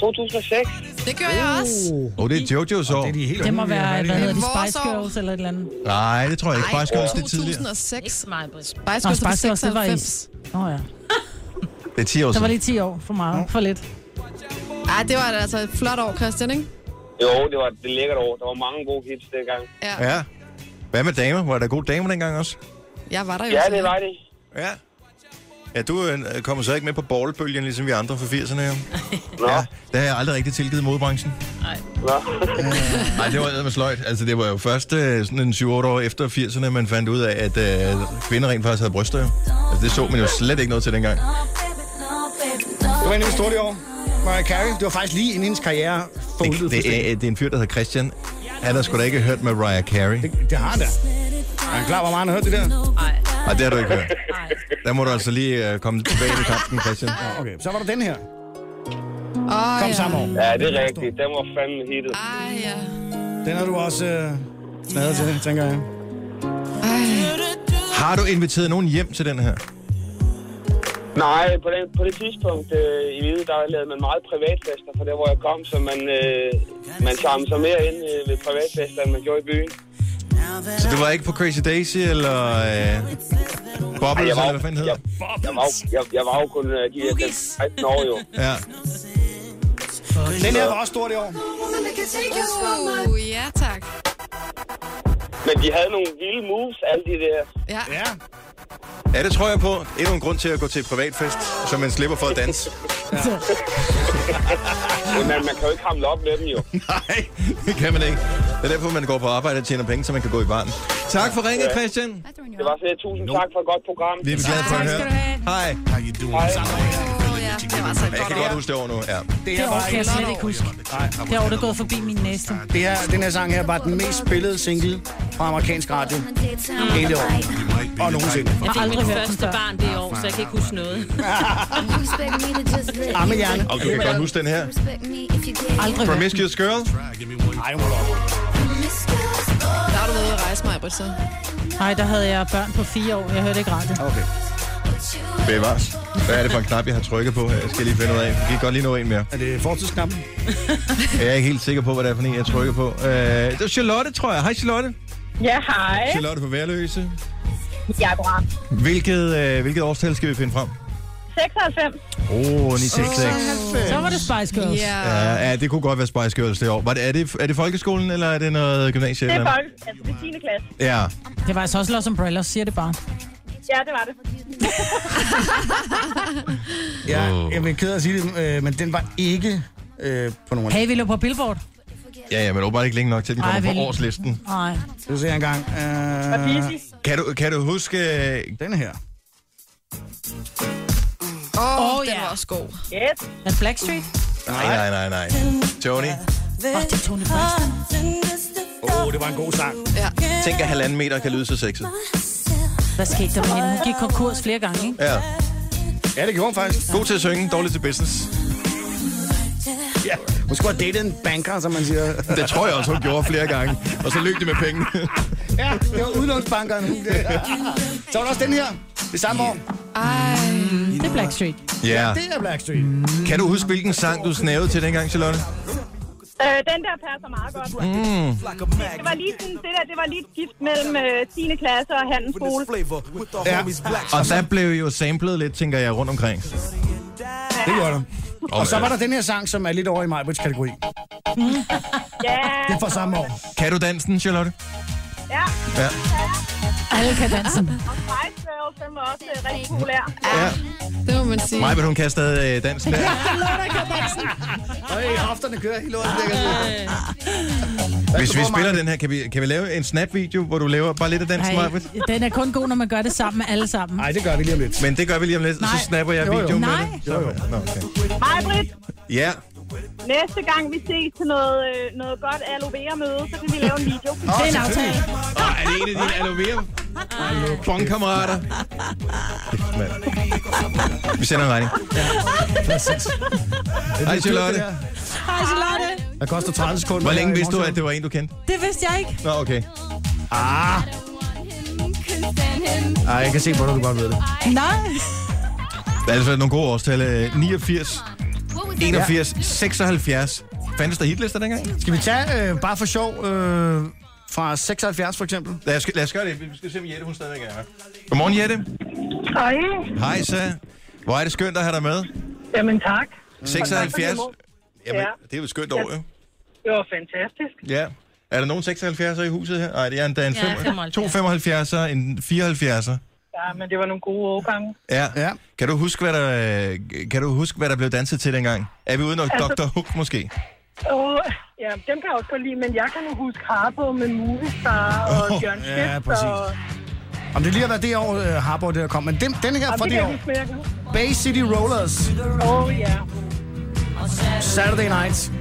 [SPEAKER 11] 2006.
[SPEAKER 5] Det gør jeg også.
[SPEAKER 1] Åh, oh, det er Jojos år.
[SPEAKER 2] Det er de helt
[SPEAKER 3] Det må
[SPEAKER 2] unge,
[SPEAKER 3] være,
[SPEAKER 2] det
[SPEAKER 3] hvad
[SPEAKER 2] er.
[SPEAKER 3] hedder de,
[SPEAKER 5] Vores
[SPEAKER 3] Spice
[SPEAKER 5] år.
[SPEAKER 3] Girls eller et eller andet.
[SPEAKER 1] Nej, det tror jeg ikke. Faktisk også det er tidligere.
[SPEAKER 5] 2006.
[SPEAKER 4] Ikke mig, Britt.
[SPEAKER 5] Spice
[SPEAKER 3] Nå,
[SPEAKER 5] Girls er
[SPEAKER 3] Spice Girls, det var i...
[SPEAKER 5] 96.
[SPEAKER 3] Nå ja.
[SPEAKER 1] Det er 10 år
[SPEAKER 3] Der var
[SPEAKER 1] siden.
[SPEAKER 3] lige 10 år for meget, for lidt.
[SPEAKER 5] Ej, det var altså et flot år, Christian, ikke?
[SPEAKER 11] Jo, det var det lækkert år. Der var mange gode hits dengang.
[SPEAKER 1] Ja. Hvad med damer? Var der gode damer dengang også?
[SPEAKER 5] Jeg var der jo.
[SPEAKER 11] Ja,
[SPEAKER 5] selv.
[SPEAKER 11] det var det.
[SPEAKER 1] Ja. Ja, du øh, kommer så ikke med på ballbølgen, ligesom vi andre fra 80'erne jo. ja, det har jeg aldrig rigtig tilgivet modbranchen.
[SPEAKER 4] Nej.
[SPEAKER 1] Nej, det var eddermame sløjt. Altså, det var jo først øh, sådan en 7-8 år efter 80'erne, man fandt ud af, at øh, kvinder rent faktisk havde bryster. jo. Altså, det så man jo slet ikke noget til dengang.
[SPEAKER 2] Det var en stort i år. Mariah Carey, det var faktisk lige inden hendes karriere foldede
[SPEAKER 1] Det, det, er, det er en fyr, der hedder Christian. Han har sgu da ikke hørt med Mariah Carey.
[SPEAKER 2] Det, det har han da. Er han klar, hvor meget han har hørt det der?
[SPEAKER 4] Nej.
[SPEAKER 1] Nej, det har du ikke hørt. Der må du altså lige øh, komme tilbage i kampen, Christian.
[SPEAKER 2] Okay, så var der den her.
[SPEAKER 5] Åh,
[SPEAKER 2] Kom
[SPEAKER 5] ja.
[SPEAKER 2] sammen over.
[SPEAKER 9] Ja, det er rigtigt. Den var fandme hittet.
[SPEAKER 5] Ej, ja.
[SPEAKER 2] Den har du også øh, snadet til, tænker jeg.
[SPEAKER 1] Har du inviteret nogen hjem til den her?
[SPEAKER 9] Nej, på det, på det tidspunkt øh, i livet, der lavede man meget privatfester fra der, hvor jeg kom, så man, øh, man samlede sig mere ind øh, ved privatfester, end man gjorde i byen.
[SPEAKER 1] Så du var ikke på Crazy Daisy, eller øh, Bobbles,
[SPEAKER 9] Ej, jeg var-
[SPEAKER 1] eller hvad fanden hedder?
[SPEAKER 9] Jeg var, jo- jeg, jeg var jo kun øh, de der 16 år jo.
[SPEAKER 1] Ja.
[SPEAKER 2] Den her var også stort i år.
[SPEAKER 5] Uh, ja, tak.
[SPEAKER 9] Men de havde nogle vilde moves, alle de der.
[SPEAKER 5] Ja.
[SPEAKER 2] Ja.
[SPEAKER 1] ja, det tror jeg på. Endnu en grund til at gå til privatfest, så man slipper for at danse.
[SPEAKER 9] Men man, man kan jo ikke hamle op med dem jo.
[SPEAKER 1] Nej, det kan man ikke. Det er derfor, man går på arbejde og tjener penge, så man kan gå i baren. Tak for ringet, Christian.
[SPEAKER 9] Det var fedt. Tusind tak for et godt program.
[SPEAKER 1] Vi er glade for at
[SPEAKER 5] Tak
[SPEAKER 1] høre.
[SPEAKER 5] skal du have.
[SPEAKER 1] Hej.
[SPEAKER 9] Hej.
[SPEAKER 5] Åh, ja. Det var altså et
[SPEAKER 1] Jeg
[SPEAKER 5] godt
[SPEAKER 1] kan godt huske det over nu. Ja.
[SPEAKER 2] Det
[SPEAKER 3] Det
[SPEAKER 2] her
[SPEAKER 3] år
[SPEAKER 2] var
[SPEAKER 3] kan jeg slet ikke huske. Det år, der er gået forbi min næste.
[SPEAKER 2] det her, den her sang her var den mest spillede single fra amerikansk radio hele året. Og nogensinde.
[SPEAKER 4] Jeg fik
[SPEAKER 3] aldrig
[SPEAKER 4] mit
[SPEAKER 3] hørt den
[SPEAKER 4] første
[SPEAKER 3] før.
[SPEAKER 4] barn det år, så jeg kan ikke huske noget.
[SPEAKER 2] Ammehjerne.
[SPEAKER 1] Og du kan godt huske den her.
[SPEAKER 3] Aldrig hørt.
[SPEAKER 1] Promiscuous Girl.
[SPEAKER 2] Ej, hun var
[SPEAKER 5] Der har du været ude at rejse mig, Britt, så.
[SPEAKER 3] Nej, der havde jeg børn på fire år. Jeg hørte ikke radio.
[SPEAKER 2] Okay.
[SPEAKER 1] Bevares. Hvad er det for en knap, jeg har trykket på? Jeg skal lige finde ud af. Vi kan godt lige nå en mere.
[SPEAKER 2] Er det fortidsknappen?
[SPEAKER 1] Jeg er ikke helt sikker på, hvad det er for en, jeg trykker på. Øh, det var Charlotte, tror jeg. Hej, Charlotte.
[SPEAKER 11] Ja, hej.
[SPEAKER 1] Charlotte på Værløse.
[SPEAKER 11] Jeg er bra.
[SPEAKER 1] Hvilket, øh, hvilket årstal skal vi finde frem?
[SPEAKER 11] 96.
[SPEAKER 1] Åh, oh, 96.
[SPEAKER 3] Så var det Spice Girls.
[SPEAKER 5] Ja.
[SPEAKER 1] Ja, ja, det kunne godt være Spice Girls det år. Var det, er, det, er det folkeskolen, eller er det noget gymnasie?
[SPEAKER 11] Det er
[SPEAKER 1] eller?
[SPEAKER 11] folk. Altså, det er 10. klasse.
[SPEAKER 1] Ja.
[SPEAKER 3] Det var altså også Los Umbrellas, siger det bare.
[SPEAKER 11] Ja, det var det.
[SPEAKER 2] Ja, jeg er ked af at sige det, øh, men den var ikke øh, på nogen.
[SPEAKER 3] Hey, vi lå på Billboard.
[SPEAKER 1] ja, ja, men åbenbart ikke længe nok til, at den
[SPEAKER 3] Ej,
[SPEAKER 1] kommer på
[SPEAKER 3] vel.
[SPEAKER 1] årslisten.
[SPEAKER 3] Nej.
[SPEAKER 2] Skal vi se her engang.
[SPEAKER 11] Og
[SPEAKER 2] Øh,
[SPEAKER 11] Pisi.
[SPEAKER 1] Kan du, kan du huske...
[SPEAKER 2] den her.
[SPEAKER 5] Åh,
[SPEAKER 3] Åh,
[SPEAKER 5] oh, den
[SPEAKER 3] ja.
[SPEAKER 5] var også god.
[SPEAKER 11] Yes.
[SPEAKER 3] Er det Blackstreet?
[SPEAKER 1] Nej, nej, nej, nej. Tony,
[SPEAKER 3] Åh, det er Tony Braxton.
[SPEAKER 2] Åh, oh, det var en god sang.
[SPEAKER 5] Ja.
[SPEAKER 1] tænk at halvanden meter kan lyde så sexet.
[SPEAKER 3] Hvad skete der med hende? Hun gik konkurs flere gange, ikke?
[SPEAKER 1] Ja.
[SPEAKER 2] Ja, det gjorde hun faktisk.
[SPEAKER 1] God til at synge, dårlig til business.
[SPEAKER 2] Ja. Hun skulle have datet en banker, som man siger.
[SPEAKER 1] Det tror jeg også, hun gjorde flere gange. Og så løb det med penge.
[SPEAKER 2] ja, det var udlånsbankeren. Så var der også den her. Det samme år.
[SPEAKER 5] Ej.
[SPEAKER 3] Det er Blackstreet.
[SPEAKER 1] Ja.
[SPEAKER 2] Det er Blackstreet.
[SPEAKER 1] Kan du huske, hvilken sang du snævede til dengang, Charlotte?
[SPEAKER 11] Øh, den der passer meget godt. Det var lige sådan, det der, det var lige et gift mellem øh, 10. klasse og handelsskole.
[SPEAKER 2] Ja,
[SPEAKER 1] Og der blev jo samlet lidt, tænker jeg, rundt omkring.
[SPEAKER 2] det gjorde der. Og så var der den her sang, som er lidt over i Majbrits kategori.
[SPEAKER 11] Ja,
[SPEAKER 2] Det er fra samme år.
[SPEAKER 1] Kan du dansen, Charlotte?
[SPEAKER 11] ja.
[SPEAKER 1] Ja.
[SPEAKER 3] Alle kan danse.
[SPEAKER 11] Spice Girls, den var også øh, rigtig populær.
[SPEAKER 1] ja.
[SPEAKER 5] Det må man sige.
[SPEAKER 1] Mig, men hun kan stadig øh, dansen der.
[SPEAKER 2] Øj, hofterne kører helt lortet. det kan jeg se.
[SPEAKER 1] Hvis vi spiller den her, kan vi, kan vi lave en snap-video, hvor du laver bare lidt af dansen,
[SPEAKER 3] Ej,
[SPEAKER 1] Maja?
[SPEAKER 3] den er kun god, når man gør det sammen med alle sammen.
[SPEAKER 2] Ej, det gør vi lige om lidt.
[SPEAKER 1] Men det gør vi lige om lidt, og så
[SPEAKER 3] Nej.
[SPEAKER 1] snapper jeg
[SPEAKER 2] Jo, jo.
[SPEAKER 1] videoen med
[SPEAKER 3] Nej.
[SPEAKER 1] det. Jo, jo. Nå, okay.
[SPEAKER 11] Hej, Britt.
[SPEAKER 1] Ja,
[SPEAKER 11] Næste gang vi ses til noget, øh, noget godt aloe vera møde, så kan vi lave en video.
[SPEAKER 3] Det er en aftale.
[SPEAKER 1] og er det en af dine aloe vera bongkammerater? Kæft, mand. Vi sender en regning. Hej, Charlotte.
[SPEAKER 3] Hej, Charlotte.
[SPEAKER 2] Det koster 30 sekunder.
[SPEAKER 1] Hvor længe vidste du, at det var en, du kendte?
[SPEAKER 3] Det vidste jeg ikke.
[SPEAKER 1] Nå, okay.
[SPEAKER 2] Ah. Ej, jeg kan se på dig, du godt ved det.
[SPEAKER 3] Nej.
[SPEAKER 1] Der er altså nogle gode årstal. øh, 89, 81, 76. Fandtes der hitlister dengang?
[SPEAKER 2] Skal vi tage, øh, bare for sjov, øh, fra 76 for eksempel?
[SPEAKER 1] Lad os, lad os gøre det. Vi skal se, om Jette hun stadigvæk er her. Godmorgen, Jette.
[SPEAKER 11] Hej.
[SPEAKER 1] Hej, så. Hvor er det skønt at have dig med.
[SPEAKER 11] Jamen tak.
[SPEAKER 1] 76. Jamen,
[SPEAKER 11] Ja.
[SPEAKER 1] det er jo et skønt år, jo.
[SPEAKER 11] Det var fantastisk.
[SPEAKER 1] Ja. Er der nogen 76'er i huset her? Nej, det er endda en
[SPEAKER 4] Ja, 75'er.
[SPEAKER 1] 75'er, en 74'er.
[SPEAKER 11] ja, men det var nogle gode årgange.
[SPEAKER 1] Ja. ja. Kan, du huske, hvad der, øh, kan du huske, hvad der blev danset til dengang? Er vi ude nok
[SPEAKER 11] Altså-
[SPEAKER 1] Dr. Hook måske?
[SPEAKER 11] Åh, ja, dem kan jeg også godt lide, men jeg kan nu huske Harbo med Movistar og
[SPEAKER 2] Åh,
[SPEAKER 11] oh, Bjørn
[SPEAKER 2] ja,
[SPEAKER 11] Schiff.
[SPEAKER 2] præcis.
[SPEAKER 11] Og,
[SPEAKER 2] Om det lige har været det år, øh, Harbour der kom. Men den, den her
[SPEAKER 11] Jamen,
[SPEAKER 2] fra det
[SPEAKER 11] det kan
[SPEAKER 2] år.
[SPEAKER 11] jeg huske, men jeg kan huske-
[SPEAKER 2] Bay City Rollers.
[SPEAKER 11] Åh, ja.
[SPEAKER 2] Saturday Night.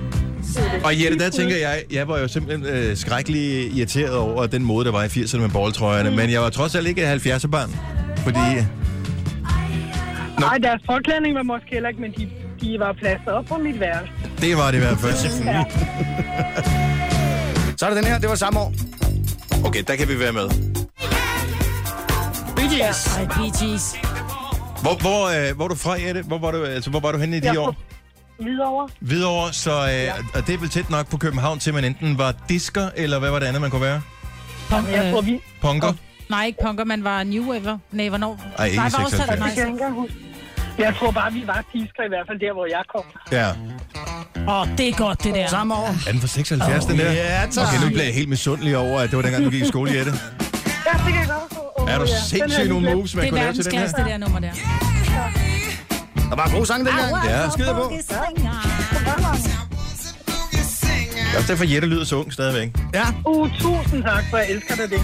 [SPEAKER 1] Og Jette, der tænker jeg, jeg var jo simpelthen øh, skrækkelig irriteret over den måde, der var i 80'erne med boldtrøjerne, mm. men jeg var trods alt ikke 70'er-barn, fordi...
[SPEAKER 11] Nej, deres forklædning var måske heller ikke, men de, de var plastet op på mit værelse.
[SPEAKER 1] Det var det i hvert fald.
[SPEAKER 2] Så er det den her, det var samme år.
[SPEAKER 1] Okay, der kan vi være med.
[SPEAKER 2] Bee Gees.
[SPEAKER 3] Ja, ej, Bee Gees.
[SPEAKER 1] Hvor, hvor, øh, hvor er du fra, Jette? Hvor var du, altså, hvor var du henne i de
[SPEAKER 11] Jeg er
[SPEAKER 1] år?
[SPEAKER 11] Hvidovre.
[SPEAKER 1] Hvidovre, så øh, ja. og det er vel tæt nok på København til, at man enten var disker, eller hvad var det andet, man kunne være?
[SPEAKER 3] Punk,
[SPEAKER 11] Jeg tror,
[SPEAKER 3] øh,
[SPEAKER 11] vi...
[SPEAKER 1] Punker?
[SPEAKER 3] nej, ikke punker, man var New Waver. Nej, hvornår?
[SPEAKER 1] Ej, ikke
[SPEAKER 3] nej,
[SPEAKER 1] i
[SPEAKER 3] hvornår sagde du
[SPEAKER 1] 96.
[SPEAKER 11] Det
[SPEAKER 3] nej?
[SPEAKER 11] kan jeg ikke engang huske. Jeg tror bare, vi var disker, i hvert fald der, hvor jeg kom.
[SPEAKER 1] Ja.
[SPEAKER 3] Åh, oh, det er godt, det der.
[SPEAKER 2] Samme år.
[SPEAKER 1] Er den fra 76, oh, den der?
[SPEAKER 2] Ja, tak.
[SPEAKER 1] Okay, nu bliver jeg helt misundelig over, at det var dengang, du gik i skole, Jette.
[SPEAKER 11] Ja, det kan jeg godt huske. Åh,
[SPEAKER 1] Er du
[SPEAKER 11] ja. Den havde
[SPEAKER 1] sindssyg
[SPEAKER 11] jeg
[SPEAKER 1] nogle
[SPEAKER 11] glemt.
[SPEAKER 1] moves, man
[SPEAKER 3] Det er
[SPEAKER 1] kunne lave til den her?
[SPEAKER 3] verdensklasse, det der nummer der.
[SPEAKER 2] Der var en god sang dengang.
[SPEAKER 1] Ja, skide på. Det er også derfor, Jette lyder så ung stadigvæk.
[SPEAKER 2] Ja.
[SPEAKER 11] Uh, tusind tak, for jeg elsker dig det.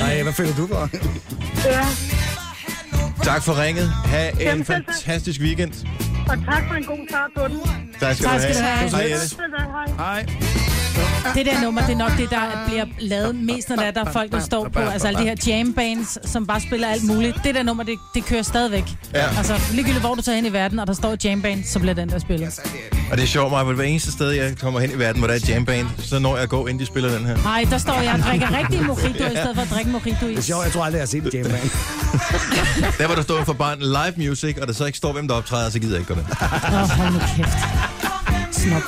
[SPEAKER 2] Nej, hvad føler du for?
[SPEAKER 11] Ja,
[SPEAKER 1] Tak for ringet. Ha' en
[SPEAKER 11] Jamen, selv tak.
[SPEAKER 1] fantastisk weekend.
[SPEAKER 11] og tak for en god start på den.
[SPEAKER 1] Tak skal,
[SPEAKER 3] Tak skal
[SPEAKER 1] du
[SPEAKER 3] du
[SPEAKER 1] have.
[SPEAKER 3] have.
[SPEAKER 1] Hej, Jette.
[SPEAKER 11] Selv tak, hej.
[SPEAKER 2] Nej.
[SPEAKER 3] Det der nummer, det er nok det, der bliver lavet mest, når der er der er folk, der står på. Altså alle de her jam bands, som bare spiller alt muligt. Det der nummer, det, det kører stadigvæk.
[SPEAKER 1] Ja.
[SPEAKER 3] Altså ligegyldigt, hvor du tager hen i verden, og der står jam band, så bliver den der spillet.
[SPEAKER 1] Og det er sjovt, mig, hver eneste sted, jeg kommer hen i verden, hvor der er et jamband, så når jeg går, inden de spiller den her.
[SPEAKER 3] Nej, der står jeg og drikker rigtig mojito, i stedet for at drikke mojito i.
[SPEAKER 2] Det er sjovt, jeg tror aldrig, jeg har set det, Jamie.
[SPEAKER 1] Der, hvor der står for barn live music, og der så ikke står, hvem der optræder, så gider jeg ikke gå med.
[SPEAKER 3] Åh, hold nu kæft. Snop.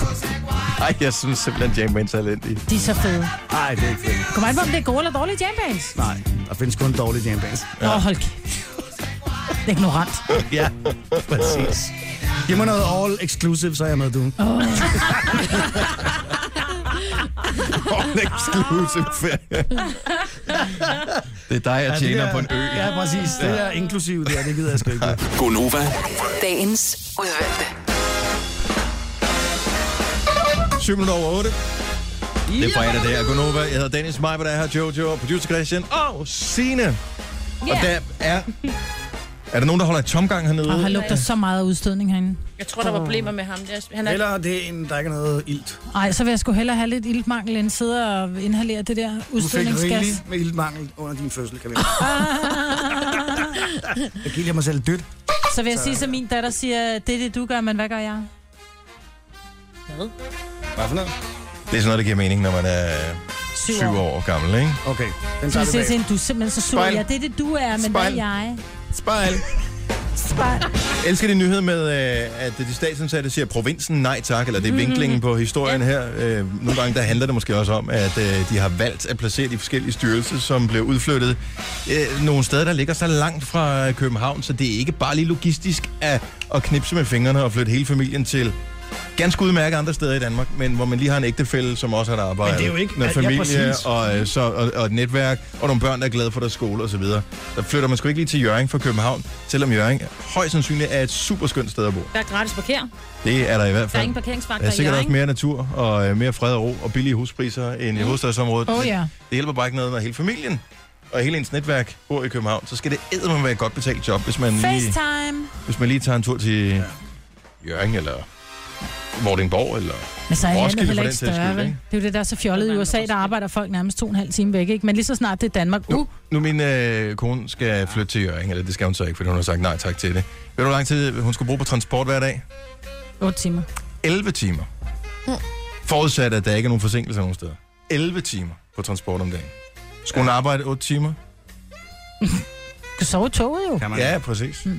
[SPEAKER 1] Ej, jeg synes simpelthen, jambands er elendige.
[SPEAKER 3] De er så fede.
[SPEAKER 2] Nej, det er ikke fedt.
[SPEAKER 3] Kom an på, om det er gode eller dårlige jam bands.
[SPEAKER 2] Nej, der findes kun dårlige Jamie.
[SPEAKER 3] Åh, ja. hold kæft. Ignorant.
[SPEAKER 2] Ja, præcis. Giv mig noget all exclusive, så er jeg med, du.
[SPEAKER 1] All exclusive ferie. Det er dig, jeg tjener på en ø.
[SPEAKER 2] Ja, præcis. Det er inklusive der, det gider jeg sgu ikke.
[SPEAKER 7] Gonova.
[SPEAKER 6] Dagens udvalgte.
[SPEAKER 1] 7 minutter over 8. Det er fredag, det er Gunova. Jeg hedder Dennis Meiber, der er her, Jojo, producer Christian og Signe. Og der er... Er der nogen, der holder i tomgang hernede?
[SPEAKER 3] Og han lugter så meget af udstødning herinde.
[SPEAKER 4] Jeg tror, der var problemer med ham. Der. Han er...
[SPEAKER 2] Eller det er en, der ikke er noget ilt.
[SPEAKER 3] Ej, så vil jeg sgu hellere have lidt iltmangel, end sidde og inhalere det der
[SPEAKER 2] Du fik
[SPEAKER 3] udstødningsgas.
[SPEAKER 2] rigeligt med iltmangel under din fødsel, kan vi Jeg giver mig selv dødt.
[SPEAKER 3] Så vil jeg sige, som min datter siger, det er det, du gør, men hvad gør jeg?
[SPEAKER 2] Hvad for noget?
[SPEAKER 1] Det er sådan noget, der giver mening, når man er 7 år gammel, ikke?
[SPEAKER 2] Okay, den
[SPEAKER 3] Så
[SPEAKER 2] tager
[SPEAKER 3] jeg
[SPEAKER 2] vi
[SPEAKER 3] siger til
[SPEAKER 2] bag.
[SPEAKER 3] hende, du er simpelthen så sur.
[SPEAKER 1] Spejl.
[SPEAKER 3] Ja, det er det, du er, men Spejl. hvad
[SPEAKER 1] Spejl.
[SPEAKER 3] er jeg?
[SPEAKER 1] Spejl.
[SPEAKER 3] Spejl.
[SPEAKER 1] Jeg elsker det nyhed med, øh, at de statsansatte siger provinsen nej tak, eller det
[SPEAKER 2] Mhm.
[SPEAKER 1] er vinklingen på historien her. Øh, Nogle gange der handler det måske også om, at øh, de har valgt at placere de forskellige styrelser, som bliver udflyttet øh, nogle steder, der ligger så langt fra København, så det er ikke bare lige logistisk at, at knipse med fingrene og flytte hele familien til ganske udmærket andre steder i Danmark, men hvor man lige har en ægtefælle, som også har et arbejde.
[SPEAKER 2] Men det er jo ikke-
[SPEAKER 1] Noget
[SPEAKER 2] ja, ja,
[SPEAKER 1] familie
[SPEAKER 2] præcis.
[SPEAKER 1] og, øh, så, og, og et netværk, og nogle børn, der er glade for deres skole osv. Der flytter man sgu ikke lige til Jørgen fra København, selvom Jørgen højst sandsynligt er et super skønt sted at bo.
[SPEAKER 4] Der er gratis parker.
[SPEAKER 1] Det er der i hvert
[SPEAKER 4] Der er
[SPEAKER 1] fald.
[SPEAKER 4] ingen
[SPEAKER 1] Der er
[SPEAKER 4] parkeringsvagter i
[SPEAKER 1] sikkert også
[SPEAKER 4] Jørgen.
[SPEAKER 1] mere natur og øh, mere fred og ro og billige huspriser end
[SPEAKER 4] Mm.
[SPEAKER 1] i hovedstadsområdet.
[SPEAKER 4] Oh,
[SPEAKER 3] Åh,
[SPEAKER 1] Men
[SPEAKER 3] Oh, ja.
[SPEAKER 1] Det hjælper bare ikke noget, når hele familien og hele ens netværk bor i København. Så skal det eddermame være et godt betalt job, hvis man lige,
[SPEAKER 3] FaceTime.
[SPEAKER 1] hvis man lige tager en tur til ja. Jørgen eller Vordingborg eller
[SPEAKER 3] Men så
[SPEAKER 1] Roskilde
[SPEAKER 3] er landet
[SPEAKER 1] for
[SPEAKER 3] heller
[SPEAKER 1] den
[SPEAKER 3] ikke
[SPEAKER 1] sags
[SPEAKER 3] større,
[SPEAKER 1] skyld,
[SPEAKER 3] vel?
[SPEAKER 1] ikke?
[SPEAKER 3] Det er jo det, der er så fjollet i USA, der arbejder folk nærmest to og en halv time væk, ikke? Men lige så snart det er Danmark, uh,
[SPEAKER 1] Nu min øh, kone skal flytte til Jørgen, eller det skal hun så ikke, fordi hun har sagt nej tak til det. Ved du, hvor lang tid hun skulle bruge på transport hver dag?
[SPEAKER 3] otte timer.
[SPEAKER 1] 11 timer. Forudsat, at der ikke er nogen forsinkelser nogen steder. 11 timer på transport om dagen. Skulle hun arbejde 8 timer?
[SPEAKER 3] Du kan sove i toget jo.
[SPEAKER 2] Kan man?
[SPEAKER 1] Ja, præcis. Det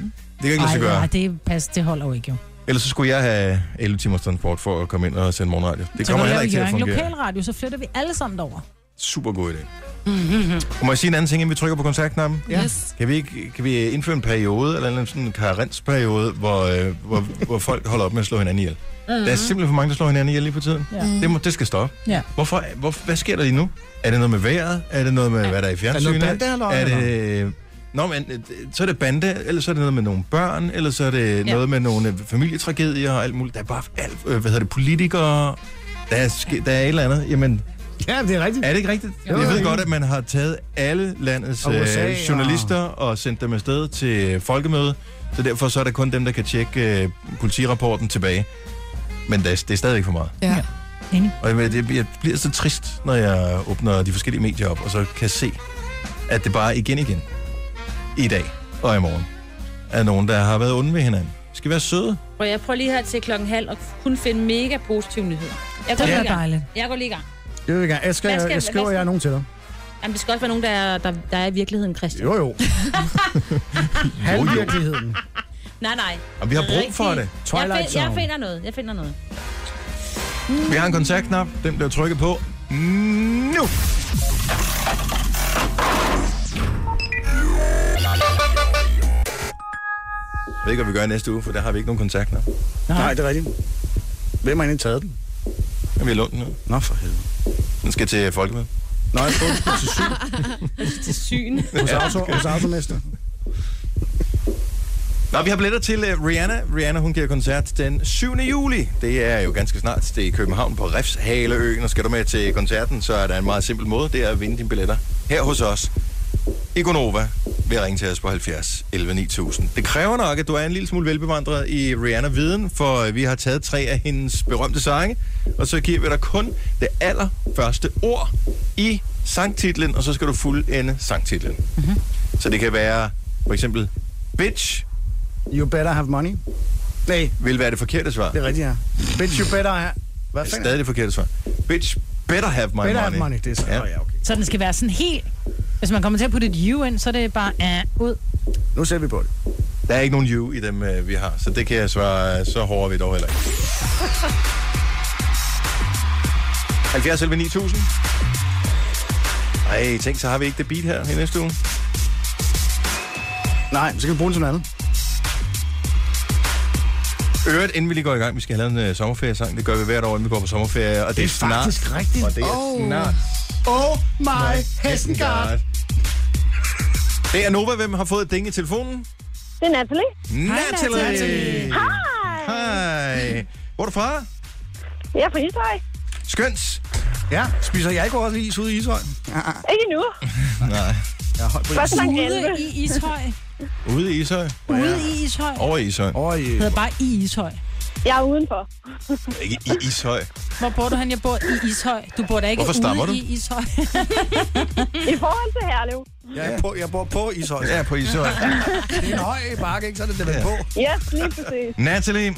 [SPEAKER 1] kan ikke lade sig
[SPEAKER 3] Mm. Ej,
[SPEAKER 1] gøre.
[SPEAKER 3] nej, det, pas, det holder jo ikke jo.
[SPEAKER 1] Ellers så skulle jeg have 11 timers transport for at komme ind og sende morgenradio. Det
[SPEAKER 3] Så
[SPEAKER 1] kommer
[SPEAKER 3] når du
[SPEAKER 1] heller
[SPEAKER 3] laver
[SPEAKER 1] ikke til at
[SPEAKER 3] Jørgen
[SPEAKER 1] fungere.
[SPEAKER 3] Lokalradio, så flytter vi alle sammen derover.
[SPEAKER 1] Super god idé. Og Må jeg sige en anden ting, inden vi trykker på kontaktknappen?
[SPEAKER 5] Yes.
[SPEAKER 1] Kan vi, ikke, kan vi indføre en periode, eller en eller anden sådan en karensperiode, hvor, øh, hvor, hvor folk holder op med at slå hinanden ihjel? Mm.
[SPEAKER 3] Mm-hmm.
[SPEAKER 1] Der er simpelthen for mange, der slår hinanden ihjel lige på tiden.
[SPEAKER 3] Ja.
[SPEAKER 1] Det, må, det skal stoppe.
[SPEAKER 3] Ja.
[SPEAKER 1] Hvorfor, hvor, hvad sker der lige nu? Er det noget med vejret? Er det noget med, hvad der er i
[SPEAKER 2] Er det
[SPEAKER 1] fjernsynet?
[SPEAKER 2] noget bandehaløj,
[SPEAKER 1] er det Nå, men øh, så er det bande, eller så er det noget med nogle børn, eller så er det ja. noget med nogle øh, familietragedier og alt muligt. Der er bare alt, øh, hvad hedder det, politikere, der er, ske, der er et eller andet. Jamen,
[SPEAKER 2] Ja, det er rigtigt.
[SPEAKER 1] Er det ikke rigtigt?
[SPEAKER 2] Jo,
[SPEAKER 1] jeg ved
[SPEAKER 2] jo.
[SPEAKER 1] godt, at man har taget alle landets
[SPEAKER 2] Og
[SPEAKER 1] øh,
[SPEAKER 2] USA og-
[SPEAKER 1] journalister og sendt dem afsted til øh, folkemøde, så derfor så er det kun dem, der kan tjekke øh, politirapporten tilbage. Men det er, det er stadigvæk for meget.
[SPEAKER 5] Ja.
[SPEAKER 3] Enig.
[SPEAKER 1] Og jeg, jeg, jeg bliver så trist, når jeg åbner de forskellige medier op, og så kan se, at det bare igen igen, i dag og i morgen, er nogen, der har været onde ved hinanden. Vi skal være søde.
[SPEAKER 4] Prøv, jeg prøver lige her til klokken halv og kun finde mega positive nyheder. Jeg går
[SPEAKER 2] Det
[SPEAKER 4] lige
[SPEAKER 2] er
[SPEAKER 4] i gang.
[SPEAKER 2] dejligt.
[SPEAKER 4] Jeg går lige i gang.
[SPEAKER 2] Det vil jeg gerne. Jeg, skal,
[SPEAKER 4] Hvad skal-
[SPEAKER 2] jeg
[SPEAKER 4] hvad
[SPEAKER 2] skriver
[SPEAKER 4] skal-
[SPEAKER 2] jer nogen til dig.
[SPEAKER 4] Jamen, det skal også være nogen, der er, der, der er i virkeligheden, Christian.
[SPEAKER 2] Jo, jo. Halvvirkeligheden.
[SPEAKER 4] Nej, nej.
[SPEAKER 1] Og vi har brug for det.
[SPEAKER 4] jeg,
[SPEAKER 1] Twilight
[SPEAKER 4] find, jeg
[SPEAKER 1] Zone.
[SPEAKER 4] finder noget. Jeg finder noget.
[SPEAKER 1] Vi har en kontaktknap. Den bliver trykket på nu. Jeg ved ikke, hvad vi gør i næste uge, for der har vi ikke nogen kontaktknap.
[SPEAKER 2] Nej, det er rigtigt. Hvem har egentlig taget den?
[SPEAKER 1] Men vi har lånt den nu.
[SPEAKER 2] Nå, for helvede.
[SPEAKER 1] Den skal til folkemøde.
[SPEAKER 2] Nej, jeg prøver den til syn.
[SPEAKER 4] til syn.
[SPEAKER 2] Hos, auto, hos automester.
[SPEAKER 1] Nå, vi har billetter til øh, Rihanna. Rihanna, hun giver koncert den 7. juli. Det er jo ganske snart. Det er i København på Refshaleøen, og skal du med til koncerten, så er der en meget simpel måde. Det er at vinde dine billetter her hos os. I Gonova vil ringe til os på 70 11 9000. Det kræver nok, at du er en lille smule velbevandret i Rihanna-viden, for øh, vi har taget tre af hendes berømte sange, og så giver vi dig kun det allerførste ord i sangtitlen, og så skal du fuldende sangtitlen. Mm-hmm. Så det kan være for eksempel Bitch,
[SPEAKER 2] You better have money. Nej,
[SPEAKER 1] vil være det forkerte svar.
[SPEAKER 2] det er rigtigt, ja. Bitch, you better have... Hvad
[SPEAKER 1] Det er
[SPEAKER 2] fanden?
[SPEAKER 1] stadig det forkerte svar. Bitch, better have my
[SPEAKER 2] Better
[SPEAKER 1] money.
[SPEAKER 2] have money, det er så- Nå, ja, okay.
[SPEAKER 3] Så den skal være sådan helt... Hvis man kommer til at putte et U ind, så er det bare uh, ud.
[SPEAKER 2] Nu ser vi på det.
[SPEAKER 1] Der er ikke nogen you i dem, øh, vi har, så det kan jeg svare, øh, så hårde er vi dog heller ikke. 70 11 9000. Ej, tænk, så har vi ikke det beat her i næste uge.
[SPEAKER 2] Nej, så kan vi bruge den til noget andet.
[SPEAKER 1] Øret, inden vi lige går i gang, vi skal have lavet en øh, sommerferiesang. Det gør vi hvert år, inden vi går på sommerferie. Og det, det er snart.
[SPEAKER 2] faktisk rigtigt.
[SPEAKER 1] Og det er
[SPEAKER 2] Oh.
[SPEAKER 1] oh. snart.
[SPEAKER 2] Oh my Hessengard.
[SPEAKER 1] Det er Nova, hvem har fået et ding i telefonen?
[SPEAKER 11] Det er Natalie.
[SPEAKER 1] Natalie. Natalie.
[SPEAKER 11] Hej.
[SPEAKER 1] Hej. Hvor er du fra?
[SPEAKER 11] Jeg er fra Ishøj.
[SPEAKER 1] Skøns.
[SPEAKER 2] Ja, spiser jeg ikke også is ude i Ishøj? Ah,
[SPEAKER 11] Ikke endnu.
[SPEAKER 1] Nej.
[SPEAKER 2] jeg er høj på
[SPEAKER 11] Først
[SPEAKER 2] is.
[SPEAKER 11] langt
[SPEAKER 3] Ude
[SPEAKER 11] 11.
[SPEAKER 3] i Ishøj.
[SPEAKER 1] Ude i Ishøj?
[SPEAKER 3] Ude i Ishøj.
[SPEAKER 1] Over i Ishøj.
[SPEAKER 2] Over i...
[SPEAKER 3] Det hedder bare i Ishøj.
[SPEAKER 11] Jeg er udenfor.
[SPEAKER 1] Ikke i Ishøj.
[SPEAKER 3] Hvor bor du hen? Jeg bor i Ishøj. Du bor da ikke
[SPEAKER 1] Hvorfor stammer
[SPEAKER 3] ude
[SPEAKER 1] du?
[SPEAKER 3] i Ishøj.
[SPEAKER 11] I forhold til Herlev.
[SPEAKER 2] Jeg, er på, jeg bor på Ishøj.
[SPEAKER 1] Ja, på Ishøj.
[SPEAKER 2] Det er en høj bakke, ikke? Så er det det vel på.
[SPEAKER 11] Yes, lige præcis.
[SPEAKER 1] Natalie,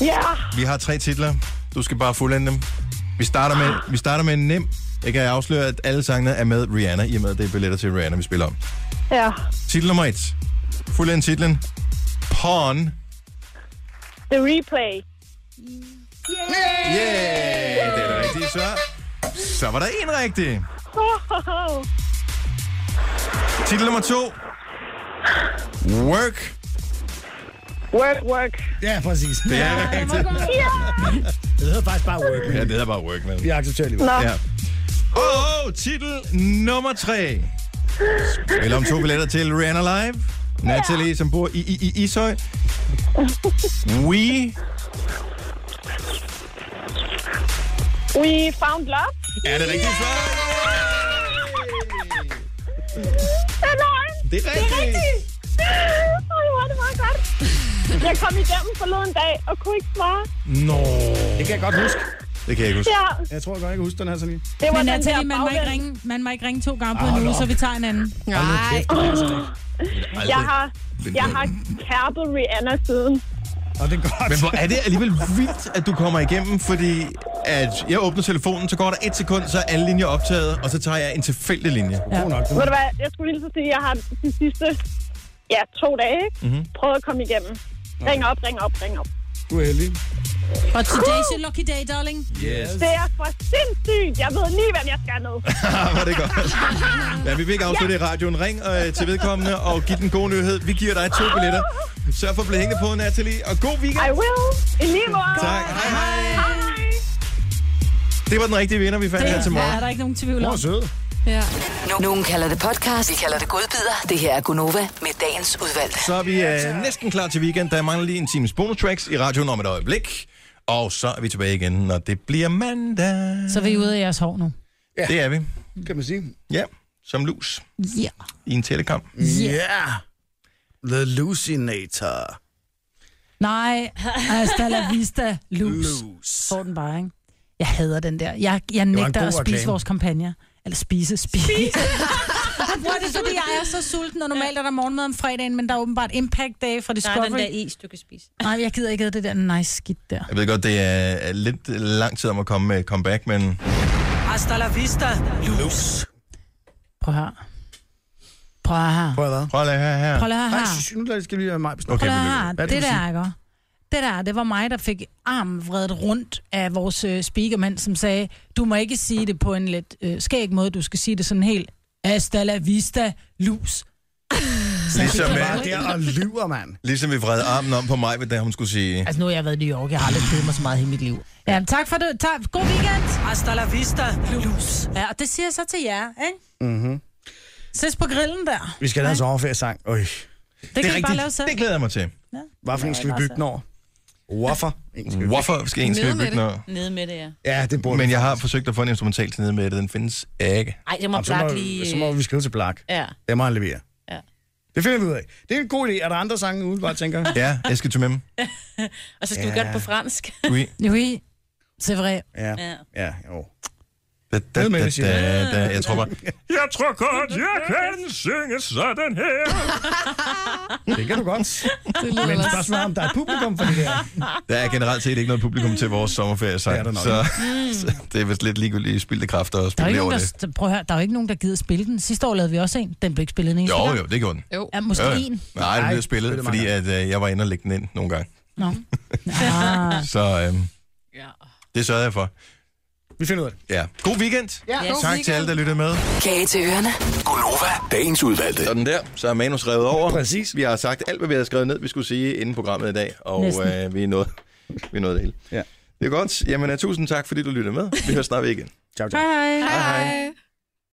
[SPEAKER 11] Ja.
[SPEAKER 1] vi har tre titler. Du skal bare fuldende dem. Vi starter med, vi starter med en nem. Jeg kan afsløre, at alle sangene er med Rihanna, i og med, at det er billetter til Rihanna, vi spiller om.
[SPEAKER 11] Ja.
[SPEAKER 1] Titel nummer et. Fuldende titlen. Pawn.
[SPEAKER 11] The replay.
[SPEAKER 1] Yeah! Det er det rigtige svar. Så var der en rigtig. Titel nummer to. Work.
[SPEAKER 11] Work, work.
[SPEAKER 2] Ja, præcis.
[SPEAKER 1] Det er det rigtige.
[SPEAKER 11] Ja.
[SPEAKER 2] Det hedder faktisk bare work.
[SPEAKER 1] Ja, det hedder bare work, men...
[SPEAKER 2] Vi accepterer lige.
[SPEAKER 11] Nå.
[SPEAKER 1] Ja. Åh, oh, titel nummer tre. Spil om to billetter til Rihanna Live. Natalie, som bor i, i, i Ishøj. We
[SPEAKER 11] We found love.
[SPEAKER 1] er det rigtige svar.
[SPEAKER 11] Det er løgn.
[SPEAKER 1] Det er rigtigt.
[SPEAKER 11] Ej, hvor er det meget godt. Jeg kom igennem forleden dag og kunne ikke svare.
[SPEAKER 1] Nå.
[SPEAKER 2] Det kan jeg godt huske.
[SPEAKER 1] Det kan jeg ikke huske.
[SPEAKER 11] Ja,
[SPEAKER 2] Jeg tror godt, jeg kan huske den her, Saline.
[SPEAKER 11] det var
[SPEAKER 3] Men
[SPEAKER 11] den der
[SPEAKER 3] Natalie, man må, ikke
[SPEAKER 11] bagvend.
[SPEAKER 3] ringe, man må ikke ringe to gange
[SPEAKER 1] Ah,
[SPEAKER 3] på en uge, så vi tager en anden.
[SPEAKER 5] Mm. Nej.
[SPEAKER 1] Aldrig.
[SPEAKER 11] Jeg har,
[SPEAKER 1] Men-
[SPEAKER 11] jeg har kærpet Rihanna siden.
[SPEAKER 2] Og det er godt.
[SPEAKER 1] Men hvor er det alligevel vildt, at du kommer igennem, fordi at jeg åbner telefonen, så går der et sekund, så er alle linjer optaget, og så tager jeg en tilfældig linje.
[SPEAKER 2] God nok.
[SPEAKER 11] Ved du hvad, jeg skulle lige så sige, at jeg har de sidste ja, to dage
[SPEAKER 1] Mhm.
[SPEAKER 11] mm-hmm. prøvet at komme igennem. Ring op, ring op, ring op.
[SPEAKER 2] Du er heldig.
[SPEAKER 3] Og today's your lucky day, darling.
[SPEAKER 1] Yes.
[SPEAKER 11] Det er for sindssygt. Jeg ved lige, hvem jeg skal nå.
[SPEAKER 1] Ah, var det godt. Ja, vi vil ikke afslutte i radioen. Ring øh, til vedkommende og giv den gode nyhed. Vi giver dig to billetter. Sørg for at blive hængende på, Natalie, og god
[SPEAKER 11] I
[SPEAKER 1] weekend.
[SPEAKER 11] will. I lige måde.
[SPEAKER 1] Tak. Hej, hej.
[SPEAKER 11] Hej.
[SPEAKER 1] Det var den rigtige vinder, vi fandt her til
[SPEAKER 3] Ja, er
[SPEAKER 1] morgen.
[SPEAKER 3] der ikke nogen tvivl
[SPEAKER 2] Hvor
[SPEAKER 3] om.
[SPEAKER 2] er sød.
[SPEAKER 5] Ja.
[SPEAKER 6] Nogen kalder det podcast, vi kalder det godbider. Det her er Gunova med dagens udvalgte.
[SPEAKER 1] Så er vi øh, næsten klar til weekend. Der mangler lige en times bonus tracks i radioen om et øjeblik. Og så er vi tilbage igen, når det bliver mandag.
[SPEAKER 3] Så er vi ude af jeres hår nu.
[SPEAKER 1] Ja. Det er vi.
[SPEAKER 2] Kan man sige.
[SPEAKER 1] Ja, som lus
[SPEAKER 3] Ja.
[SPEAKER 1] i en telekamp.
[SPEAKER 2] Yeah. The Lucinator.
[SPEAKER 3] Nej, hasta la vista, lose. Får den bare, ikke? Jeg hader den der. Jeg, jeg
[SPEAKER 2] en
[SPEAKER 3] nægter
[SPEAKER 2] god
[SPEAKER 3] at spise
[SPEAKER 2] reklame.
[SPEAKER 3] vores kampagne. Eller spise, spise. spise. Hvor er det, fordi jeg er så sulten, og normalt er der morgenmad om fredagen, men der er åbenbart Impact Day fra
[SPEAKER 4] Der er
[SPEAKER 3] Discovery.
[SPEAKER 4] den der is, du kan spise.
[SPEAKER 3] Nej, jeg gider ikke have det der nice skidt der.
[SPEAKER 1] Jeg ved godt, det er er lidt lang tid om at komme med et comeback, men...
[SPEAKER 3] Hasta la vista,
[SPEAKER 2] lose.
[SPEAKER 3] Prøv her. Prøv her.
[SPEAKER 2] Prøv hvad?
[SPEAKER 1] Prøv at lade her. her.
[SPEAKER 3] Prøv at lade her.
[SPEAKER 2] Nej, synes, nu lad det skal lige være mig.
[SPEAKER 1] Okay,
[SPEAKER 3] Prøv
[SPEAKER 1] men-
[SPEAKER 3] her.
[SPEAKER 2] Hvad er
[SPEAKER 3] Det,
[SPEAKER 2] det, du
[SPEAKER 3] det der,
[SPEAKER 2] siger?
[SPEAKER 3] ikke? også? Det der, det var mig, der fik armen vredet rundt af vores øh, speakermand, som sagde, du må ikke sige det på en lidt øh, skæg måde, du skal sige det sådan helt, hasta la vista, lus.
[SPEAKER 1] Ligesom,
[SPEAKER 2] Du
[SPEAKER 1] øh,
[SPEAKER 2] er der og lyver, mand.
[SPEAKER 1] ligesom vi vred armen om på mig, da hun skulle sige...
[SPEAKER 3] Altså nu har jeg været i New York, jeg har aldrig kedet mig så meget i hele mit liv. Ja, men tak for det. Tak. God weekend. Hasta la vista, lus. Ja, og det siger jeg så til jer, ikke?
[SPEAKER 2] Mm-hmm.
[SPEAKER 3] Ses på grillen der.
[SPEAKER 2] Vi skal have en sommerferiesang. Øj.
[SPEAKER 3] Det, kan I bare lave selv.
[SPEAKER 1] Det glæder jeg mig til.
[SPEAKER 2] Hvad for en skal vi bygge den over? Waffer. En skal vi bygge.
[SPEAKER 1] Hvorfor skal en skal vi bygge noget?
[SPEAKER 4] Nede med det, ja.
[SPEAKER 2] Ja, det burde
[SPEAKER 1] Men
[SPEAKER 2] vi
[SPEAKER 1] jeg har forsøgt at få en instrumental til nede med det. Den findes ikke.
[SPEAKER 4] Ej, det må
[SPEAKER 2] Jamen, så, må,
[SPEAKER 4] blot lige...
[SPEAKER 2] så må vi skrive til Blak.
[SPEAKER 4] Ja.
[SPEAKER 2] Det må han levere.
[SPEAKER 4] Ja.
[SPEAKER 2] Det finder vi ud af. Det er en god idé. Er der andre sange ude, bare tænker? jeg?
[SPEAKER 1] Ja, jeg skal til med
[SPEAKER 4] Og så skal vi
[SPEAKER 2] Ja.
[SPEAKER 4] gøre det på fransk.
[SPEAKER 1] Oui.
[SPEAKER 3] Oui, c'est vrai.
[SPEAKER 2] Ja.
[SPEAKER 4] Ja.
[SPEAKER 2] Ja, jo.
[SPEAKER 1] Da, da, da,
[SPEAKER 2] Ned med
[SPEAKER 1] da,
[SPEAKER 2] det, siger jeg.
[SPEAKER 1] da. Jeg tror bare... Jeg tror godt, jeg kan synge sådan her.
[SPEAKER 2] Det kan du godt.
[SPEAKER 5] Det lyder
[SPEAKER 2] Men
[SPEAKER 5] ellers-
[SPEAKER 2] spørgsmålet er, om der er et publikum for det her.
[SPEAKER 1] Der er generelt set ikke noget publikum til vores sommerferie, så,
[SPEAKER 2] Det er der nok.
[SPEAKER 1] så, så det er vist lidt ligegyldigt spildte kræfter at
[SPEAKER 3] Der er, jo
[SPEAKER 1] spille
[SPEAKER 3] ikke
[SPEAKER 1] over
[SPEAKER 3] nogen,
[SPEAKER 1] det.
[SPEAKER 3] der, prøv at høre, der er jo ikke nogen, der gider spille den. Sidste år lavede vi også en. Den blev ikke spillet en eneste
[SPEAKER 1] Jo,
[SPEAKER 3] gang.
[SPEAKER 1] jo, det gjorde den.
[SPEAKER 5] Jo.
[SPEAKER 3] Ja, måske
[SPEAKER 1] Ja.
[SPEAKER 3] en.
[SPEAKER 1] Nej, det
[SPEAKER 2] Nej,
[SPEAKER 1] blev spillet,
[SPEAKER 2] spillet
[SPEAKER 1] fordi
[SPEAKER 2] mange
[SPEAKER 1] at, øh, jeg var inde og lægge den ind nogle gange.
[SPEAKER 3] Nå. Ah.
[SPEAKER 1] Så øhm, det sørgede jeg for.
[SPEAKER 2] Vi finder ud af det.
[SPEAKER 1] Ja. God weekend.
[SPEAKER 5] Ja, god
[SPEAKER 1] tak til alle, der lyttede med.
[SPEAKER 6] Kage til ørerne.
[SPEAKER 7] Gunova, dagens udvalgte.
[SPEAKER 1] Sådan der, så er manus revet over.
[SPEAKER 2] Præcis.
[SPEAKER 1] Vi har sagt alt, hvad vi havde skrevet ned, vi skulle sige inden programmet i dag, og
[SPEAKER 3] Næsten.
[SPEAKER 1] øh, vi er nået vi er nået det hele.
[SPEAKER 2] Ja.
[SPEAKER 1] Det er godt. Jamen, øh, tusind tak, fordi du lyttede med. Vi hører snart ved igen.
[SPEAKER 2] Ciao, ciao.
[SPEAKER 3] Hej, hej.
[SPEAKER 5] Hej.